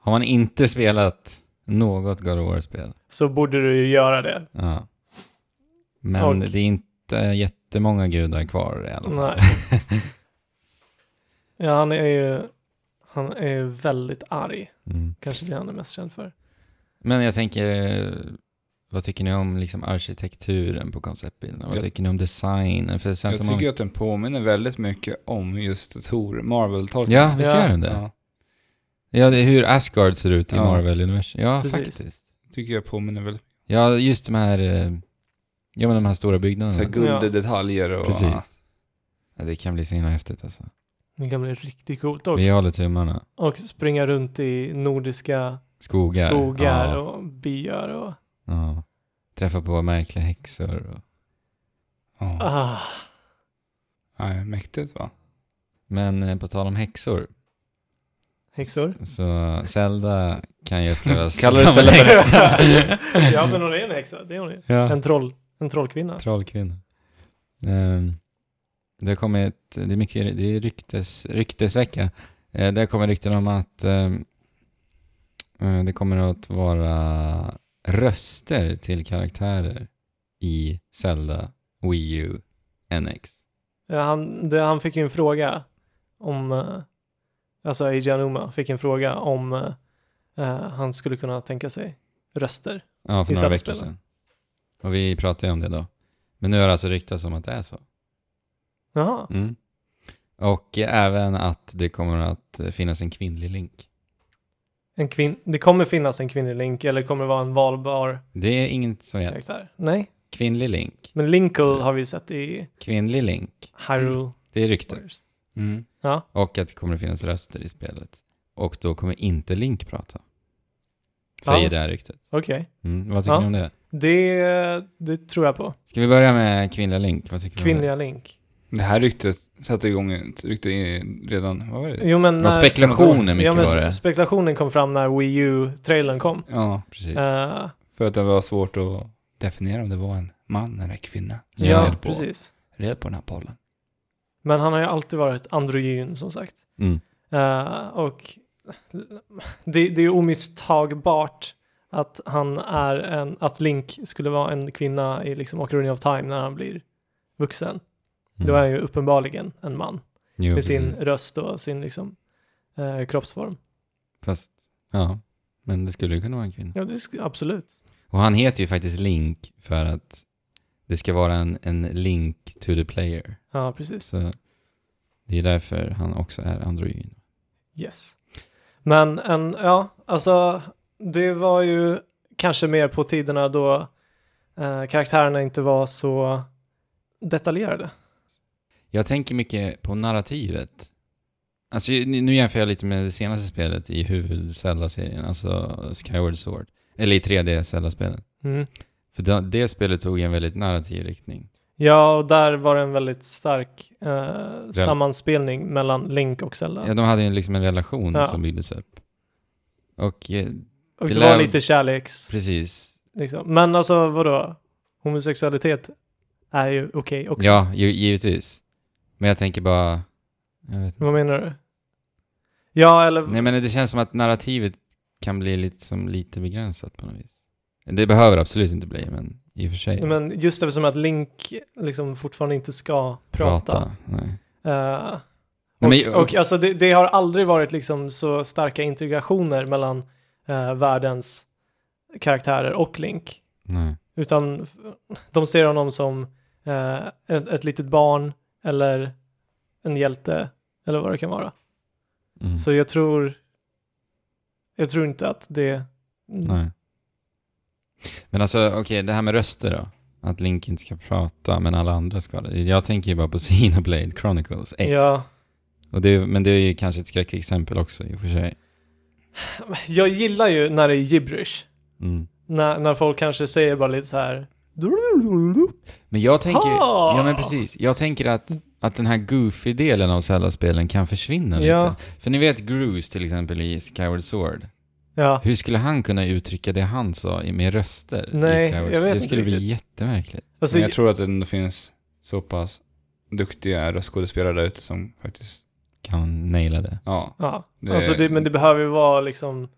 Speaker 2: Har man inte spelat något God of War-spel?
Speaker 3: Så borde du ju göra det.
Speaker 2: Ja. Men
Speaker 3: Och-
Speaker 2: det är inte jättemånga gudar kvar i alla fall.
Speaker 3: Nej.
Speaker 2: [LAUGHS]
Speaker 3: ja, han är ju han är ju väldigt arg.
Speaker 2: Mm.
Speaker 3: Kanske det han är mest känd för.
Speaker 2: Men jag tänker, vad tycker ni om liksom arkitekturen på konceptbilderna? Vad
Speaker 1: Jag-
Speaker 2: tycker ni om designen? För Santa
Speaker 1: Jag tycker ju
Speaker 2: Monica...
Speaker 1: att den påminner väldigt mycket om just Thor, Marvel-tolkningen.
Speaker 2: Ja, visst
Speaker 3: Ja.
Speaker 2: gör den det?
Speaker 1: Ja,
Speaker 2: Ja, det är hur Asgard ser ut i
Speaker 1: Ja.
Speaker 2: Marvel-universum. Ja,
Speaker 3: Precis.
Speaker 2: faktiskt.
Speaker 1: tycker jag påminner väldigt
Speaker 2: Ja, just de här, eh, ja men de här stora byggnaderna.
Speaker 1: mycket. Så här gulddetaljer och...
Speaker 2: Precis. Ja, det kan bli så himla häftigt alltså.
Speaker 3: Det kan bli riktigt coolt. Och,
Speaker 2: Vi håller tummarna.
Speaker 3: och springa runt i nordiska
Speaker 2: Skogar.
Speaker 3: skogar
Speaker 2: Ja,
Speaker 3: och byar och...
Speaker 2: ja. Träffa på märkliga häxor. Och...
Speaker 1: Ja,
Speaker 3: Ah,
Speaker 1: Nej, mäktigt va?
Speaker 2: Men eh, på tal om häxor.
Speaker 3: häxor.
Speaker 2: Så Zelda kan ju upplevas
Speaker 1: Kallar du
Speaker 2: som en
Speaker 1: Zelda för
Speaker 2: häxa.
Speaker 3: [LAUGHS] ja, men hon är en häxa. Det är hon ju.
Speaker 2: [LAUGHS] ja.
Speaker 3: En troll. En trollkvinna.
Speaker 2: Trollkvinna. Ehm, det har kommit, det är mycket, det är ryktes, ryktesvecka. Eh, det har kommit rykten om att ehm, eh, det kommer att vara röster till karaktärer i Zelda Wii U NX.
Speaker 3: Ja, han, det, han fick ju en fråga om... eh, Alltså Eiji Anuma fick en fråga om eh, eh, han skulle kunna tänka sig röster.
Speaker 2: Ja, för
Speaker 3: I
Speaker 2: några veckor
Speaker 3: Zelda-spelen.
Speaker 2: sedan. Och vi pratade ju om det då. Men nu har det alltså ryktats om att det är så.
Speaker 3: Jaha.
Speaker 2: Mm. Och även att det kommer att finnas en kvinnlig link.
Speaker 3: En kvin- det kommer finnas en kvinnlig Link eller kommer det vara en valbar
Speaker 2: Det är inget som heter
Speaker 3: karaktär? Nej,
Speaker 2: kvinnlig link.
Speaker 3: men Linkle har vi ju sett i
Speaker 2: Kvinnlig link.
Speaker 3: Hyrule
Speaker 2: Det är rykten.
Speaker 3: Warriors.
Speaker 1: Mm.
Speaker 3: Ja,
Speaker 2: Och att det kommer att finnas röster i spelet. Och då kommer inte Link prata.
Speaker 3: Ja.
Speaker 2: Säger det här ryktet.
Speaker 3: okej.
Speaker 2: Mm. Vad tycker
Speaker 3: Ja.
Speaker 2: ni om det?
Speaker 3: Det, det tror jag på.
Speaker 2: Ska vi börja med kvinnliga Link? Vad tycker ni om
Speaker 3: Kvinnliga Link.
Speaker 1: Det här ryktet satte igång ett rykte i- redan, vad var det?
Speaker 3: Jo, men
Speaker 2: det? Det var spekulationer mycket
Speaker 3: men
Speaker 2: var det.
Speaker 3: Spekulationen kom fram när Wii U-trailern kom.
Speaker 1: Ja,
Speaker 2: Precis.
Speaker 3: Eh,
Speaker 1: för att det var svårt att definiera om det var en man eller en kvinna. som
Speaker 2: Ja,
Speaker 1: höll
Speaker 3: ja,
Speaker 1: på-
Speaker 3: precis.
Speaker 1: Red på den här bollen.
Speaker 3: Men han har ju alltid varit androgyn som sagt.
Speaker 2: Mm.
Speaker 3: Eh, och det, det är ju omisstagbart att han är en, att Link skulle vara en kvinna i liksom Ocarina of Time när han blir vuxen. Då är han ju uppenbarligen en man
Speaker 2: jo,
Speaker 3: med sin
Speaker 2: Mm. precis.
Speaker 3: röst och sin liksom eh, kroppsform.
Speaker 2: Fast, ja. Men det skulle ju kunna vara en kvinna.
Speaker 3: Ja, det sk- absolut.
Speaker 2: Och han heter ju faktiskt Link för att det ska vara en, en link to the player.
Speaker 3: Ja, precis.
Speaker 2: Så det är därför han också är androgyn.
Speaker 3: Yes. Men en, ja, alltså det var ju kanske mer på tiderna då eh, karaktärerna inte var så detaljerade.
Speaker 2: Jag tänker mycket på narrativet. Alltså, nu nu jämför jag lite med det senaste spelet i huvud-Zelda-serien, alltså Skyward Sword. Eller i 3D-Zelda-spelet.
Speaker 3: Mm.
Speaker 2: För det, det spelet tog en väldigt narrativ riktning.
Speaker 3: Ja, och där var det en väldigt stark eh, sammanspelning mellan Link och Zelda.
Speaker 2: Ja, de hade ju liksom en relation
Speaker 3: Ja.
Speaker 2: som byggdes upp. Och eh,
Speaker 3: och
Speaker 2: det
Speaker 3: det,
Speaker 2: lär-
Speaker 3: var lite kärleks...
Speaker 2: precis,
Speaker 3: Liksom. Men alltså vadå? Homosexualitet är ju okej också.
Speaker 2: Ja, ju, givetvis. Men jag tänker bara... Jag vet
Speaker 3: Vad
Speaker 2: inte.
Speaker 3: menar du? Ja, eller...
Speaker 2: Nej, men det känns som att narrativet kan bli lite, som lite begränsat på något vis. Det behöver absolut inte bli, men i och för sig.
Speaker 3: Men just eftersom att Link liksom fortfarande inte ska prata.
Speaker 2: Nej.
Speaker 3: Eh, och,
Speaker 2: Nej, men-
Speaker 3: och alltså det, det har aldrig varit liksom så starka integrationer mellan eh, världens karaktärer och Link.
Speaker 2: Nej.
Speaker 3: Utan f- de ser honom som eh, ett, ett litet barn eller en hjälte eller vad det kan vara.
Speaker 2: Mm.
Speaker 3: Så jag tror, jag tror inte att det,
Speaker 2: Nej. Men alltså, okej, det här med röster då. Att Link inte ska prata, men alla andra ska det. Jag tänker ju bara på [LAUGHS] Xenoblade Chronicles X.
Speaker 3: ja,
Speaker 2: Och det, är- men det är ju kanske ett skräckexempel också i och för sig.
Speaker 3: jag gillar ju när det är gibberish.
Speaker 2: Mm.
Speaker 3: När, när folk kanske säger bara lite så här,
Speaker 2: Men jag tänker,
Speaker 3: Ha!
Speaker 2: ja men precis, jag tänker att, att den här goofy-delen av Zelda-spelen kan försvinna
Speaker 3: Ja.
Speaker 2: lite. För ni vet Grooves till exempel i Skyward Sword.
Speaker 3: ja,
Speaker 2: Hur skulle han kunna uttrycka det han sa i- med röster
Speaker 3: Nej,
Speaker 2: i Skyward
Speaker 3: jag
Speaker 2: Sword?
Speaker 3: vet
Speaker 2: Det
Speaker 3: inte
Speaker 2: skulle bli
Speaker 3: riktigt.
Speaker 2: jättemärkligt.
Speaker 3: alltså,
Speaker 1: Men jag tror att det ändå finns så pass duktiga röstskådespelare där ute som faktiskt,
Speaker 2: Kan naila det.
Speaker 1: ja.
Speaker 3: ja,
Speaker 1: Det-
Speaker 3: alltså det, men det behöver ju vara liksom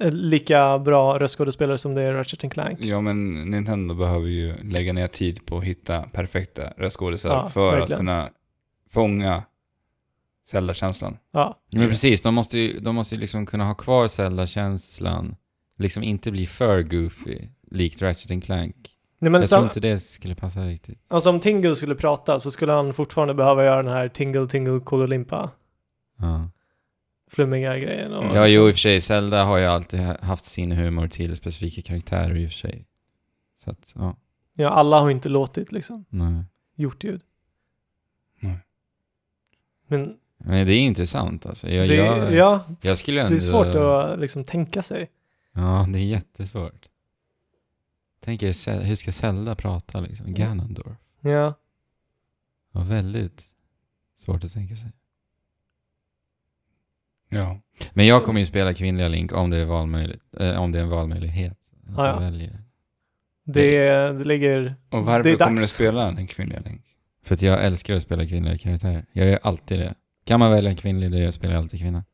Speaker 3: eh, lika bra röstskådespelare som det är i Ratchet Clank.
Speaker 1: Ja men Nintendo behöver ju lägga ner tid på att hitta perfekta röstskådisar
Speaker 3: Ja,
Speaker 1: för att
Speaker 3: verkligen.
Speaker 1: kunna fånga Zelda-känslan.
Speaker 3: Ja,
Speaker 2: Men precis, de måste ju, de måste ju liksom kunna ha kvar Zelda-känslan. Liksom inte bli för goofy, likt Ratchet and Clank.
Speaker 3: Nej, men
Speaker 2: jag
Speaker 3: sam-
Speaker 2: tror inte det skulle passa riktigt.
Speaker 3: Alltså om Tingle skulle prata så skulle han fortfarande behöva göra den här Tingle Tingle Kololimpa
Speaker 2: Ja,
Speaker 3: flummiga grejen. Och liksom-
Speaker 2: ja jo i och för sig, Zelda har ju alltid ha- haft sin humor till specifika karaktärer i och för sig. Så att, ja,
Speaker 3: ja, alla har inte låtit liksom,
Speaker 2: nej.
Speaker 3: gjort ljud.
Speaker 1: Nej.
Speaker 3: Men
Speaker 2: Men det är intressant alltså. Jag,
Speaker 3: det,
Speaker 2: jag,
Speaker 3: ja,
Speaker 2: jag skulle
Speaker 3: det
Speaker 2: ändå...
Speaker 3: är svårt att liksom tänka sig.
Speaker 2: Ja, det är jättesvårt. Tänk er, Zel- hur ska Zelda prata liksom? Ganondorf.
Speaker 3: Ja.
Speaker 2: Ja, väldigt svårt att tänka sig.
Speaker 1: Ja.
Speaker 2: Men jag kommer ju spela kvinnliga Link om det är, valmöjligt, eh, om det är en valmöjlighet. Att
Speaker 3: Ah,
Speaker 2: jag
Speaker 3: ja.
Speaker 2: väljer.
Speaker 3: Det, det ligger...
Speaker 1: Och
Speaker 3: Det
Speaker 1: varför
Speaker 3: är
Speaker 1: kommer du
Speaker 3: dags.
Speaker 1: spela den kvinnliga Link?
Speaker 2: För att jag älskar att spela kvinnliga karaktärer. Jag gör alltid det. Kan man välja en kvinnlig, då spelar jag alltid kvinna.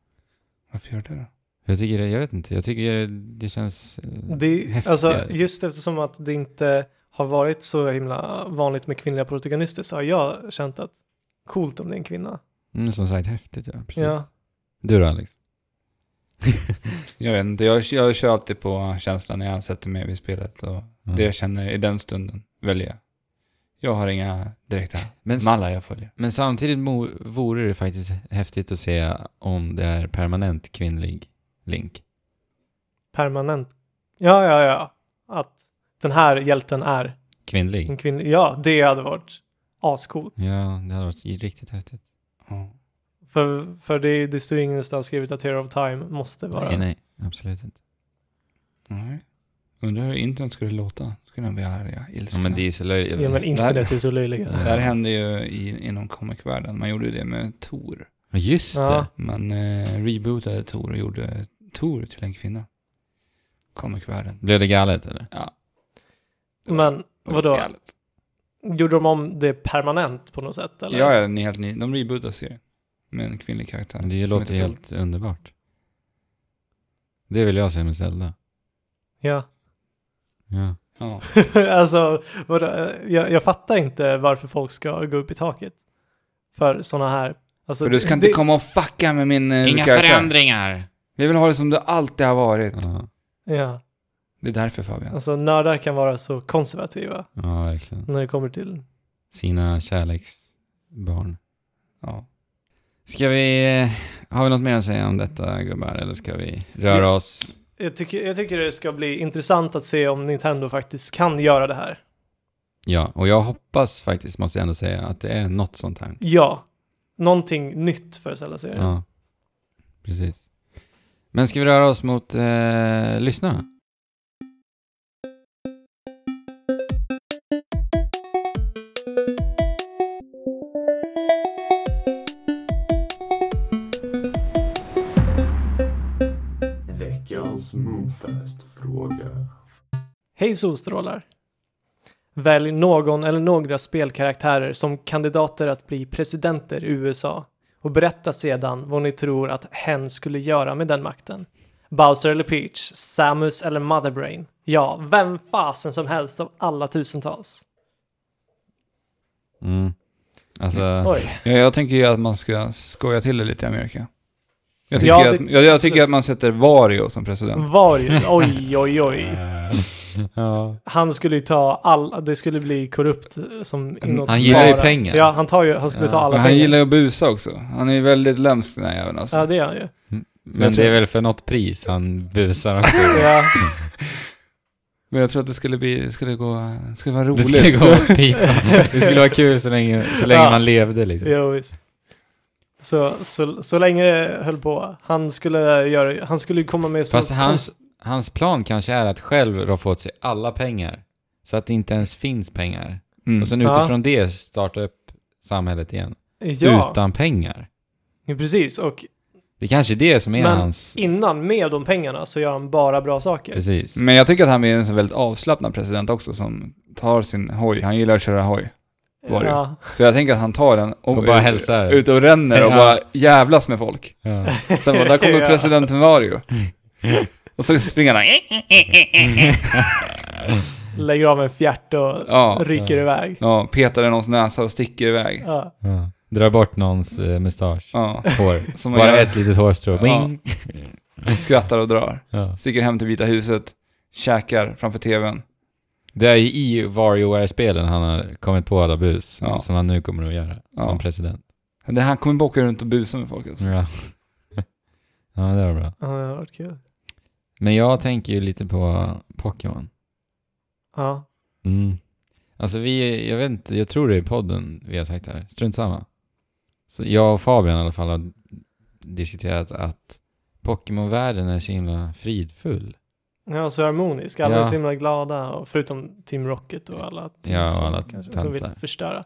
Speaker 1: Varför gör du det då?
Speaker 2: Jag tycker det, jag vet inte, jag tycker det, det känns... eh,
Speaker 3: Det,
Speaker 2: Häftigare.
Speaker 3: alltså, just eftersom att det inte har varit så himla vanligt med kvinnliga protagonister så har jag känt att coolt om det är en kvinna.
Speaker 2: Mm, som sagt, häftigt ja. Precis.
Speaker 3: Ja.
Speaker 2: Du då Alex?
Speaker 1: Jag vet inte, jag, jag kör alltid på känslan när jag sätter mig vid spelet och
Speaker 2: Mm.
Speaker 1: det jag känner i den stunden väljer jag. Jag har inga direkta
Speaker 2: Men,
Speaker 1: mallar jag följer.
Speaker 2: men samtidigt mo- vore det faktiskt häftigt att se om det är permanent kvinnlig Link.
Speaker 3: Permanent. Ja, ja, ja. Att den här hjälten är en
Speaker 2: Kvinnlig?
Speaker 3: kvinna. Ja, det hade varit ascoolt.
Speaker 2: Ja, det hade varit riktigt häftigt.
Speaker 1: Ja.
Speaker 3: För, för det, det står ju ingenstans skrivet att Hero of Time måste vara.
Speaker 2: Nej, nej, absolut inte.
Speaker 1: Nej. Undrar hur internet skulle låta. Skulle den bli arga,
Speaker 2: Ja,
Speaker 1: ilskna.
Speaker 2: men det är så löjligt.
Speaker 3: Ja, men internet är så
Speaker 2: Ja.
Speaker 3: löjliga.
Speaker 1: Det här hände ju i, inom comicvärlden. Man gjorde ju det med Tor.
Speaker 2: Ja, Just det!
Speaker 3: Ja.
Speaker 1: Man eh, rebootade Tor och gjorde Tor till en kvinna. Comicvärlden.
Speaker 2: Blev det galet eller?
Speaker 3: Men
Speaker 1: Det var
Speaker 3: Vadå?
Speaker 1: galet.
Speaker 3: gjorde de om det permanent på något sätt? Eller?
Speaker 1: Ja, ja, ni är helt ny. De rebootade serien. Med en kvinnlig karaktär.
Speaker 2: Det
Speaker 1: som
Speaker 2: låter
Speaker 1: heter
Speaker 2: ju
Speaker 1: Tor.
Speaker 2: helt underbart. Det vill jag se med Zelda.
Speaker 3: ja.
Speaker 2: Ja.
Speaker 1: Ja.
Speaker 3: [LAUGHS] alltså, vadå? jag, jag fattar inte varför folk ska gå upp i taket för sådana här... Alltså,
Speaker 1: För du ska inte
Speaker 3: det-
Speaker 1: komma och fucka med min eh,
Speaker 2: Inga
Speaker 1: karaktär.
Speaker 2: förändringar!
Speaker 1: Vi vill ha det som det alltid har varit.
Speaker 2: Ja,
Speaker 3: Ja,
Speaker 1: Det är därför Fabian.
Speaker 3: alltså nördar kan vara så konservativa
Speaker 2: ja, verkligen.
Speaker 3: när det kommer till...
Speaker 2: Sina kärleksbarn.
Speaker 1: Ja.
Speaker 2: Ska vi... eh, Har vi något mer att säga om detta gubbar? Eller ska vi röra oss?
Speaker 3: Jag tycker, jag tycker det ska bli intressant att se om Nintendo faktiskt kan göra det här.
Speaker 2: Ja, och jag hoppas faktiskt, måste jag ändå säga, att det är något sånt här.
Speaker 3: Ja, någonting nytt för Zelda-serien.
Speaker 2: Ja, precis. Men ska vi röra oss mot eh, lyssnarna?
Speaker 7: Veckans Moonfest-fråga.
Speaker 3: Hej solstrålar! Välj någon eller några spelkaraktärer som kandidater att bli presidenter i USA och berätta sedan vad ni tror att hen skulle göra med den makten. Bowser eller Peach, Samus eller Motherbrain. Ja, vem fasen som helst av alla tusentals.
Speaker 2: Mm. Alltså...
Speaker 3: Oj,
Speaker 1: Ja, jag tänker ju att man ska skoja till det lite i Amerika. Jag tycker,
Speaker 3: Ja, det-
Speaker 1: att, jag, jag tycker att man sätter Vario som president.
Speaker 3: Vario, oj, oj, oj.
Speaker 2: [LAUGHS] ja.
Speaker 3: Han skulle ju ta alla, det skulle bli korrupt eh, som inåt
Speaker 2: Han gillar ju
Speaker 3: bara.
Speaker 2: pengar.
Speaker 3: Ja, han tar ju, han skulle
Speaker 2: Ja,
Speaker 3: ta alla
Speaker 1: Men
Speaker 3: pengar.
Speaker 1: han gillar ju att busa också. Han är ju väldigt lömsk den här jäveln alltså.
Speaker 3: Ja, det gör han ju.
Speaker 2: Men det är väl för något pris han busar också.
Speaker 3: [LAUGHS] Ja.
Speaker 1: Men jag tror att det skulle bli, det skulle gå, det skulle vara
Speaker 2: Det
Speaker 1: roligt.
Speaker 2: skulle gå åt
Speaker 3: [LAUGHS]
Speaker 2: pipan. Det skulle vara kul så länge, så länge
Speaker 3: Ja.
Speaker 2: man levde liksom.
Speaker 3: Jo, visst. Så, så, så länge det höll på. Han skulle, göra, han skulle komma med så...
Speaker 2: Fast hans, hans plan kanske är att själv roffa åt sig alla pengar. Så att det inte ens finns pengar.
Speaker 1: Mm.
Speaker 2: Och sen
Speaker 3: Ja.
Speaker 2: utifrån det starta upp samhället igen.
Speaker 3: ja,
Speaker 2: Utan pengar.
Speaker 3: ja, precis. Och
Speaker 2: Det är kanske är det som är
Speaker 3: Men-
Speaker 2: hans...
Speaker 3: innan, med de pengarna, så gör han bara bra saker.
Speaker 2: Precis.
Speaker 1: Men jag tycker att han är en så väldigt avslappnad president också som tar sin hoj. Han gillar att köra hoj. Var det ju.
Speaker 3: Ja.
Speaker 1: Så jag tänker att han tar den och,
Speaker 2: Och bara
Speaker 1: ut-
Speaker 2: hälsar.
Speaker 1: Ut och ränner och
Speaker 2: Ja.
Speaker 1: bara jävlas med folk.
Speaker 3: [LAUGHS]
Speaker 2: Ja.
Speaker 1: Sen bara, där kommer
Speaker 3: Ja.
Speaker 1: presidenten
Speaker 2: [LAUGHS]
Speaker 1: Vario. Och så springer
Speaker 3: [LAUGHS]
Speaker 1: han.
Speaker 3: Lägger av en fjärt och
Speaker 1: Ja.
Speaker 3: ryker
Speaker 2: Ja.
Speaker 3: iväg.
Speaker 1: Ja, petar i någons näsa och sticker iväg.
Speaker 3: Ja.
Speaker 2: Ja. Dra bort någons eh, mustasch.
Speaker 1: Ja. [LAUGHS]
Speaker 3: [LAUGHS]
Speaker 2: Hår.
Speaker 1: Som man
Speaker 2: Bara
Speaker 1: gör.
Speaker 2: ett litet hårstrå. Bing.
Speaker 1: Skrattar och drar.
Speaker 2: Ja.
Speaker 1: Sticker hem till Vita huset. Käkar framför tvn.
Speaker 2: Det är ju i Warrior-spelen han har kommit på alla bus.
Speaker 1: Ja.
Speaker 2: Som han nu kommer att göra.
Speaker 1: Ja.
Speaker 2: Som president.
Speaker 1: Det här kommer bara åka runt och busa med folk alltså.
Speaker 2: Ja. [LAUGHS] ja, det var bra.
Speaker 3: Ja, det har varit kul.
Speaker 2: Men jag tänker ju lite på Pokémon.
Speaker 3: Ja.
Speaker 2: Mm. Alltså vi, jag vet inte, jag tror det är podden vi har sagt det här. Strunt samma. Så jag och Fabian i alla fall har diskuterat att Pokémon-världen är så himla fridfull.
Speaker 3: Ja, så harmonisk. Alla är
Speaker 2: Ja.
Speaker 3: så himla glada, och förutom Team Rocket och alla team
Speaker 2: Ja, och
Speaker 3: som
Speaker 2: alla
Speaker 3: kanske, som vill
Speaker 2: töntar.
Speaker 3: förstöra.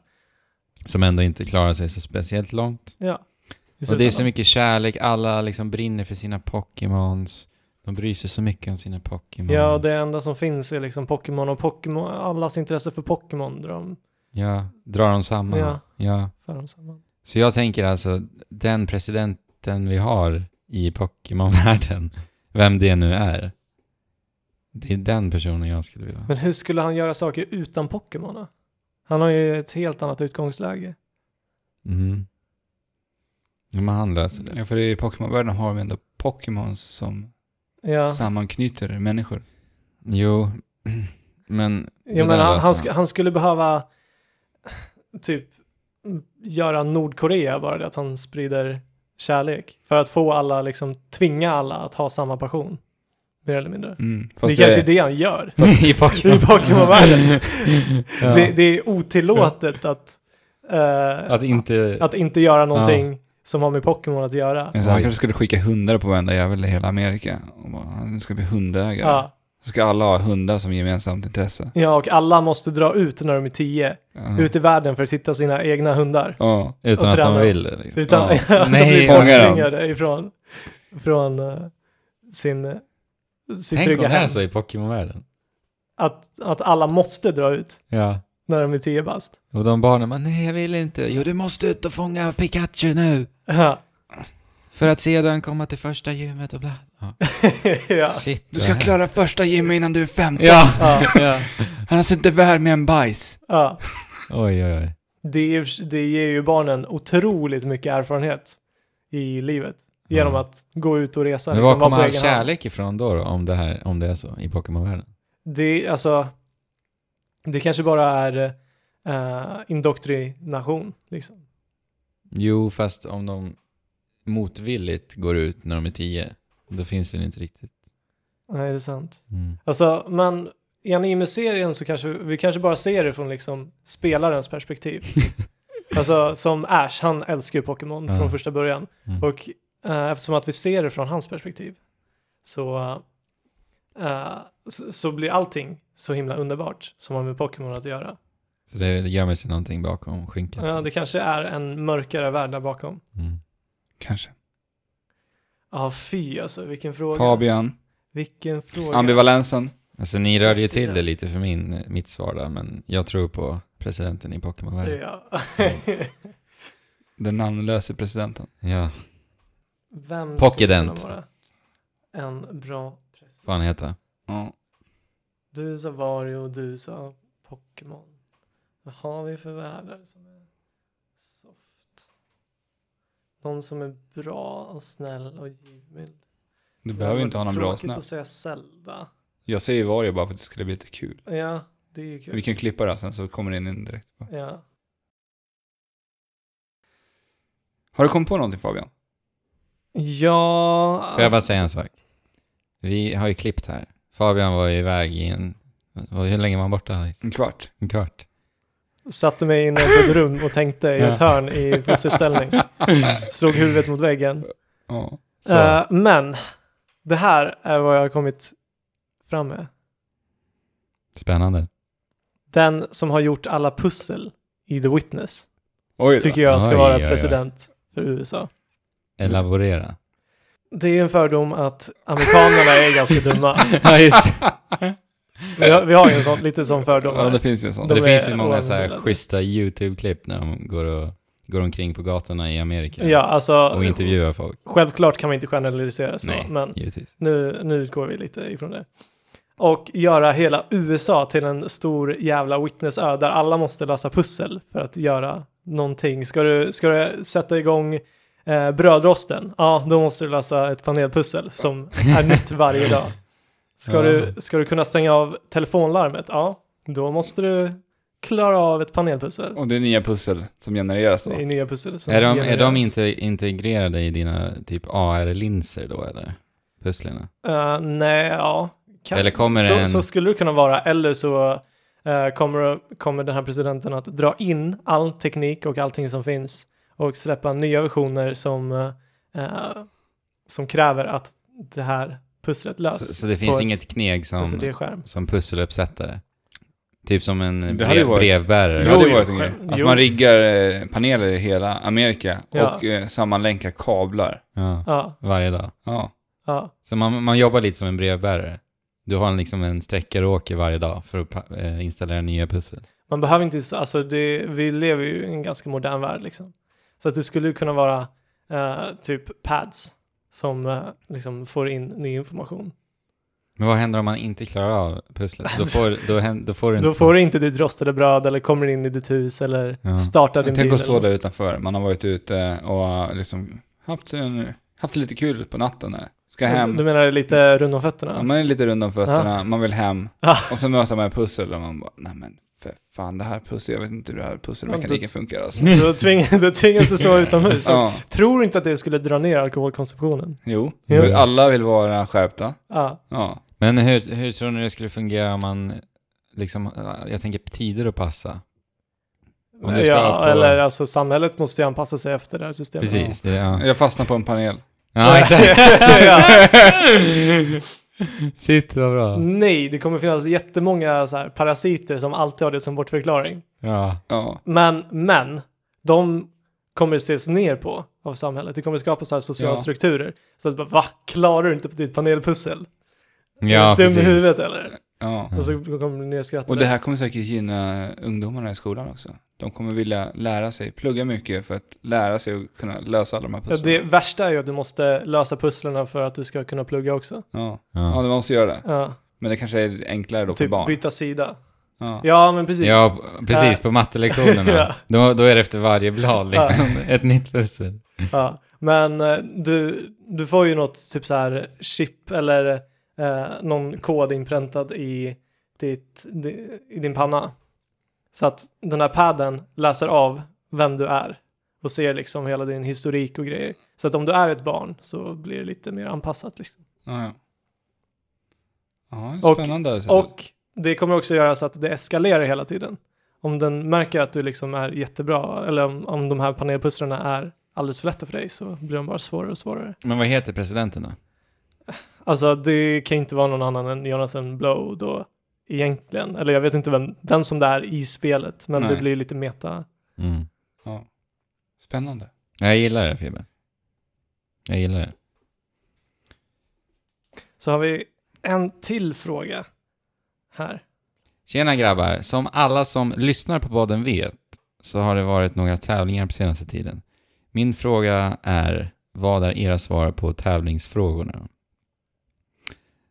Speaker 2: Som ändå inte klarar sig så speciellt långt.
Speaker 3: Ja. I
Speaker 2: Och det är så
Speaker 3: slutändan.
Speaker 2: mycket kärlek, alla liksom brinner för sina Pokémons. De bryr sig så mycket om sina Pokémons.
Speaker 3: Ja, och det enda som finns är liksom Pokémon och Pokémon, allas intresse för Pokémon drar de,
Speaker 2: Ja, drar de samman.
Speaker 3: Ja.
Speaker 2: ja.
Speaker 3: för dem samman.
Speaker 2: Så jag tänker alltså, den presidenten vi har i Pokémon-världen, [LAUGHS] vem det nu är, det är den personen jag skulle vilja ha.
Speaker 3: Men hur skulle han göra saker utan Pokémon då? Han har ju ett helt annat utgångsläge.
Speaker 2: Mm. Ja, men han löser det.
Speaker 1: Mm. Ja, för i Pokémon-världen har vi ändå Pokémons som
Speaker 3: Ja,
Speaker 1: sammanknyter människor.
Speaker 2: Jo, [CLEARS THROAT] men... det
Speaker 3: ja men
Speaker 2: där
Speaker 3: han,
Speaker 2: löser
Speaker 3: han, sk- han skulle behöva typ göra Nordkorea bara det att han sprider kärlek. För att få alla, liksom tvinga alla att ha samma passion. Mer eller mindre.
Speaker 1: Mm.
Speaker 3: Det är
Speaker 1: Fast
Speaker 3: kanske är det han gör.
Speaker 2: [LAUGHS] I
Speaker 3: i
Speaker 2: Pokémon.
Speaker 3: Pokémon-världen.
Speaker 2: Ja.
Speaker 3: det, det är otillåtet att, eh,
Speaker 2: [LAUGHS] Att inte...
Speaker 3: att inte göra någonting som har med Pokémon att göra.
Speaker 1: Men så han
Speaker 2: Oj.
Speaker 1: kanske skulle skicka hundar på varenda jävel i hela Amerika. Och bara, "Han, nu ska bli hundägare.
Speaker 3: Ja.
Speaker 1: Så ska alla ha hundar som gemensamt intresse.
Speaker 3: ja, och alla måste dra ut när de är tio,
Speaker 1: Ja.
Speaker 3: ut i världen för att hitta sina egna hundar.
Speaker 1: Ja.
Speaker 2: utan
Speaker 3: och
Speaker 2: att de
Speaker 3: träna.
Speaker 2: vill det. Liksom.
Speaker 3: Utan [LAUGHS]
Speaker 1: Ja.
Speaker 3: att de
Speaker 2: Nej,
Speaker 3: blir
Speaker 1: fånga dem.
Speaker 3: borttvingade ifrån från, eh, sin, eh, sitt
Speaker 2: Tänk om det
Speaker 3: trygga
Speaker 2: är
Speaker 3: hem.
Speaker 2: så i Pokémon-världen.
Speaker 3: Att, att alla måste dra ut
Speaker 2: Ja.
Speaker 3: när de är tio bast. [LAUGHS]
Speaker 2: Och de barnen bara, nej jag vill inte. Jo, du måste ut och fånga Pikachu nu.
Speaker 3: Ja.
Speaker 2: För att sedan komma till första gymmet och bla. Ja.
Speaker 3: ja.
Speaker 2: Shit,
Speaker 1: Du ska
Speaker 2: vad
Speaker 1: klara första gymmet innan du är 15.
Speaker 2: Ja.
Speaker 3: Ja.
Speaker 2: ja.
Speaker 1: Han har
Speaker 2: alltså
Speaker 1: suttit värd med en bajs.
Speaker 3: ja.
Speaker 2: Oj, oj, oj.
Speaker 3: det, är, i och för sig- det ger ju barnen otroligt mycket erfarenhet i livet. Genom
Speaker 2: Ja.
Speaker 3: att gå ut och resa.
Speaker 2: Mm. Men
Speaker 3: liksom,
Speaker 2: var kommer
Speaker 3: vara på
Speaker 2: all
Speaker 3: egen hand.
Speaker 2: kärlek ifrån då, då om, det här, om det är så i Pokémon-världen?
Speaker 3: Det, är, alltså, det kanske bara är eh, indoktrination. Liksom.
Speaker 2: Jo, fast om de motvilligt går ut när de är tio, då finns det inte riktigt.
Speaker 3: Nej, det är sant.
Speaker 2: Mm.
Speaker 3: Alltså, men i anime-serien så kanske vi kanske bara ser det från liksom spelarens perspektiv. alltså som Ash, han älskar ju Pokémon
Speaker 2: Ja.
Speaker 3: från första början.
Speaker 2: Mm.
Speaker 3: Och eh, eftersom att vi ser det från hans perspektiv så, eh, eh, så, så blir allting så himla underbart som har med Pokémon att göra.
Speaker 2: Så det gömmer sig någonting bakom skynket.
Speaker 3: Ja, det kanske är en mörkare värld där bakom.
Speaker 2: Mm.
Speaker 1: Kanske.
Speaker 3: Ja, fy alltså, vilken fråga.
Speaker 1: Fabian.
Speaker 3: Vilken fråga.
Speaker 1: Ambivalensen.
Speaker 2: Alltså ni rörde ju till det
Speaker 3: President.
Speaker 2: lite för min, mitt svar där, men jag tror på presidenten i Pokémon-världen.
Speaker 3: Ja.
Speaker 1: Den namnlöse presidenten.
Speaker 2: Ja,
Speaker 3: Vem skulle kunna
Speaker 2: Pokédent.
Speaker 3: vara en bra
Speaker 2: vad han heter.
Speaker 1: Ja.
Speaker 3: Du sa Vario och du sa Pokémon. Vad har vi för världar som är soft? Någon som är bra och snäll och givmild.
Speaker 1: Du behöver inte ha någon bra
Speaker 3: Tråkigt
Speaker 1: snäll.
Speaker 3: att säga Zelda.
Speaker 1: Jag säger Vario bara för att det skulle bli lite kul.
Speaker 3: Ja, det är ju kul.
Speaker 1: Vi kan klippa det här sen så kommer den in direkt.
Speaker 3: Ja.
Speaker 1: Har du kommit på någonting Fabian?
Speaker 3: Ja.
Speaker 2: Får jag bara säga en sak? Vi har ju klippt här. Fabian var ju iväg i en... vad- Hur länge var han borta? Alex?
Speaker 1: En kvart?
Speaker 2: En kvart?
Speaker 3: Satte mig inne på ett rum och tänkte i ett hörn i
Speaker 1: [LAUGHS]
Speaker 3: pusselställning. Slog huvudet mot väggen.
Speaker 1: Ja.
Speaker 2: Så,
Speaker 3: Eh, men det här är vad jag har kommit fram med.
Speaker 2: Spännande.
Speaker 3: Den som har gjort alla pussel i The Witness.
Speaker 1: Oj då.
Speaker 3: tycker jag ska
Speaker 2: Oj,
Speaker 3: vara
Speaker 2: oj, oj.
Speaker 3: president för USA. Mm. [LAUGHS]
Speaker 2: Elaborera.
Speaker 3: Det är en fördom att amerikanerna är ganska dumma.
Speaker 2: [LAUGHS] ja, just
Speaker 3: Vi har, vi har ju en sån, lite sån fördom.
Speaker 1: [LAUGHS] Ja, det
Speaker 3: här.
Speaker 1: finns ju en sån.
Speaker 3: [LAUGHS] De
Speaker 2: det. Det
Speaker 3: är
Speaker 2: finns ju många så här
Speaker 3: oanmälda.
Speaker 2: schyssta YouTube-klipp när de går, och, går omkring på gatorna i Amerika
Speaker 3: Ja, alltså,
Speaker 2: och intervjuar folk,
Speaker 3: självklart kan man inte generalisera så,
Speaker 2: Nej.
Speaker 3: men
Speaker 2: givetvis.
Speaker 3: nu, nu utgår vi lite ifrån det. Och göra hela USA till en stor jävla witnessö där alla måste lösa pussel för att göra någonting. Ska du, ska du sätta igång eh, brödrosten? Ja, då måste du lösa ett panelpussel som är nytt varje dag. Ska,
Speaker 2: Ja.
Speaker 3: du, ska du kunna stänga av telefonlarmet? Ja, då måste du klara av ett panelpussel.
Speaker 1: Och det är nya pussel som genereras
Speaker 3: Det är
Speaker 1: då.
Speaker 3: nya pussel. som
Speaker 2: Är de, är de
Speaker 3: genereras.
Speaker 2: inte integrerade i dina typ AR-linser då eller? Pusslerna?
Speaker 3: Eh, nej, ja. Kan-
Speaker 2: Eller kommer det
Speaker 3: så,
Speaker 2: en-
Speaker 3: så skulle det kunna vara, eller så eh, kommer, kommer den här presidenten att dra in all teknik och allting som finns och släppa nya versioner som, eh, som kräver att det här pusslet
Speaker 2: Så,
Speaker 3: löses.
Speaker 2: så det finns
Speaker 3: ett-
Speaker 2: inget kneg som,
Speaker 3: Alltså det är skärm.
Speaker 2: som pusseluppsättare? Typ som en
Speaker 1: Det hade
Speaker 2: brev,
Speaker 1: varit-
Speaker 2: brevbärare? Typ.
Speaker 1: Det hade
Speaker 3: Jo,
Speaker 1: varit en grej.
Speaker 3: själv-
Speaker 1: Att
Speaker 3: jo.
Speaker 1: man riggar eh, paneler i hela Amerika
Speaker 3: Ja.
Speaker 1: och eh, sammanlänkar kablar.
Speaker 2: Ja,
Speaker 3: Ja,
Speaker 2: varje dag.
Speaker 1: Ja.
Speaker 3: ja,
Speaker 2: Så man, man jobbar lite som en brevbärare. Du har en, liksom en sträckare och åker varje dag för att pa- eh, installera nya pussel.
Speaker 3: man behöver inte, alltså det, vi lever ju i en ganska modern värld liksom. Så att det skulle ju kunna vara eh, typ pads som eh, liksom får in ny information.
Speaker 2: Men vad händer om man inte klarar av pusslet? Då får, då hän- då får du inte...
Speaker 3: [LAUGHS] Då får du inte ditt rostade bröd eller kommer in i ditt hus eller
Speaker 2: Ja.
Speaker 3: startar din
Speaker 1: Tänk
Speaker 3: bil.
Speaker 1: att stå
Speaker 3: eller
Speaker 1: där
Speaker 3: något.
Speaker 1: utanför. Man har varit ute och eh, liksom haft, en, haft lite kul på natten. Här. Ska hem.
Speaker 3: Du menar lite runt om fötterna?
Speaker 1: Ja, man är lite rund om fötterna, man vill hem.
Speaker 3: Ja.
Speaker 1: Och så möter man ett pussel och man bara, nej men för fan det här pussel, jag vet inte hur det här pusselmekaniken
Speaker 3: Ja,
Speaker 1: funkar alltså.
Speaker 3: Då, tving, då tvingas du sova
Speaker 1: [LAUGHS]
Speaker 3: utomhus.
Speaker 1: Ja,
Speaker 3: Tror inte att det skulle dra ner alkoholkonsumtionen?
Speaker 1: jo.
Speaker 3: Jo.
Speaker 1: För Alla vill vara skärpta.
Speaker 3: Ja,
Speaker 1: Ja.
Speaker 2: Men hur, hur tror ni det skulle fungera om man, liksom, eh, jag tänker på tider att passa? Om du ska
Speaker 3: ja
Speaker 2: på-
Speaker 3: eller alltså samhället måste ju anpassa sig efter det här systemet.
Speaker 2: Precis, det,
Speaker 3: [LAUGHS]
Speaker 2: ja.
Speaker 1: Jag fastnar på en panel.
Speaker 2: ja exakt.
Speaker 3: ja.
Speaker 2: [LAUGHS] Shit vad bra.
Speaker 3: Nej, det kommer finnas jättemånga så här parasiter som alltid har det som bortförklaring.
Speaker 2: Ja.
Speaker 1: Ja.
Speaker 3: Men, men, de kommer ses ner på av samhället. Det kommer skapa så här sociala
Speaker 1: Ja.
Speaker 3: strukturer. Så att bara, va? Klarar du inte ditt panelpussel?
Speaker 2: Ja,
Speaker 3: är du dum i
Speaker 2: precis.
Speaker 3: huvudet eller?
Speaker 1: ja.
Speaker 3: Och så kommer du nedskrattade.
Speaker 1: Och det här kommer säkert gynna ungdomarna i skolan också. De kommer vilja lära sig, plugga mycket för att lära sig och kunna lösa alla de här
Speaker 3: Ja,
Speaker 1: pusslen.
Speaker 3: det värsta är ju att du måste lösa pusslen för att du ska kunna plugga också.
Speaker 1: Ja, ja
Speaker 2: Ja.
Speaker 1: de måste göra det.
Speaker 3: Ja,
Speaker 1: Men det kanske är enklare då för
Speaker 3: typ
Speaker 1: barn.
Speaker 3: byta sida.
Speaker 1: Ja.
Speaker 3: Ja, men precis.
Speaker 2: ja, precis. På [LAUGHS] mattelektionerna.
Speaker 3: Ja.
Speaker 2: då, då är det efter varje blad liksom. [LAUGHS] Ett nytt pussel.
Speaker 3: Ja, men eh, du, du får ju något typ så här chip eller eh, någon kod inpräntad i, ditt, di, i din panna. Så att den här padden läser av vem du är och ser liksom hela din historik och grejer. Så att om du är ett barn så blir det lite mer anpassat. Liksom.
Speaker 1: Ja, ja. ja
Speaker 3: Och-
Speaker 1: spännande. alltså.
Speaker 3: Och det kommer också göra så att det eskalerar hela tiden. Om den märker att du liksom är jättebra eller om, om de här panelpusslarna är alldeles för lätta för dig så blir de bara svårare och svårare.
Speaker 2: Men vad heter presidenten då?
Speaker 3: Alltså det kan ju inte vara någon annan än Jonathan Blow då egentligen. Eller jag vet inte vem, den som det är i spelet. Men
Speaker 1: Nej.
Speaker 3: det blir ju lite meta.
Speaker 2: Mm.
Speaker 1: Spännande.
Speaker 2: Jag gillar det Fibbe. Jag gillar det.
Speaker 3: Så har vi en till fråga här.
Speaker 2: Tjena grabbar! Som alla som lyssnar på podden vet så har det varit några tävlingar på senaste tiden. Min fråga är, vad är era svar på tävlingsfrågorna?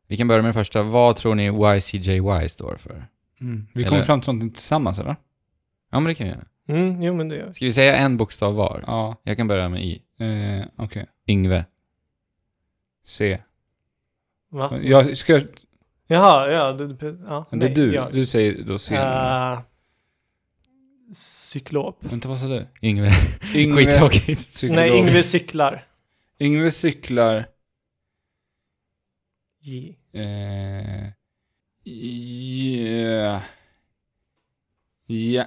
Speaker 2: Vi kan börja med den första. Vad tror ni YCJY står för?
Speaker 1: Mm. Vi
Speaker 2: Eller-
Speaker 1: kommer fram till någonting tillsammans eller?
Speaker 2: Ja, men det kan vi göra.
Speaker 3: Mm, jo men det gör vi.
Speaker 2: Ska vi säga en bokstav var?
Speaker 1: Ja,
Speaker 2: Jag kan börja med Y.
Speaker 1: eh, okej.
Speaker 2: Yngve.
Speaker 1: C.
Speaker 3: Va?
Speaker 1: Jag ska, det
Speaker 3: Jaha, ja. Du, ja
Speaker 1: är
Speaker 3: nej,
Speaker 1: du.
Speaker 3: jag.
Speaker 1: Du säger då C.
Speaker 3: Eh, cyklop.
Speaker 1: Vänta, vad sa
Speaker 2: [LAUGHS]
Speaker 1: du?
Speaker 2: Yngve.
Speaker 1: Yngve,
Speaker 2: Skittråkigt.
Speaker 1: cyklop.
Speaker 3: Nej, Yngve cyklar.
Speaker 1: Yngve cyklar.
Speaker 3: J.
Speaker 1: Eh, yeah. Ja.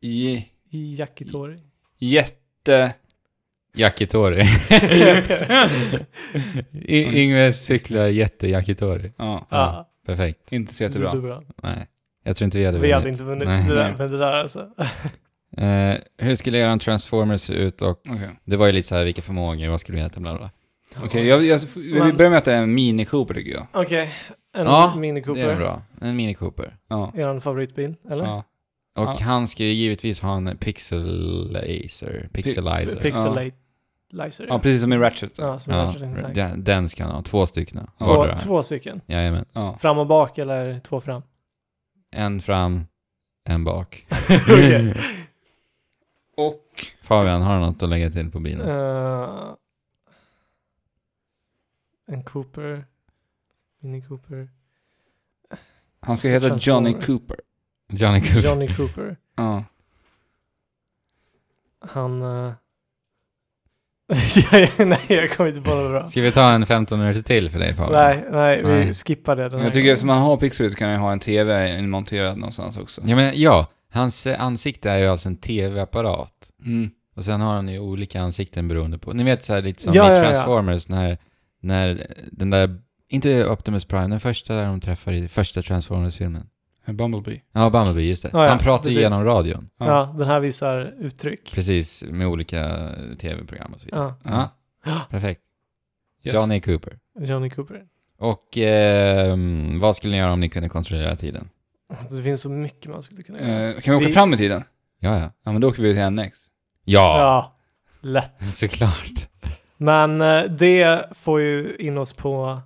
Speaker 1: Je,
Speaker 3: Jakitori.
Speaker 1: jätte.
Speaker 3: [LAUGHS]
Speaker 2: Yakitori. Y- Yngve cyklar jätte-yakitori.
Speaker 1: Ja,
Speaker 3: Ja,
Speaker 2: Perfekt.
Speaker 1: inte så
Speaker 3: det är
Speaker 1: jättebra.
Speaker 3: bra.
Speaker 2: Nej. Jag tror inte vi hade
Speaker 3: Vi hade
Speaker 2: vunnit.
Speaker 3: inte vunnit
Speaker 2: Nej.
Speaker 3: det där,
Speaker 1: Nej.
Speaker 3: men det där alltså. [LAUGHS]
Speaker 2: Eh, hur skulle eran transformer se ut och
Speaker 1: Okej,
Speaker 2: det var ju lite så här vilka förmågor, vad skulle du heta, bla bla bla.
Speaker 1: Okej, jag, jag, vi
Speaker 3: Men-
Speaker 1: börjar med att det är en Mini Cooper tycker jag.
Speaker 3: Okej, en
Speaker 2: Ja,
Speaker 3: Mini
Speaker 2: Det är
Speaker 3: Cooper.
Speaker 2: bra. En Mini Cooper.
Speaker 1: Ja.
Speaker 3: Er favoritbil, eller?
Speaker 1: ja.
Speaker 2: Och
Speaker 1: Ja.
Speaker 2: han ska ju givetvis ha en pixelizer, pixelizer.
Speaker 3: Pixelizer.
Speaker 1: ja, precis som i Ratchet.
Speaker 3: Ja, som
Speaker 2: ja,
Speaker 3: Ratchet and Clank.
Speaker 2: den, den ska han ha, två stycken.
Speaker 1: Ja.
Speaker 3: två,
Speaker 2: Vardera.
Speaker 3: två stycken.
Speaker 2: Jajamän.
Speaker 1: Ja.
Speaker 3: Fram och bak eller
Speaker 2: [LAUGHS]
Speaker 3: två fram? [LAUGHS]
Speaker 2: En fram, en bak.
Speaker 3: Okej.
Speaker 1: Och
Speaker 2: Fabian, har du något att lägga till på bilen?
Speaker 3: Eh, en Cooper. Mini Cooper.
Speaker 1: han ska heta Johnny
Speaker 3: Transformer.
Speaker 1: Cooper.
Speaker 2: Johnny Cooper.
Speaker 3: Johnny Cooper.
Speaker 1: Ja.
Speaker 3: Han... eh, [LAUGHS] Ja, nej, jag kommer inte på något bra.
Speaker 2: Ska vi ta en 15 minuter till för dig Fabian?
Speaker 3: Nej, nej, vi
Speaker 2: Nej.
Speaker 3: skippar det den här
Speaker 1: Jag tycker
Speaker 3: gången.
Speaker 1: eftersom man har pixel så kan jag ha en TV monterad någonstans också.
Speaker 2: Ja, men, ja, hans eh, ansikte är ju alltså en tv-apparat.
Speaker 1: Mm.
Speaker 2: Och sen har han ju olika ansikten beroende på... Ni vet så här lite som
Speaker 3: Ja, ja,
Speaker 2: i
Speaker 3: ja.
Speaker 2: Transformers när, när den där... Inte Optimus Prime, den första där de träffar i första Transformers-filmen.
Speaker 1: Bumblebee.
Speaker 2: Ja, Bumblebee, just det.
Speaker 3: Ja, ja,
Speaker 2: han pratar ju
Speaker 3: precis.
Speaker 2: genom radion.
Speaker 1: Ja.
Speaker 3: Ja. den här visar uttryck.
Speaker 2: Precis, med olika tv-program och så vidare.
Speaker 3: Ja,
Speaker 2: Ja, perfekt.
Speaker 1: Yes.
Speaker 2: Johnny Cooper.
Speaker 3: Johnny Cooper.
Speaker 2: Och ehm, vad skulle ni göra om ni kunde kontrollera tiden?
Speaker 3: Det finns så mycket man skulle kunna göra.
Speaker 1: Eh, kan vi åka
Speaker 3: Vi-
Speaker 1: fram i tiden?
Speaker 2: Ja, ja.
Speaker 1: Ja, men då åker vi till NX.
Speaker 2: Ja,
Speaker 3: Ja, lätt.
Speaker 2: [LAUGHS] såklart.
Speaker 3: Men eh, det får ju in oss på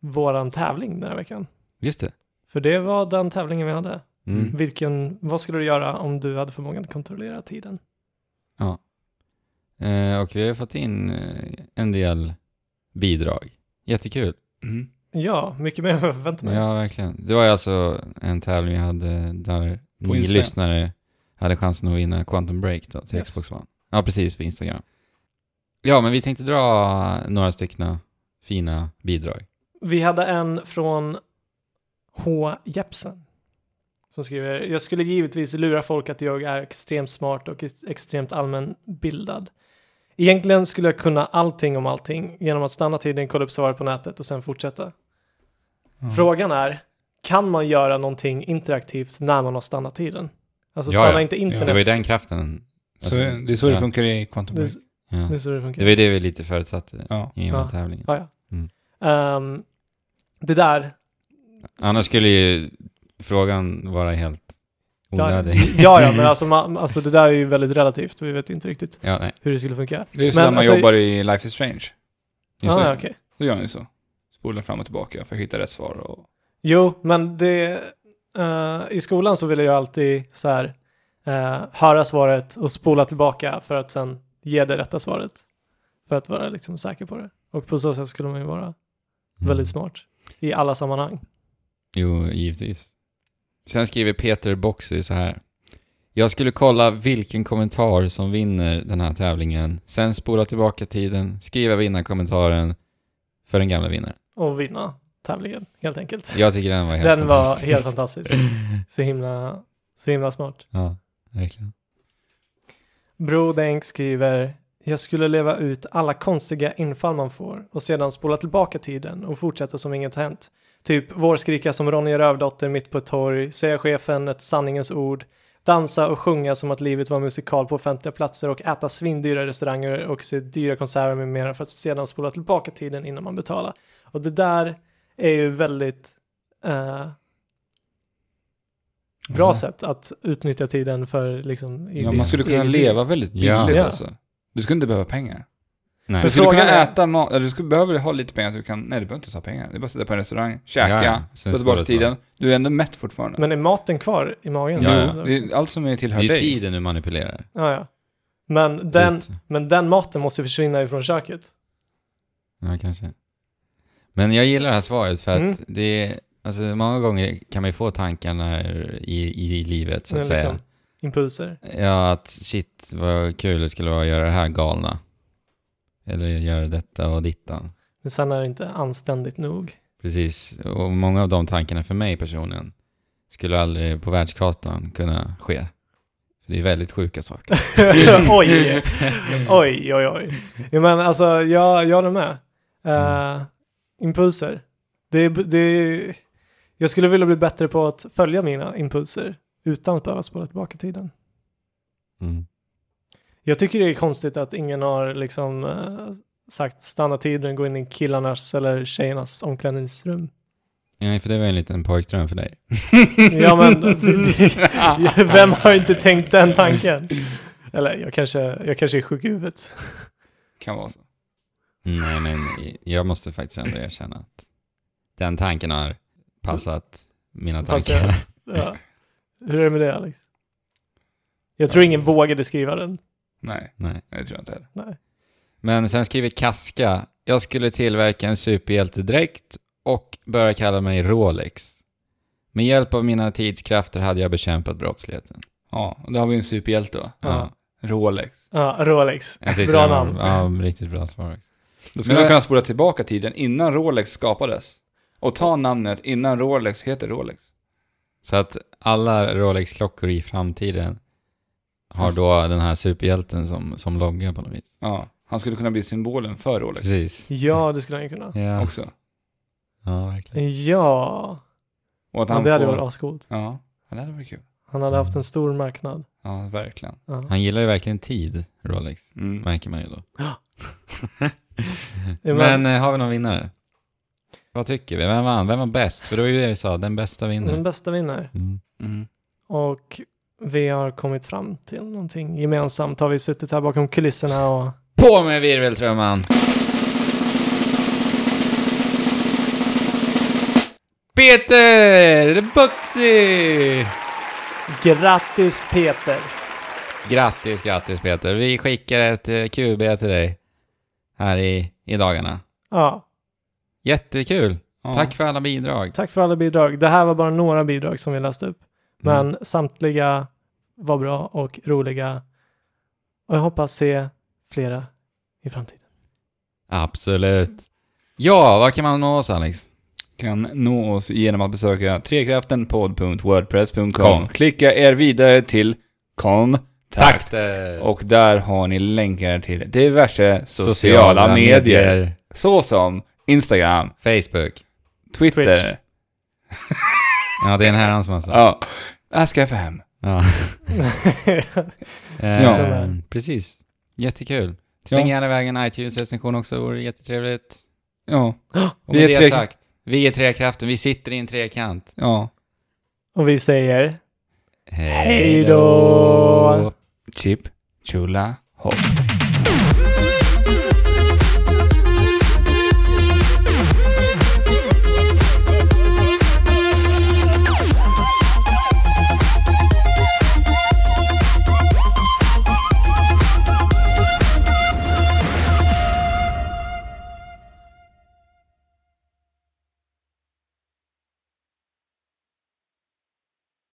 Speaker 3: våran tävling den här veckan.
Speaker 2: Just det.
Speaker 3: För det var den tävlingen vi hade.
Speaker 2: Mm.
Speaker 3: Vilken, vad skulle du göra om du hade förmågan att kontrollera tiden?
Speaker 2: Eh, och vi har ju fått in eh, en del bidrag. Jättekul.
Speaker 1: Mm.
Speaker 3: Ja, mycket mer än vad jag förväntade mig.
Speaker 2: Ja, verkligen. Det var ju alltså en tävling vi hade där ni
Speaker 1: Instagram.
Speaker 2: lyssnare hade chansen att vinna Quantum Break då, till
Speaker 3: Yes.
Speaker 2: Xbox One. Ja, precis, på Instagram. Ja, men vi tänkte dra några stycken fina bidrag.
Speaker 3: Vi hade en från H. Jepsen. Som skriver, jag skulle givetvis lura folk att jag är extremt smart och ex- extremt allmänbildad. Egentligen skulle jag kunna allting om allting genom att stanna tiden, kolla upp svaret på nätet och sen fortsätta.
Speaker 2: Mm.
Speaker 1: Ja.
Speaker 3: Frågan är, kan man göra någonting interaktivt när man har stannat tiden? Alltså
Speaker 2: Ja, ja.
Speaker 3: stanna inte internet.
Speaker 2: Det var ju den kraften.
Speaker 1: Så,
Speaker 2: Alltså,
Speaker 1: det är så det
Speaker 2: ja.
Speaker 1: funkar i Quantum
Speaker 3: Det är
Speaker 1: Break.
Speaker 3: s-
Speaker 2: Ja.
Speaker 3: det är så det funkar.
Speaker 2: Det var ju det vi lite förutsatte
Speaker 1: Ja.
Speaker 2: i och med
Speaker 3: Ja.
Speaker 2: tävlingen.
Speaker 3: Ja, ja.
Speaker 2: Mm.
Speaker 3: Ehm, det där.
Speaker 2: Annars skulle ju frågan vara helt
Speaker 3: Ja,
Speaker 2: onödig.
Speaker 3: ja, ja, men alltså, man, alltså det där är ju väldigt relativt. Vi vet inte riktigt
Speaker 2: [LAUGHS] Ja, nej.
Speaker 3: hur det skulle funka.
Speaker 1: Det är ju så
Speaker 3: Men
Speaker 1: när man
Speaker 3: alltså-
Speaker 1: jobbar i Life is Strange.
Speaker 2: Just
Speaker 3: ah,
Speaker 2: det.
Speaker 3: ja, okej.
Speaker 1: Då gör man ju så. Spolar fram och tillbaka för att hitta rätt svar. Och...
Speaker 3: Jo, men det... eh, I skolan så ville jag alltid så här eh, höra svaret och spola tillbaka för att sen ge det rätta svaret. För att vara liksom säker på det. Och på så sätt skulle man ju vara
Speaker 2: Mm.
Speaker 3: väldigt smart i alla sammanhang.
Speaker 2: Jo, givetvis. Sen skriver Peter Boxy så här. Jag skulle kolla vilken kommentar som vinner den här tävlingen. Sen spola tillbaka tiden, skriva vinnarkommentaren för den gamla vinnaren.
Speaker 3: Och vinna tävlingen, helt enkelt.
Speaker 2: Jag tycker den var helt
Speaker 3: Den var
Speaker 2: fantastisk.
Speaker 3: helt fantastisk. Så himla, så himla smart.
Speaker 2: Ja, verkligen.
Speaker 3: Bro Denk skriver Jag skulle leva ut alla konstiga infall man får och sedan spola tillbaka tiden och fortsätta som inget hänt. Typ vårskrika som Ronja Rövdotter mitt på ett torg, säga chefen ett sanningens ord, dansa och sjunga som att livet var musikal på offentliga platser och äta svindyra restauranger och se dyra konserter med mera för att sedan spola tillbaka tiden innan man betalar. Och det där är ju väldigt eh, bra
Speaker 1: Ja.
Speaker 3: sätt att utnyttja tiden för liksom... i
Speaker 1: Mm. Ja,
Speaker 3: din
Speaker 1: man skulle kunna
Speaker 3: egen tid.
Speaker 1: leva väldigt billigt
Speaker 2: Ja.
Speaker 3: Ja.
Speaker 1: alltså. Du skulle inte behöva pengar.
Speaker 2: Nej.
Speaker 1: Du
Speaker 3: Men
Speaker 1: skulle kunna
Speaker 3: frågan är-
Speaker 1: äta mat, eller du skulle behöva ha lite pengar så du kan, nej du behöver inte ens ha pengar. Det är bara att sitta på en restaurang, käka,
Speaker 2: Ja,
Speaker 1: ja,
Speaker 2: sen
Speaker 1: ta tillbaka
Speaker 2: spola
Speaker 1: tiden. Du är ändå mätt fortfarande.
Speaker 3: Men är maten kvar i magen?
Speaker 2: Ja, ja.
Speaker 1: Det är allt som är
Speaker 2: Det
Speaker 1: tillhör
Speaker 2: är ju
Speaker 1: dig.
Speaker 2: tiden du manipulerar.
Speaker 3: ja, ja. Men, den,
Speaker 2: Ut.
Speaker 3: men den maten måste försvinna ifrån köket.
Speaker 2: Ja, kanske. Men jag gillar det här svaret för att
Speaker 3: Mm.
Speaker 2: det är, alltså många gånger kan man ju få tankarna i, i livet så att
Speaker 3: Men
Speaker 2: säga.
Speaker 3: liksom, impulser.
Speaker 2: Ja, att shit vad kul det skulle vara att göra det här galna. Eller göra detta och dittan.
Speaker 3: Men sen är det inte
Speaker 2: [LAUGHS]
Speaker 3: anständigt nog.
Speaker 2: Precis, och många av de tankarna för mig personligen skulle aldrig på världskartan kunna ske. För det är väldigt sjuka saker.
Speaker 3: oj, oj, oj, oj. Ja, men alltså, jag, jag håller med.
Speaker 2: Mm.
Speaker 3: Eh, impulser. Det, är b- det, är- jag skulle vilja bli bättre på att följa mina impulser utan att behöva spola tillbaka tiden.
Speaker 2: Mm.
Speaker 3: Jag tycker det är konstigt att ingen har liksom eh, sagt stanna tiden, gå in i killarnas eller tjejernas omklädningsrum.
Speaker 2: Nej, för det var ju en liten pojkdröm för dig.
Speaker 3: Ja men [LAUGHS] det, det, vem har inte tänkt den tanken? Eller jag kanske, jag kanske är sjuk i huvudet.
Speaker 1: Kan vara så.
Speaker 2: Nej, men jag måste faktiskt ändå erkänna att den tanken har passat mina
Speaker 3: Fast
Speaker 2: tankar. [LAUGHS]
Speaker 3: jag- Ja. Hur är det med det Alex? Jag tror ingen vågade skriva den.
Speaker 1: Nej,
Speaker 2: Nej.
Speaker 1: nej, det tror jag inte heller.
Speaker 2: Men sen skriver Kaska, jag skulle tillverka en superhjältedräkt och börja kalla mig Rolex. Med hjälp av mina tidskrafter hade jag bekämpat brottsligheten.
Speaker 1: Ja, och då har vi en superhjälte va?
Speaker 2: Ja.
Speaker 1: Rolex.
Speaker 3: Ja, Rolex.
Speaker 2: Jag tyckte
Speaker 3: Bra
Speaker 2: det var-
Speaker 3: namn.
Speaker 2: Ja, riktigt bra svar också.
Speaker 1: Då
Speaker 2: Men-
Speaker 1: skulle man kunna spola tillbaka tiden innan Rolex skapades. Och ta namnet innan Rolex heter Rolex.
Speaker 2: Så att alla Rolex-klockor i framtiden Har då den här superhjälten som, som logga på något vis.
Speaker 1: Ja, han skulle kunna bli symbolen för Rolex
Speaker 2: Precis.
Speaker 3: Ja, det skulle han ju kunna.
Speaker 2: Ja,
Speaker 1: också.
Speaker 2: ja verkligen.
Speaker 3: Ja,
Speaker 1: Och att
Speaker 3: men
Speaker 1: han
Speaker 3: det hade
Speaker 1: får...
Speaker 3: varit ascoolt.
Speaker 1: Ja, det hade varit kul.
Speaker 3: Han hade haft en stor marknad.
Speaker 1: Ja, verkligen.
Speaker 3: Ja.
Speaker 2: Han gillar ju verkligen tid, Rolex.
Speaker 1: Mm.
Speaker 2: Märker man ju då.
Speaker 3: Ja,
Speaker 2: Men eh, har vi någon vinnare? Vad tycker vi? Vem vann? Vem var bäst? För det var ju det vi sa, den bästa
Speaker 3: Den
Speaker 2: vinner.
Speaker 3: bästa vinner.
Speaker 2: Mm.
Speaker 1: Mm.
Speaker 3: Och vi har kommit fram till någonting gemensamt. Har vi suttit här bakom kulisserna och
Speaker 2: På med virveltrumman! Peter Buxi!
Speaker 3: grattis Peter!
Speaker 2: Grattis, grattis Peter. Vi skickar ett eh, QB till dig här i, i dagarna.
Speaker 3: Ja,
Speaker 2: Jättekul!
Speaker 1: Ja.
Speaker 2: Tack för alla bidrag.
Speaker 3: tack för alla bidrag. Det här var bara några bidrag som vi läste upp. Men samtliga var bra och roliga. Och jag hoppas se flera i framtiden.
Speaker 2: Absolut. Ja, vad kan man nå oss Alex?
Speaker 1: Kan nå oss genom att besöka trekraftenpodd.wordpress.com.
Speaker 2: Kom.
Speaker 1: Klicka er vidare till kontakt.
Speaker 2: Och
Speaker 1: Och där har ni länkar till diverse sociala,
Speaker 2: sociala,
Speaker 1: medier.
Speaker 2: medier.
Speaker 1: Såsom Instagram,
Speaker 2: Facebook.
Speaker 1: Twitter,
Speaker 3: Twitch.
Speaker 2: Ja, det är en herrans massa.
Speaker 1: ja, Ask.fm.
Speaker 2: Ja. Eh,
Speaker 1: Ja.
Speaker 2: Precis. Jättekul. Släng
Speaker 1: Ja.
Speaker 2: gärna iväg en iTunes-recension också, vore jättetrevligt.
Speaker 1: Ja,
Speaker 2: Och
Speaker 1: Vi
Speaker 2: med
Speaker 1: är
Speaker 2: det
Speaker 1: tre-
Speaker 2: sagt, vi är Trekraften, vi sitter i en trekant.
Speaker 1: ja.
Speaker 3: och vi säger
Speaker 2: Hej
Speaker 3: då.
Speaker 1: Chip, chula, hopp.
Speaker 2: då!